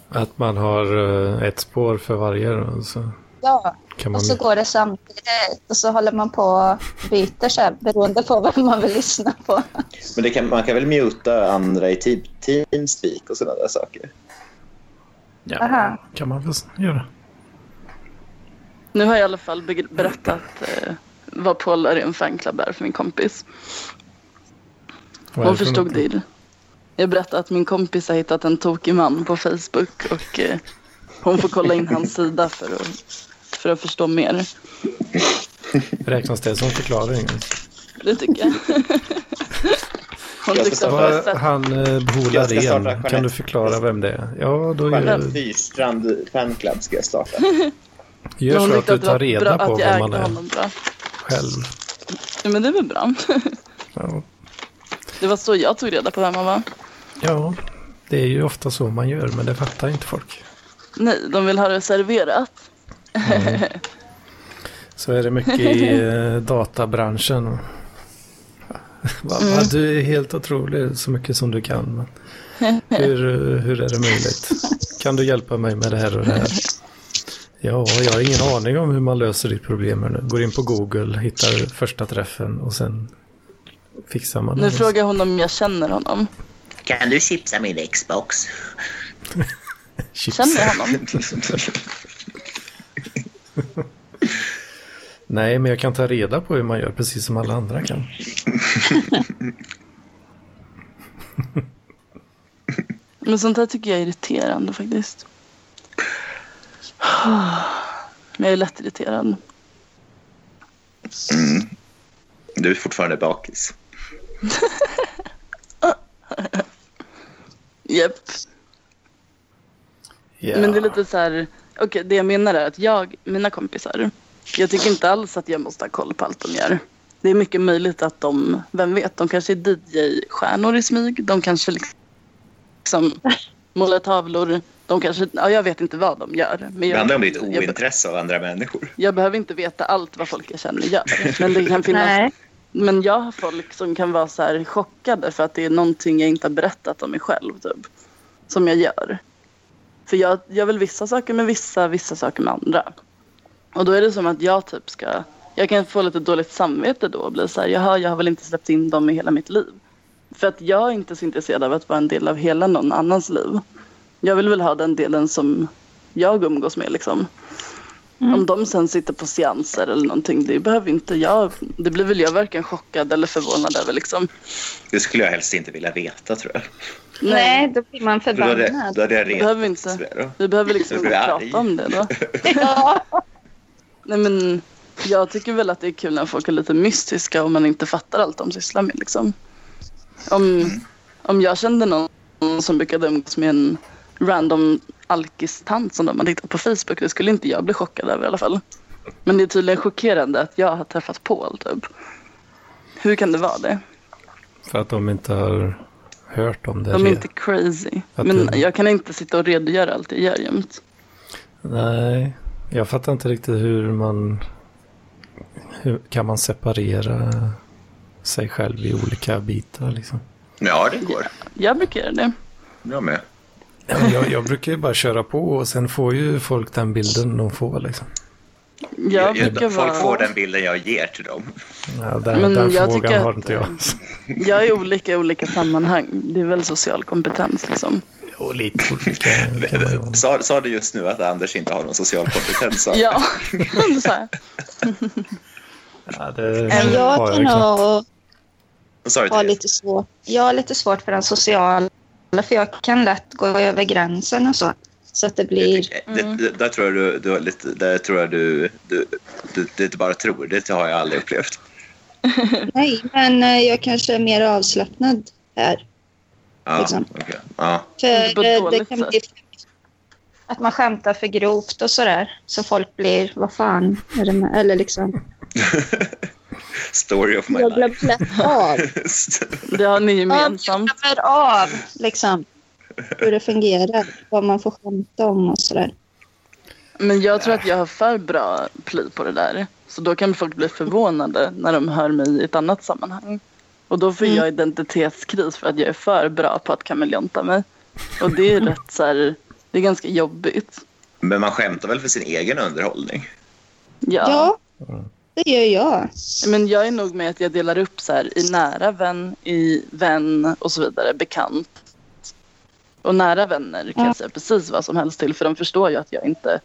B: Att man har eh, ett spår för varje. då, Så
D: Ja,
B: kan man...
D: och så går det samtidigt och så håller man på och byter så här, beroende på vem man vill lyssna på.
E: Men det kan, man kan väl muta andra i te- Teamspeak och sådana där saker?
D: Aha.
B: ja, kan man väl göra.
C: Nu har jag i alla fall be- berättat eh, vad Paul är i en fanclub är för min kompis.
B: Vad är
C: Hon
B: för
C: förstod
B: något?
C: det. ju. Jag berättade att min kompis har hittat en tokig man på Facebook och eh, hon får kolla in hans sida för att, för att förstå mer.
B: Räknas det som förklaring?
C: Det tycker jag. Hon
E: Jag ska
C: tyckte att det var
B: Vad-
C: sött.
B: Han eh, Bo
E: Jag ska starta
B: Larén,
E: Jeanette.
B: kan du förklara vem det är? Ja, då gör,
E: Jeanette Fyrstrand fanclub ska jag starta.
B: gör
C: Hon
B: så att
C: tyckte
B: du
C: att det
B: tar
C: var bra
B: reda på
C: att jag
B: vem man
C: ägde
B: är
C: honom bra.
B: själv.
C: Ja, men det är väl bra.
B: Ja.
C: Det var så jag tog reda på vem han var.
B: ja, det är ju ofta så man gör, men det fattar inte folk.
C: Nej, de vill ha det serverat.
B: Så är det mycket i eh, databranschen. Va, va, du är helt otrolig, så mycket som du kan. Men hur, eh, hur är det möjligt? Kan du hjälpa mig med det här och det här? Ja, jag har ingen aning om hur man löser ditt problem. här nu. Går in på Google, hittar första träffen och sen fixar man
C: Nu
B: det.
C: frågar hon om jag känner honom.
J: Kan du chipsa min Xbox?
B: Chips.
C: Känner jag honom?
B: Nej, men jag kan ta reda på hur man gör, precis som alla andra kan.
C: Men sånt här tycker jag är irriterande faktiskt. Men jag är lätt irriterad.
E: Du är fortfarande bakis.
C: Japp.
B: Ja.
C: Men det är lite så här... Okej, det jag menar är att jag, mina kompisar, jag tycker inte alls att jag måste ha koll på allt de gör. Det är mycket möjligt att de, vem vet, de kanske är DJ-stjärnor i smyg. De kanske liksom, liksom målar tavlor. De kanske, ja, jag vet inte vad de gör. Men
E: Det
C: jag,
E: handlar om ditt
C: jag,
E: ointresse av andra människor.
C: jag behöver inte veta allt vad folk jag känner gör. Men det kan finnas Men jag har folk som kan vara så här chockade för att det är någonting jag inte har berättat om mig själv. Typ, som jag gör. För jag, jag vill vissa saker med vissa, vissa saker med andra. Och då är det som att jag typ ska... Jag kan få lite dåligt samvete då och bli så här, jaha, jag har väl inte släppt in dem i hela mitt liv. För att jag är inte så intresserad av att vara en del av hela någon annans liv. Jag vill väl ha den delen som jag umgås med liksom. Om de sen sitter på seanser eller någonting, det behöver inte jag. Det blir väl jag varken chockad eller förvånad över liksom.
E: Det skulle jag helst inte vilja veta, tror jag.
D: Nej, då blir man
E: Då hade,
D: förbannad.
E: då hade jag
C: Det
E: retat
C: behöver vi inte.
E: mig då.
C: Vi behöver liksom
E: Jag blir
C: inte
E: arg.
C: prata om det då.
D: Ja,
C: Nej men, jag tycker väl att det är kul när folk är lite mystiska och man inte fattar allt de sysslar med liksom. Om, om jag kände någon som brukade umgås med en random alkistant som de hade hittat på Facebook, det skulle inte jag bli chockad över i alla fall. Men det är tydligen chockerande att jag har träffat Paul typ. Hur kan det vara det?
B: För att de inte har hört om det.
C: De är
B: redan.
C: inte crazy.
B: Att
C: Men
B: du-
C: jag kan inte sitta och redogöra allt jag gör jämt.
B: Nej, jag fattar inte riktigt hur man... Hur kan man separera sig själv i olika bitar liksom?
E: Ja, det går.
C: Jag brukar göra det.
E: Jag med.
B: Ja, men Jag, jag brukar ju bara köra på och sen får ju folk den bilden de får liksom.
C: Jag
E: Jag-
C: brukar
E: folk får
C: vara...
E: den bilden jag ger till dem.
B: Ja, den
C: Men
B: den
C: jag
B: frågan
C: tycker
B: har
C: att-
B: inte jag.
C: Jag är olika i olika sammanhang. Det är väl social kompetens liksom.
B: Och lite olika kan man ju vara.
E: Sa, sa du just nu att Anders inte har någon social kompetens? sa du?
C: Ja, så här.
B: ja, det
D: men jag
B: har jag
D: kan
B: liksom- knappt.
D: nog
E: Vad sa du
D: ha
E: till
D: lite svårt. Jag har lite svårt för den sociala, för jag kan lätt gå över gränsen och så. Så att det blir...
E: det, Eh,
C: Mm.
E: det, där tror jag du, du har lite, där tror jag du, du, du, det är inte bara tror, det har jag aldrig upplevt.
D: Nej, men eh, jag kanske är mer avslappnad här.
E: Ja,
D: Liksom.
E: okej. ja.
C: Inte på
D: För
C: ett
D: eh, det
C: dåligt
D: kan
C: sätt.
D: bli att man skämtar för grovt och sådär. Så folk blir, vad fan är det med? Eller liksom,
E: Story of my
D: jag
E: life.
D: glömmer lätt av.
C: Det har ni
D: Ja, men jag
C: gemensamt.
D: glömmer av liksom hur det fungerar, vad man får skämta om och sådär.
C: Men jag tror att jag har för bra pli på det där. Så då kan folk bli förvånade när de hör mig i ett annat sammanhang. Och då får jag identitetskris för att jag är för bra på att kameleonta mig. Och det är rätt så här, det är ganska jobbigt.
E: Men man skämtar väl för sin egen underhållning?
C: Ja.
D: Ja, det gör jag.
C: Men jag är nog med att jag delar upp så här i nära vän, i vän och så vidare, bekant. Och nära vänner kan jag säga precis vad som helst till för de förstår ju att jag inte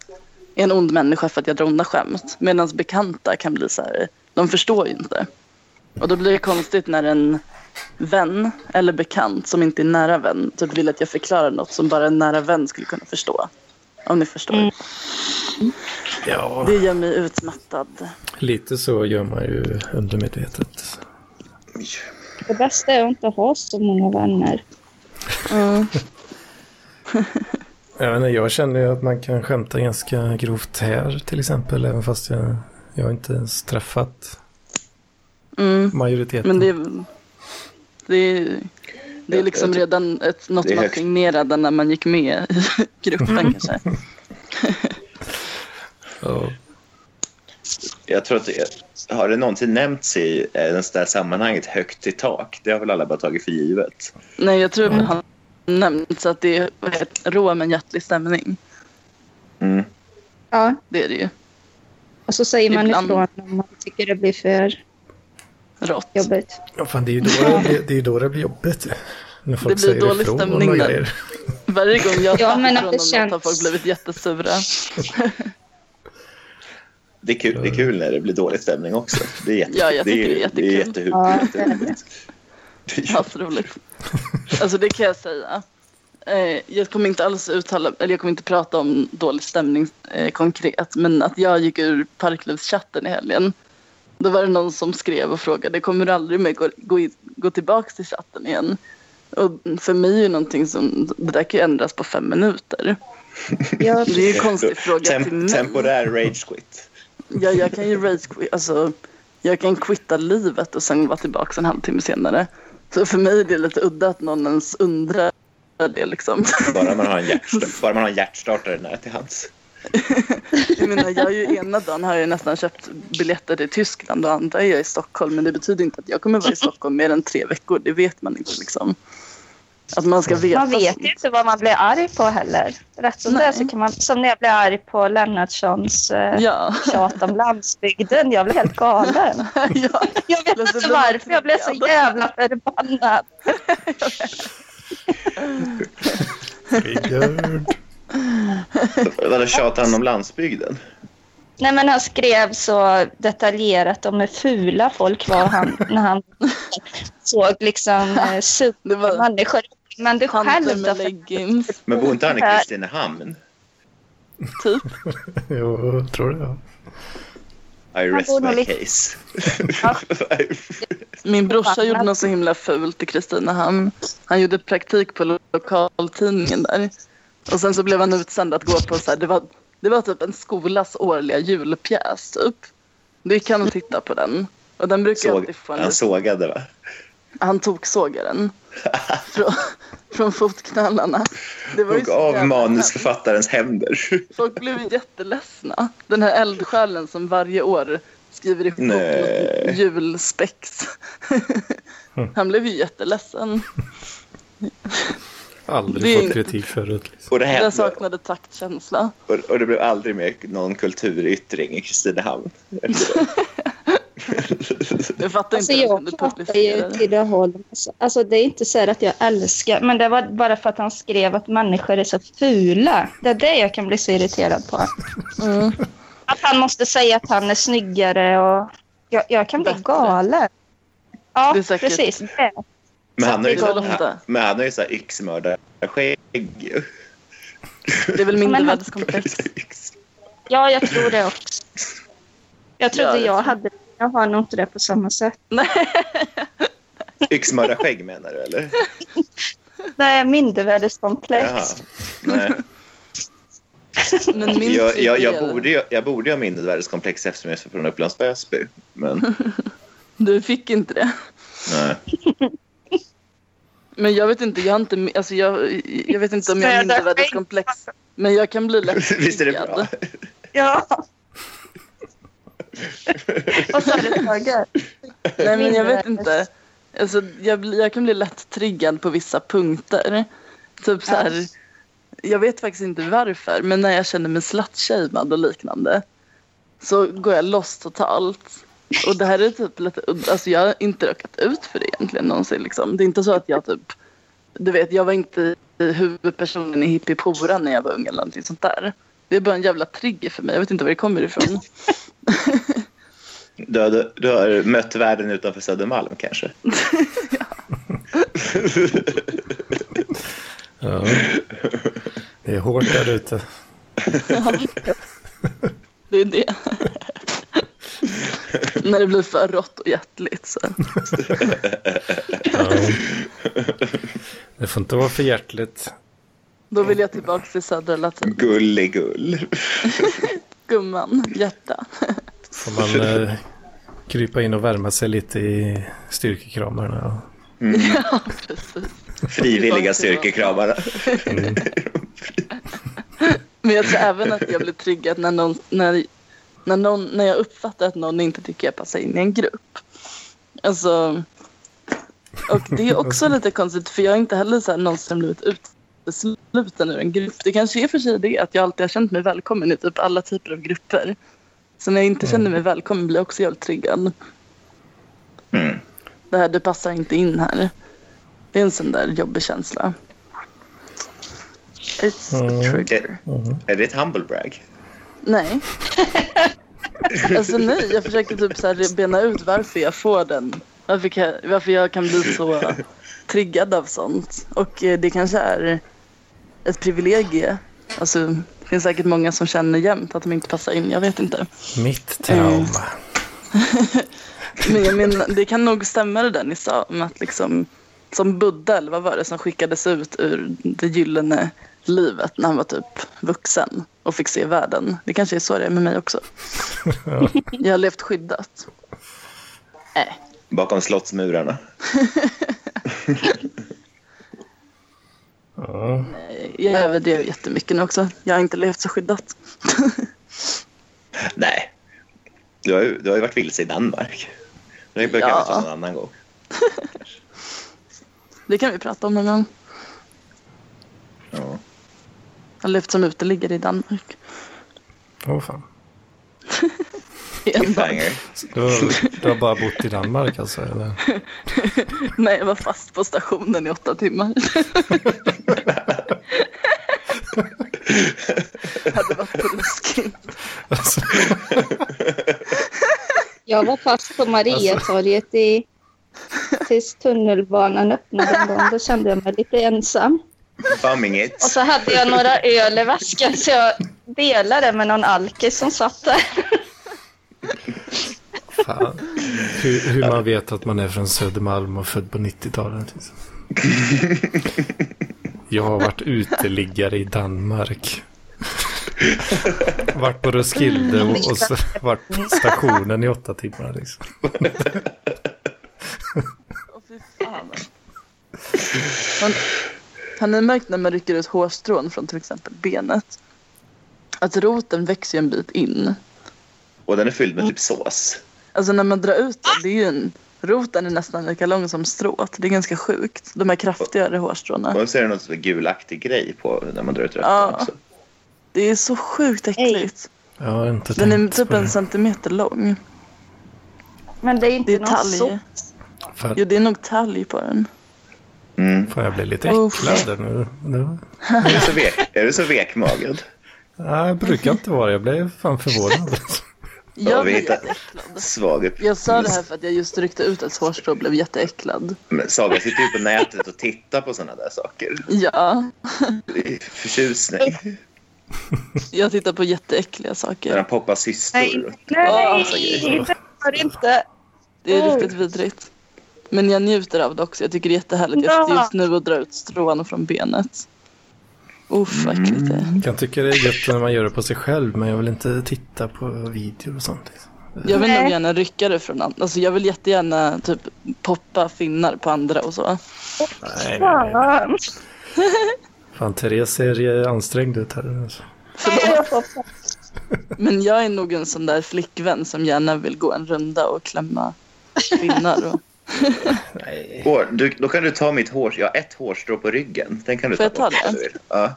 C: är en ond människa för att jag drar onda skämt. Medan bekanta kan bli så här, de förstår ju inte. Och då blir det konstigt när en vän eller bekant som inte är nära vän typ vill att jag förklarar något som bara en nära vän skulle kunna förstå. Om ni förstår.
B: Ja,
C: Det gör mig utmattad.
B: lite så gör man ju undermedvetet.
D: Det bästa är att inte ha så många vänner.
C: Mm.
B: Jag, vet inte, jag känner ju att man kan skämta ganska grovt här till exempel, även fast jag, jag har inte ens träffat
C: Mm.
B: majoriteten.
C: Men det är, det är, det är liksom redan ett, något
E: Det är
C: man
E: högt.
C: signerade när man gick med i gruppen kanske.
B: Ja.
E: Jag tror att det, har det någonsin nämnts i eh, det där sammanhanget högt i tak? Det har väl alla bara tagit för givet.
C: Nej, jag tror han nämnt så att det är vad heter det, rå men hjärtlig stämning.
E: Mm.
D: Ja,
C: Det är det ju.
D: och så säger man
C: Ibland.
D: ifrån om man tycker det blir för
C: Rått.
D: jobbigt.
B: Ja, fan, det är ju då det, blir- det, är ju då det blir jobbigt. När folk
C: blir
B: säger
C: dålig
B: ifrån och
C: stämning där.
B: grejer.
C: Varje gång jag
D: Ja,
C: har
D: men
C: sagt ifrån om
D: att det
C: något
D: känns-
C: har folk blivit jättesura.
E: Det är, kul, det är kul när det blir dålig stämning också. Det är jätte,
C: Ja, jag tycker det är
E: det är
C: jättekul.
E: jättehuvud-
D: Ja.
E: jätteroligt.
C: Asroligt. Alltså det kan jag säga. Eh, jag kommer inte alls uttala, eller jag kommer inte prata om dålig stämning eh, konkret, men att jag gick ur Parklövschatten i helgen. Då var det någon som skrev och frågade, kommer du aldrig mer gå, gå, i- gå tillbaka till chatten igen? Och för mig är ju någonting som, det där kan ju ändras på fem minuter.
D: Ja,
C: Det är ju en konstig fråga till
E: Tem,
C: mig.
E: temporär rage quit.
C: Ja, jag kan ju rage quit, alltså jag kan quitta livet och sen vara tillbaka en halvtimme senare. Så för mig är det lite udda att någon ens undrar det liksom.
E: Bara man har en, hjärtstart, bara man har en hjärtstartare nära till hands.
C: Jag menar, jag är ju ena dagen har jag nästan köpt biljetter till Tyskland och andra är jag i Stockholm. Men det betyder inte att jag kommer vara i Stockholm mer än tre veckor. Det vet man inte liksom. Att man ska veta.
D: Man vet ju inte vad man blir arg på heller. Rätt som det är så
C: Nej.
D: kan man, som när jag blev arg på Lennartssons eh,
C: Ja.
D: tjat om landsbygden. Jag blev helt galen.
C: ja.
D: Jag vet
C: Eller så
D: inte
C: blir man
D: varför, jag blev så
C: triggad.
D: jävla förbannad.
B: Triggered.
E: Eller tjatar han om landsbygden?
D: Nej, men han skrev så detaljerat om hur fula folk var han, när han såg liksom
C: Det
D: eh,
C: var-
D: supermänniskor. Men du
C: Tanter
D: själv då?
C: med
D: för-
C: leggings,
E: Men bor inte han i Kristinehamn?
C: typ.
B: Jo, jag tror det. Ja.
E: I rest
D: bor nog
E: my
D: lite-
E: case.
D: Ja.
C: Min brorsa gjorde något så himla fult i Kristinehamn. Han gjorde praktik på lo- lokaltidningen där. Och sen så blev han utsänd att gå på så här, det var, det var typ en skolas årliga julpjäs typ. Du kan och titta på den. Och den brukar
E: Såg,
C: alltid få en
E: han sågade, va?
C: han togsågar den. Från, från fotknölarna. Det var ju
E: Hugg
C: så
E: av
C: jävla hemskt.
E: manusförfattarens händer.
C: Folk blev jätteledsna. Den här eldsjälen som varje år skriver ihop
E: Nej.
C: något julspex. Han blev ju jätteledsen.
B: Aldrig
C: Det är
B: fått
C: inte-
B: kritik förut. Liksom.
E: Och det,
C: Jag
E: hände,
C: saknade taktkänsla.
E: och, och det blev aldrig mer någon kulturyttring i Kristinehamn. efter det.
C: Jag fattar
D: Alltså
C: inte hur
D: jag
C: kunde
D: pratar ju
C: publicera det.
D: Tidaholm. Alltså, Alltså det är inte så här att jag älskar, men det var bara för att han skrev att människor är så fula. Det är det jag kan bli så irriterad på.
C: Mm.
D: Att han måste säga att han är snyggare och jag, jag kan bli
C: Bättre.
D: galen. Ja,
C: Det är säkert-
D: precis. Det.
E: Men han har ju,
C: Det är väl ofta.
E: men han har ju så här yxmördarskägg.
C: Det är väl
D: Men han-
C: mindervärdeskomplex.
D: Ja, jag tror det också. Jag trodde
C: Ja, det-
D: jag hade Jag har nog inte det på samma sätt.
E: Yxmördarskägg menar du, eller?
D: Det är mindervärdeskomplex.
E: Jaha. Nej.
C: Men min
E: Jag, jag, jag,
C: tydliga-
E: borde, ju- jag borde ju ha mindervärdeskomplex eftersom jag är från Upplands Väsby. Men
C: Du fick inte det.
E: nej.
C: Men jag vet inte, jag har inte, alltså jag, jag vet inte om jag har
D: Städa
C: mindervärdeskomplex. Men jag kan bli lätt
E: Visst är det
C: triggad.
E: bra?
D: Ja. Vad sa du Tage?
C: Nej men jag vet
D: Mindervärdes-
C: inte. Alltså, jag, bli- jag kan bli lätt triggad på vissa punkter. Typ så här, Jag vet faktiskt inte varför men när jag känner mig slutshamed och liknande så går jag loss totalt. Och det här är typ lite udda. Alltså jag har inte råkat ut för det egentligen någonsin. Liksom. Det är inte så att jag typ, du vet jag var inte huvudpersonen i Hippie-Pora när jag var ung eller någonting sånt där. Det är bara en jävla trigger för mig. Jag vet inte var det kommer ifrån.
E: Du har, du har mött världen utanför Södermalm kanske?
B: Ja. Det är hårt där ute.
C: Det är det. När det blir för rått och hjärtligt. Så.
B: Ja. Det får inte vara för hjärtligt.
C: Då vill jag tillbaka till södra latin.
E: Gulligull.
C: Gumman, hjärta.
B: Får man eh, krypa in och värma sig lite i styrkekramarna. och-
C: Ja, precis.
E: Frivilliga styrkekramare.
C: Men jag tror även att jag blir triggad när, någon, när, när, någon, när jag uppfattar att någon inte tycker jag passar in i en grupp. Alltså, och det är också lite konstigt för jag har inte heller så här någonsin blivit utesluten ur en grupp. Det kanske är för sig det att jag alltid har känt mig välkommen i typ alla typer av grupper. Så när jag inte känner mig välkommen blir jag också jävligt triggad.
E: Mm.
C: Det här, du passar inte in här. Det är en sån där jobbig känsla. It's a trigger.
E: Är det ett humble brag?
C: Nej. alltså nej, jag försöker typ så här bena ut varför jag får den. Varför, kan, varför jag kan bli så triggad av sånt. Och eh, det kanske är ett privilegie. Alltså, det finns säkert många som känner jämt att de inte passar in. Jag vet inte.
B: Mitt
C: Mm.
B: trauma.
C: Men jag menar, det kan nog stämma det där ni sa om att liksom som Buddha eller vad var det som skickades ut ur det gyllene livet när han var typ vuxen och fick se världen. Det kanske är så det är med mig också. Jag har levt skyddat.
E: Bakom slottsmurarna.
B: Ja.
C: Jag överdrev jättemycket nu också. Jag har inte levt så skyddat.
E: Nej. Du har, ju, du har ju varit vilse i Danmark. Det brukar
C: Ja.
E: jag ta någon annan gång.
C: Det kan vi prata om någon gång.
E: Ja.
C: Jag har levt som uteliggare i Danmark.
B: Åh fan.
C: I en dag.
E: Banger.
B: Du har, du har bara bott i Danmark alltså? Eller?
C: Nej, jag var fast på stationen i åtta timmar. Det hade varit på läskigt.
B: Alltså,
D: Jag var fast på Mariatorget i, tills tunnelbanan öppnade en gång. Då kände jag mig lite ensam.
E: Bumming it.
D: Och så hade jag några öl i väskan så jag delade med någon alkis som satt där.
B: fan. Hur, hur man vet att man är från Södermalm och född på 90-talet. Liksom. Jag har varit uteliggare i Danmark. Varit på Roskilde och, och så, varit på stationen i åtta timmar. Liksom.
C: Åh, fy fan. Har, har ni märkt när man rycker ut hårstrån från till exempel benet? Att roten växer ju en bit in.
E: Och den är fylld
C: Mm.
E: med typ sås.
C: Alltså när man drar ut den, det är ju en, roten är nästan lika lång som strået. Det är ganska sjukt. De här kraftigare hårstråna.
E: Och så är det någon sån gulaktig grej på när man drar ut rötterna
C: Ja.
E: också.
C: Det är så sjukt äckligt.
B: Jag har inte
C: Den är
B: tänkt
C: typ
B: på
C: en
B: det.
C: centimeter lång.
D: Men det är ju inte
C: Det är
D: någon
C: talg.
D: sop.
B: Fan,
C: Jo, det är nog talg på den.
E: Mm.
B: fan, jag blir lite
C: Uff.
B: äcklad nu. nu.
E: Är, du så vek, är du så vekmagad?
B: Nej, jag brukar inte vara Jag blev fan förvånad.
E: Ja,
C: Jag
E: vi
C: blir
E: hittar-
C: jätteäcklad.
E: Svag upp...
C: Jag sa det här för att jag just ryckte ut ett hårstrå och blev jätteäcklad.
E: Men Saga sitter ju på nätet och tittar på såna där saker.
C: Ja,
E: I Förtjusning.
C: jag tittar på jätteäckliga
E: När
C: saker.
E: han poppar systor.
D: Nej,
C: Ja, alltså,
D: nej,
C: så
D: det var det inte.
C: Det är riktigt vidrigt. Men jag njuter av det också. Jag tycker det är jättehärligt just,
D: Ja.
C: just nu att dra ut strån från benet. Uff, vad äckligt det är.
B: Jag kan tycka det är gött när man gör det på sig själv, men jag vill inte titta på videor och sånt. Liksom.
C: Jag vill nog
D: Nej.
C: gärna rycka det från andra. Alltså jag vill jättegärna typ poppa finnar på andra och så.
B: Nej, nej.
D: Fan.
B: Fan, Therese ser eh, ansträngd ut här. Alltså.
C: Men jag är nog en sån där flickvän som gärna vill gå en runda och klämma finnar. Och...
E: Hår, du, då kan du ta mitt hår. Jag har ett hårstrå på ryggen. Den kan du
C: Får
E: ta
C: jag ta
E: bort om
C: det?
E: du vill. Ja.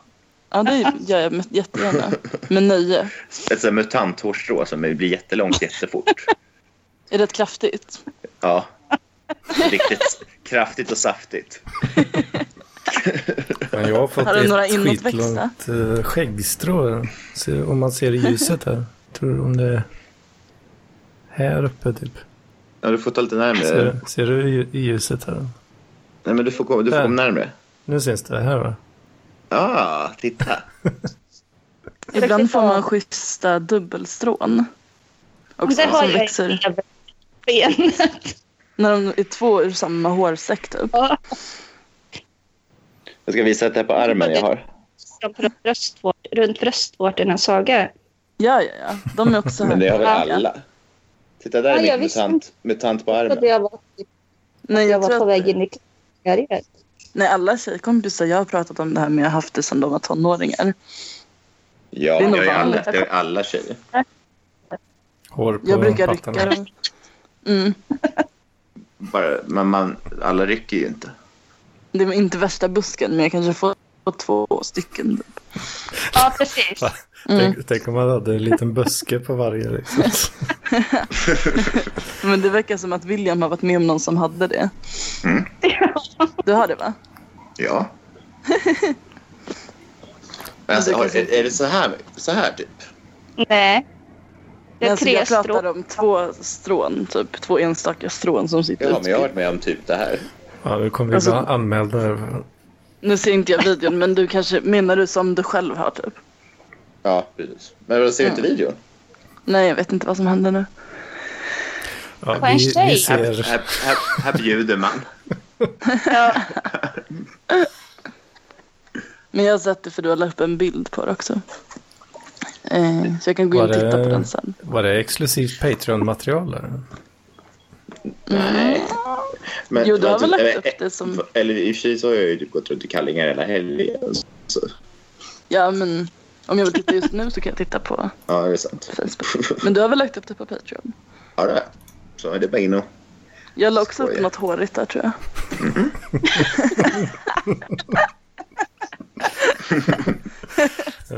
C: Ja, det gör jag med- jättegärna. Med nöje.
E: Ett sånt mutanthårstrå som blir jättelångt jättefort.
C: Är det rätt kraftigt?
E: Ja. Riktigt kraftigt och saftigt.
B: Men jag har fått
C: Har du
B: ett
C: några inåtväxta?
B: skitlångt eh, skäggstrå. Se, om man ser i ljuset här. Tror du om det är här uppe typ?
E: Ja, du får ta lite
B: Ser,
C: Eh.
E: närmare.
B: ser du i, i ljuset här?
E: Nej, men du får komma, du får
B: Där.
E: komma närmare.
B: Nu syns det här va?
E: Ah, titta.
C: Ibland får man schyssta dubbelstrån.
D: Men
C: Också,
D: det har
C: som
D: jag
C: växer.
D: i benet.
C: När de är två ur samma hårsäck typ.
E: Jag ska visa att det här på armen jag har.
D: Runt bröstvårt- Runt bröstvårtorna, Saga.
C: Ja, ja, ja. De är också
E: Men det har väl
D: Ja.
E: alla? Titta, där
D: Ja,
E: är
D: jag
E: min
D: visste
E: mutant, mutant på
D: Och
E: armen.
D: det var,
C: Nej,
D: jag
C: jag
D: var på
C: tror att,
D: väg in i karriär.
C: nej, alla tjejkompisar jag har pratat om det här med har haft det sedan de var tonåringar.
E: Ja,
C: Det är
E: det
C: nog
E: har ju alla,
C: vanligt.
E: det har ju alla tjejer.
B: Hår på
C: Jag brukar
B: pattarna.
C: rycka dem. Mm.
E: Bara, men man, alla rycker ju inte.
C: Det är inte värsta busken, men jag kanske får två stycken. Mm.
D: Ja, precis.
B: Tänk, tänk om man hade en liten buske på varje. Liksom.
C: Men det verkar som att William har varit med om någon som hade det.
E: Mm.
C: Du har det, va?
E: Ja. alltså,
C: det
E: har,
C: kanske-
E: är, är det så här, så här typ?
D: Nej. Det
C: Men
D: är
C: alltså,
D: tre
C: jag pratar
D: strån.
C: om två strån, typ. Två enstaka strån som sitter
E: Ja, men jag har
C: utspritt.
E: varit med om typ det här.
B: Ja, nu kommer vi
C: Alltså-
B: bli anmälda. här.
C: Nu ser inte jag videon, men du kanske menar du som du själv har, typ?
E: Ja, precis. Men vad ser du inte videon?
C: Nej, jag vet inte vad som händer nu.
B: Ja,
D: På en
B: vi, vi
D: tjej.
E: Här,
B: ser
E: här, här, här bjuder man.
D: Ja.
C: Men jag har sett det för du har lagt upp en bild på det också. Eh, så jag kan gå
B: Var
C: in och titta på
B: det-
C: den sen.
B: Var det exklusivt Patreon-material? där?
E: Nej. Men,
C: Jo, du har
E: vad-
C: väl lagt upp
E: eller-
C: det som-
E: Eller i och för sig så har jag ju typ gått runt i kallingar hela helgen. Så,
C: Ja, men om jag vill titta just nu så kan jag titta på
E: ja, det är sant.
C: Facebook. Men du har väl lagt upp det på Patreon?
E: Ja, det är. Så är det bara in och...
C: Jag la också upp
E: Skoja.
C: något hårigt där, tror jag.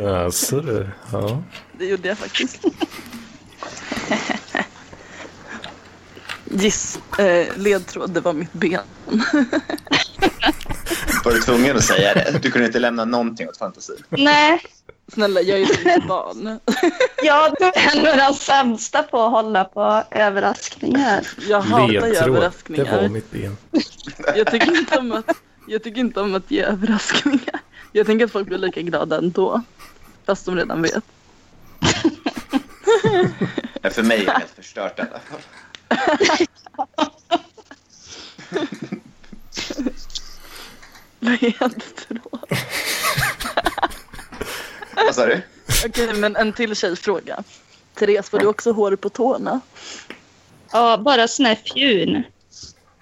B: Alltså du. Ja.
C: Det gjorde jag faktiskt. Giss, eh, ledtråd, det var mitt ben.
E: Var du tvungen att säga det? Du kunde inte lämna någonting åt fantasin.
D: Nej.
C: Snälla, jag är ju inte ett barn.
D: Ja, du är nog den sämsta på att hålla på överraskningar.
C: Jag hatar ju
B: Ledtråd. Det var
C: överraskningar.
B: mitt ben.
C: Jag tycker, inte om att, jag tycker inte om att ge överraskningar. Jag tänker att folk blir lika glada ändå. Fast de redan vet.
E: Men För mig är det helt förstört i alla fall.
C: Ledtråd.
E: Vad sa du?
C: Okej, men en till tjejfråga. Therese, får du också hår på tårna?
D: Ja, bara sån här fjun.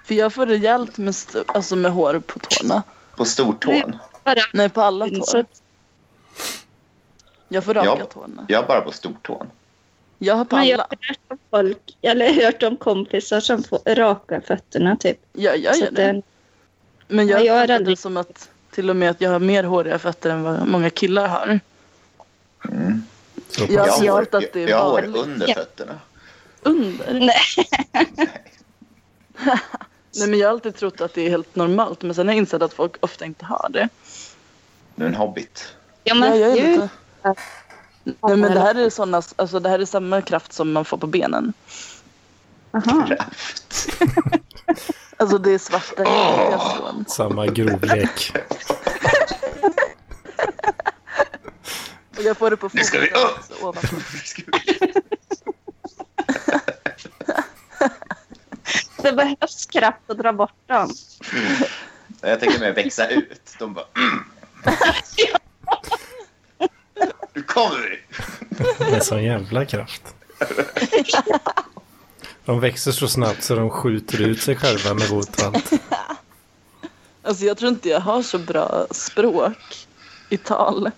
C: För jag får rejält med, stu- alltså med hår på tårna.
E: På stortån?
D: Bara
C: Nej, på alla
D: fjun.
C: tår.
D: Mm, Så,
C: Jag får raka
E: Ja.
C: tårna.
E: Jag bara på stortån.
C: Jag har på
D: men jag
C: alla.
D: har hört om folk, eller hört om kompisar som får raka fötterna typ.
C: Ja, jag
D: Så
C: gör
D: att
C: det.
D: den-
C: Men jag,
D: Ja, jag är
C: uppfattar det
D: aldrig-
C: som att till och med att jag har mer håriga fötter än vad många killar har.
B: Så
C: Alltså, Jag
E: Jag
C: har
E: har,
C: hört att det
E: jag,
C: är
E: jag har
C: vanligt
E: under fötterna.
C: under.
D: Nej.
C: Nej, men jag har alltid trott att det är helt normalt, men sen har jag insett att folk ofta inte har det.
E: Nu är en hobbit.
D: Ja, men
C: jag är
D: fjun.
C: lite... Nej, men det här är såna, alltså det här är samma kraft som man får på benen.
D: Aha.
C: Alltså det är svarta riktiga strån.
B: Samma grovlek.
C: Och jag får det på
E: Nu
C: foten
E: ska vi upp!
C: också, ovanför.
D: Det behövs kraft att dra bort dem.
E: Jag tänker mig växa ut. De bara... Mm. Nu kommer vi!
B: Med sån jävla kraft. De växer så snabbt så de skjuter ut sig själva med rotvant.
C: Alltså jag tror inte jag har så bra språk i tal.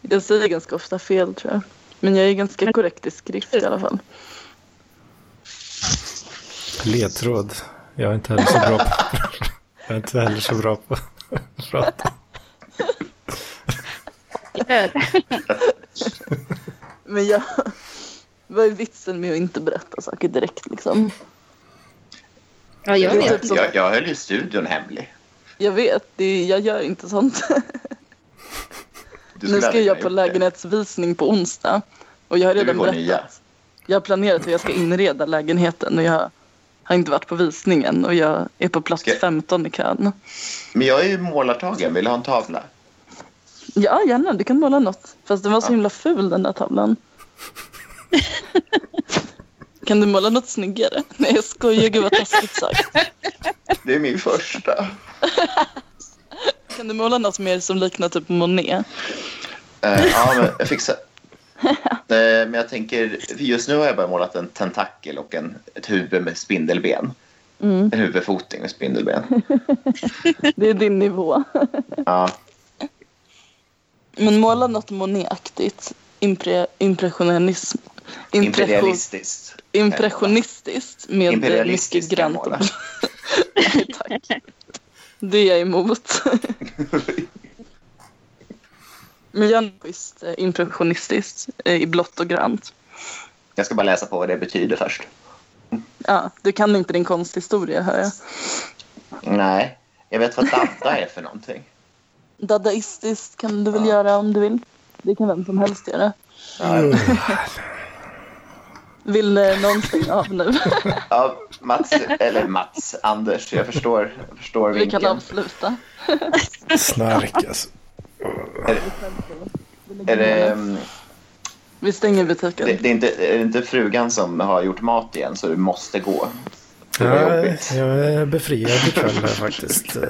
C: Jag säger ganska ofta fel tror jag. Men jag är ganska korrekt i skrift i alla fall.
B: Ledtråd. Jag är inte heller så bra på, jag är inte heller så bra på att prata.
C: Men jag... Vad är vitsen med att inte berätta saker direkt liksom?
D: Ja, jag
C: Det är
D: vet.
C: typ som-
E: Jag, jag höll ju studion hemlig.
C: Jag vet, det är, jag gör inte sånt.
E: Du skulle
C: Nu ska
E: aldrig
C: jag
E: kunna
C: på
E: gjort det.
C: lägenhetsvisning på onsdag. Och jag har
E: Du
C: redan
E: får nya.
C: berättat. Jag har planerat hur jag ska inreda lägenheten och jag har inte varit på visningen och jag är på plats
E: Ska-
C: 15 i kön.
E: Men jag är ju målartagen. Vill du ha en tavla?
C: Ja, gärna. Du kan måla något. Fast den var så
E: Ja.
C: himla ful den där tavlan. kan du måla något snyggare? Nej, jag skojar. Gud vad taskigt sagt.
E: Det är min första.
C: Kan du måla något mer som liknar typ Monet?
E: Eh, ja, men jag fixar. Eh, men jag tänker, för just nu har jag bara målat en tentakel och en, ett huvud med spindelben.
C: Mm.
E: En huvudfoting med spindelben.
C: Det är din nivå.
E: Ja,
C: Men måla något Monet-aktigt. Impre- impressionism. Impression-
E: imperialistiskt.
C: Impressionistiskt med mycket
E: Imperialistiskt kan
C: grönt.
E: jag
C: och
E: måla.
C: blått. Tack. Det är jag emot. Men jag är visst eh, impressionistiskt eh, i blått och grönt.
E: Jag ska bara läsa på vad det betyder först.
C: Ja, du kan inte din konsthistoria, hör jag.
E: Nej, jag vet vad dadda är för någonting.
C: Dadaistiskt kan du väl göra om du vill. Det kan vem som helst göra.
E: Ja,
C: Vill eh, någon stänga av nu?
E: ja, Mats, eller Mats, Anders, jag förstår, jag förstår
C: Vi kan
E: vinkeln.
C: avsluta.
B: Snark alltså.
E: Är det, ehm,
C: Vi stänger
E: det,
C: butiken.
E: det är, inte, är det inte frugan som har gjort mat igen så du måste gå? Det var
B: Ja,
E: jobbigt.
B: jag är befriad ikväll här faktiskt. Eh,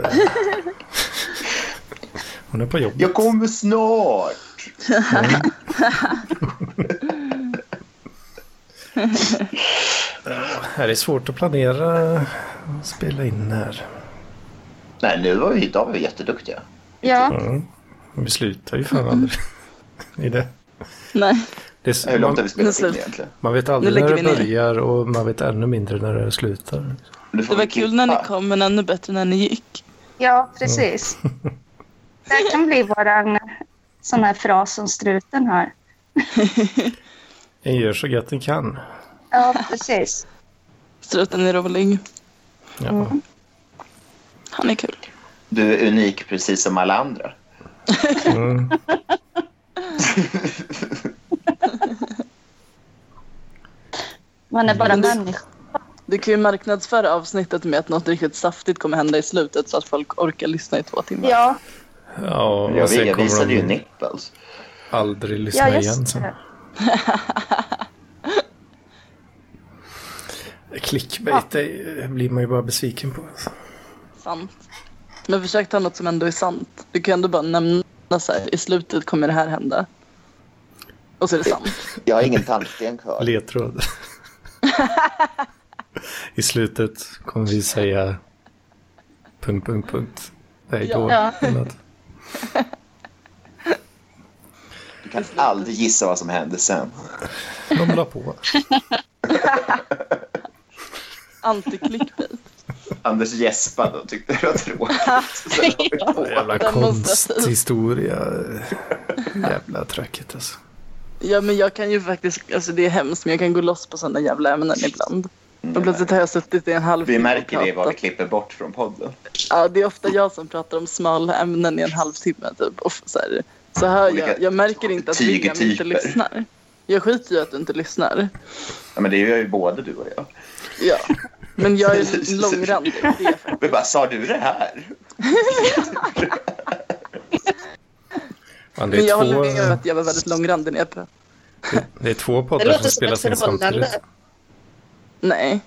B: Hon är på jobbet.
E: Jag kommer snart!
B: Här är svårt att planera och spela in här.
E: Nej, nu var vi, idag var vi jätteduktiga.
D: Ja,
B: Mm. Vi slutar ju fan aldrig. I det.
C: Nej,
B: det är, så-
E: Hur långt har
B: man,
E: vi spelat
C: Nu
E: in
C: slut.
E: egentligen?
B: man vet
C: Nu
B: aldrig
C: lägger
B: när det
C: vi ner.
B: börjar och man vet ännu mindre när det slutar.
E: Du
C: det
E: får
C: var
E: väl
C: kul när ni
E: klippa.
C: kom men ännu bättre när ni gick.
D: ja precis. Det här kan bli våran sån här fras som struten har.
B: En gör så gott en kan.
D: Ja, precis.
C: Struten är rolig.
B: Ja.
C: Han är kul.
E: Du är unik precis som alla andra.
B: Mm.
D: Man är bara
C: Men det-
D: människa.
C: Du kan ju marknadsföra avsnittet med att något riktigt saftigt kommer hända i slutet så att folk orkar lyssna i två timmar.
D: Ja,
B: Ja, och
E: Jag,
B: sen
E: jag
B: kommer
E: visade ju alltså.
B: de
E: nipples.
B: aldrig lyssna
D: ja
B: igen
D: just
B: sen.
D: det.
B: Clickbait det blir man ju bara besviken på. alltså.
C: Sant. Men försök ta något som ändå är sant. Du kan ändå bara nämna så här, i slutet kommer det här hända. Och så är det sant.
E: Jag har ingen tandsten kvar.
B: Ledtråd. I slutet kommer vi säga punkt, punkt, punkt. Hej då.
D: Ja.
B: eller något.
E: Du kan aldrig gissa vad som hände sen.
B: De la på.
C: Antiklickbait.
E: Anders gäspade och tyckte det var tråkigt. Så la vi på.
B: Jävla
C: Den måste jag
B: konsthistoria. Jävla tråkigt alltså.
C: Ja men jag kan ju faktiskt, alltså det är hemskt men jag kan gå loss på sådana jävla ämnen ibland. Och plötsligt har jag suttit i en halvtimme
E: Vi
C: och
E: märker det i vad vi
C: pratat.
E: klipper bort från podden.
C: Ja, det är ofta jag som pratar om smala ämnen i en halvtimme. Typ. Och så, här, så hör
E: Olika
C: jag, jag märker inte att William inte
E: tygertyper.
C: lyssnar. Jag skiter ju att du inte lyssnar.
E: Ja, men det gör ju både du och jag.
C: Ja. Men jag är långrandig. Det är jag faktiskt.
E: Vi bara, sa du det här?
B: Fan, det,
C: Men jag håller
B: är
C: med om
B: två,
C: att jag var väldigt långrandig när jag pratade.
B: det är två
D: Det
B: poddar
D: låter
B: som
D: som ett
B: spelas in samtidigt.
D: förhållande.
C: Nej.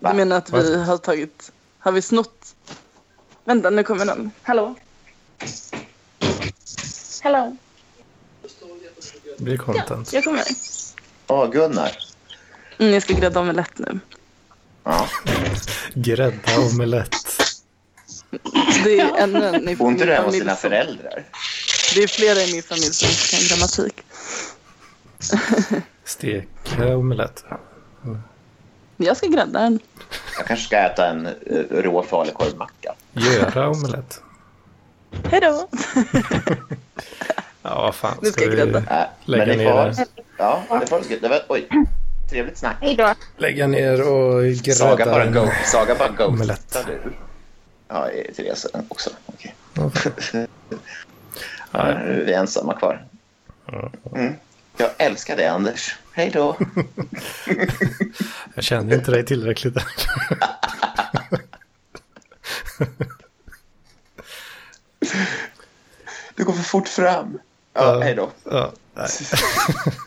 E: Va?
C: Du menar att
B: Va?
C: vi har tagit... Har vi snott? Vänta, nu kommer den. Hallå?
I: Hallå?
B: Det blir content.
C: Jag kommer.
E: Åh, Gunnar.
C: Mm, jag ska grädda omelett nu.
B: Grädda omelett.
C: Det är ännu en i
E: Bor inte du hemma hos
C: familj
E: dina
C: som-
E: föräldrar?
C: Det är flera i min familj som kan grammatik.
B: Steka omelett.
C: Jag ska grädda den.
E: Jag kanske ska äta en eh, rå falukorvmacka.
B: Göra omelett.
C: Hej då!
B: Ja, vad fan.
C: Nu ska jag grädda.
E: Äh,
B: Lägga
E: men det
B: ner
E: var,
B: det.
E: Ja, det var det var, Oj, trevligt snack.
D: Hej då.
B: lägga ner och
E: Saga
B: grädda
E: bara
B: en-
E: go. Saga bara go.
B: omelett.
E: Tittar du? Ja, eh, Therese också. Okej. Ja,
B: Ja,
E: nu är vi ensamma kvar. Mm. Jag älskar dig, Anders. Hej då.
B: jag känner inte dig tillräckligt.
E: Du går för fort fram. Ja, hej då.
B: Uh, Ja, nej.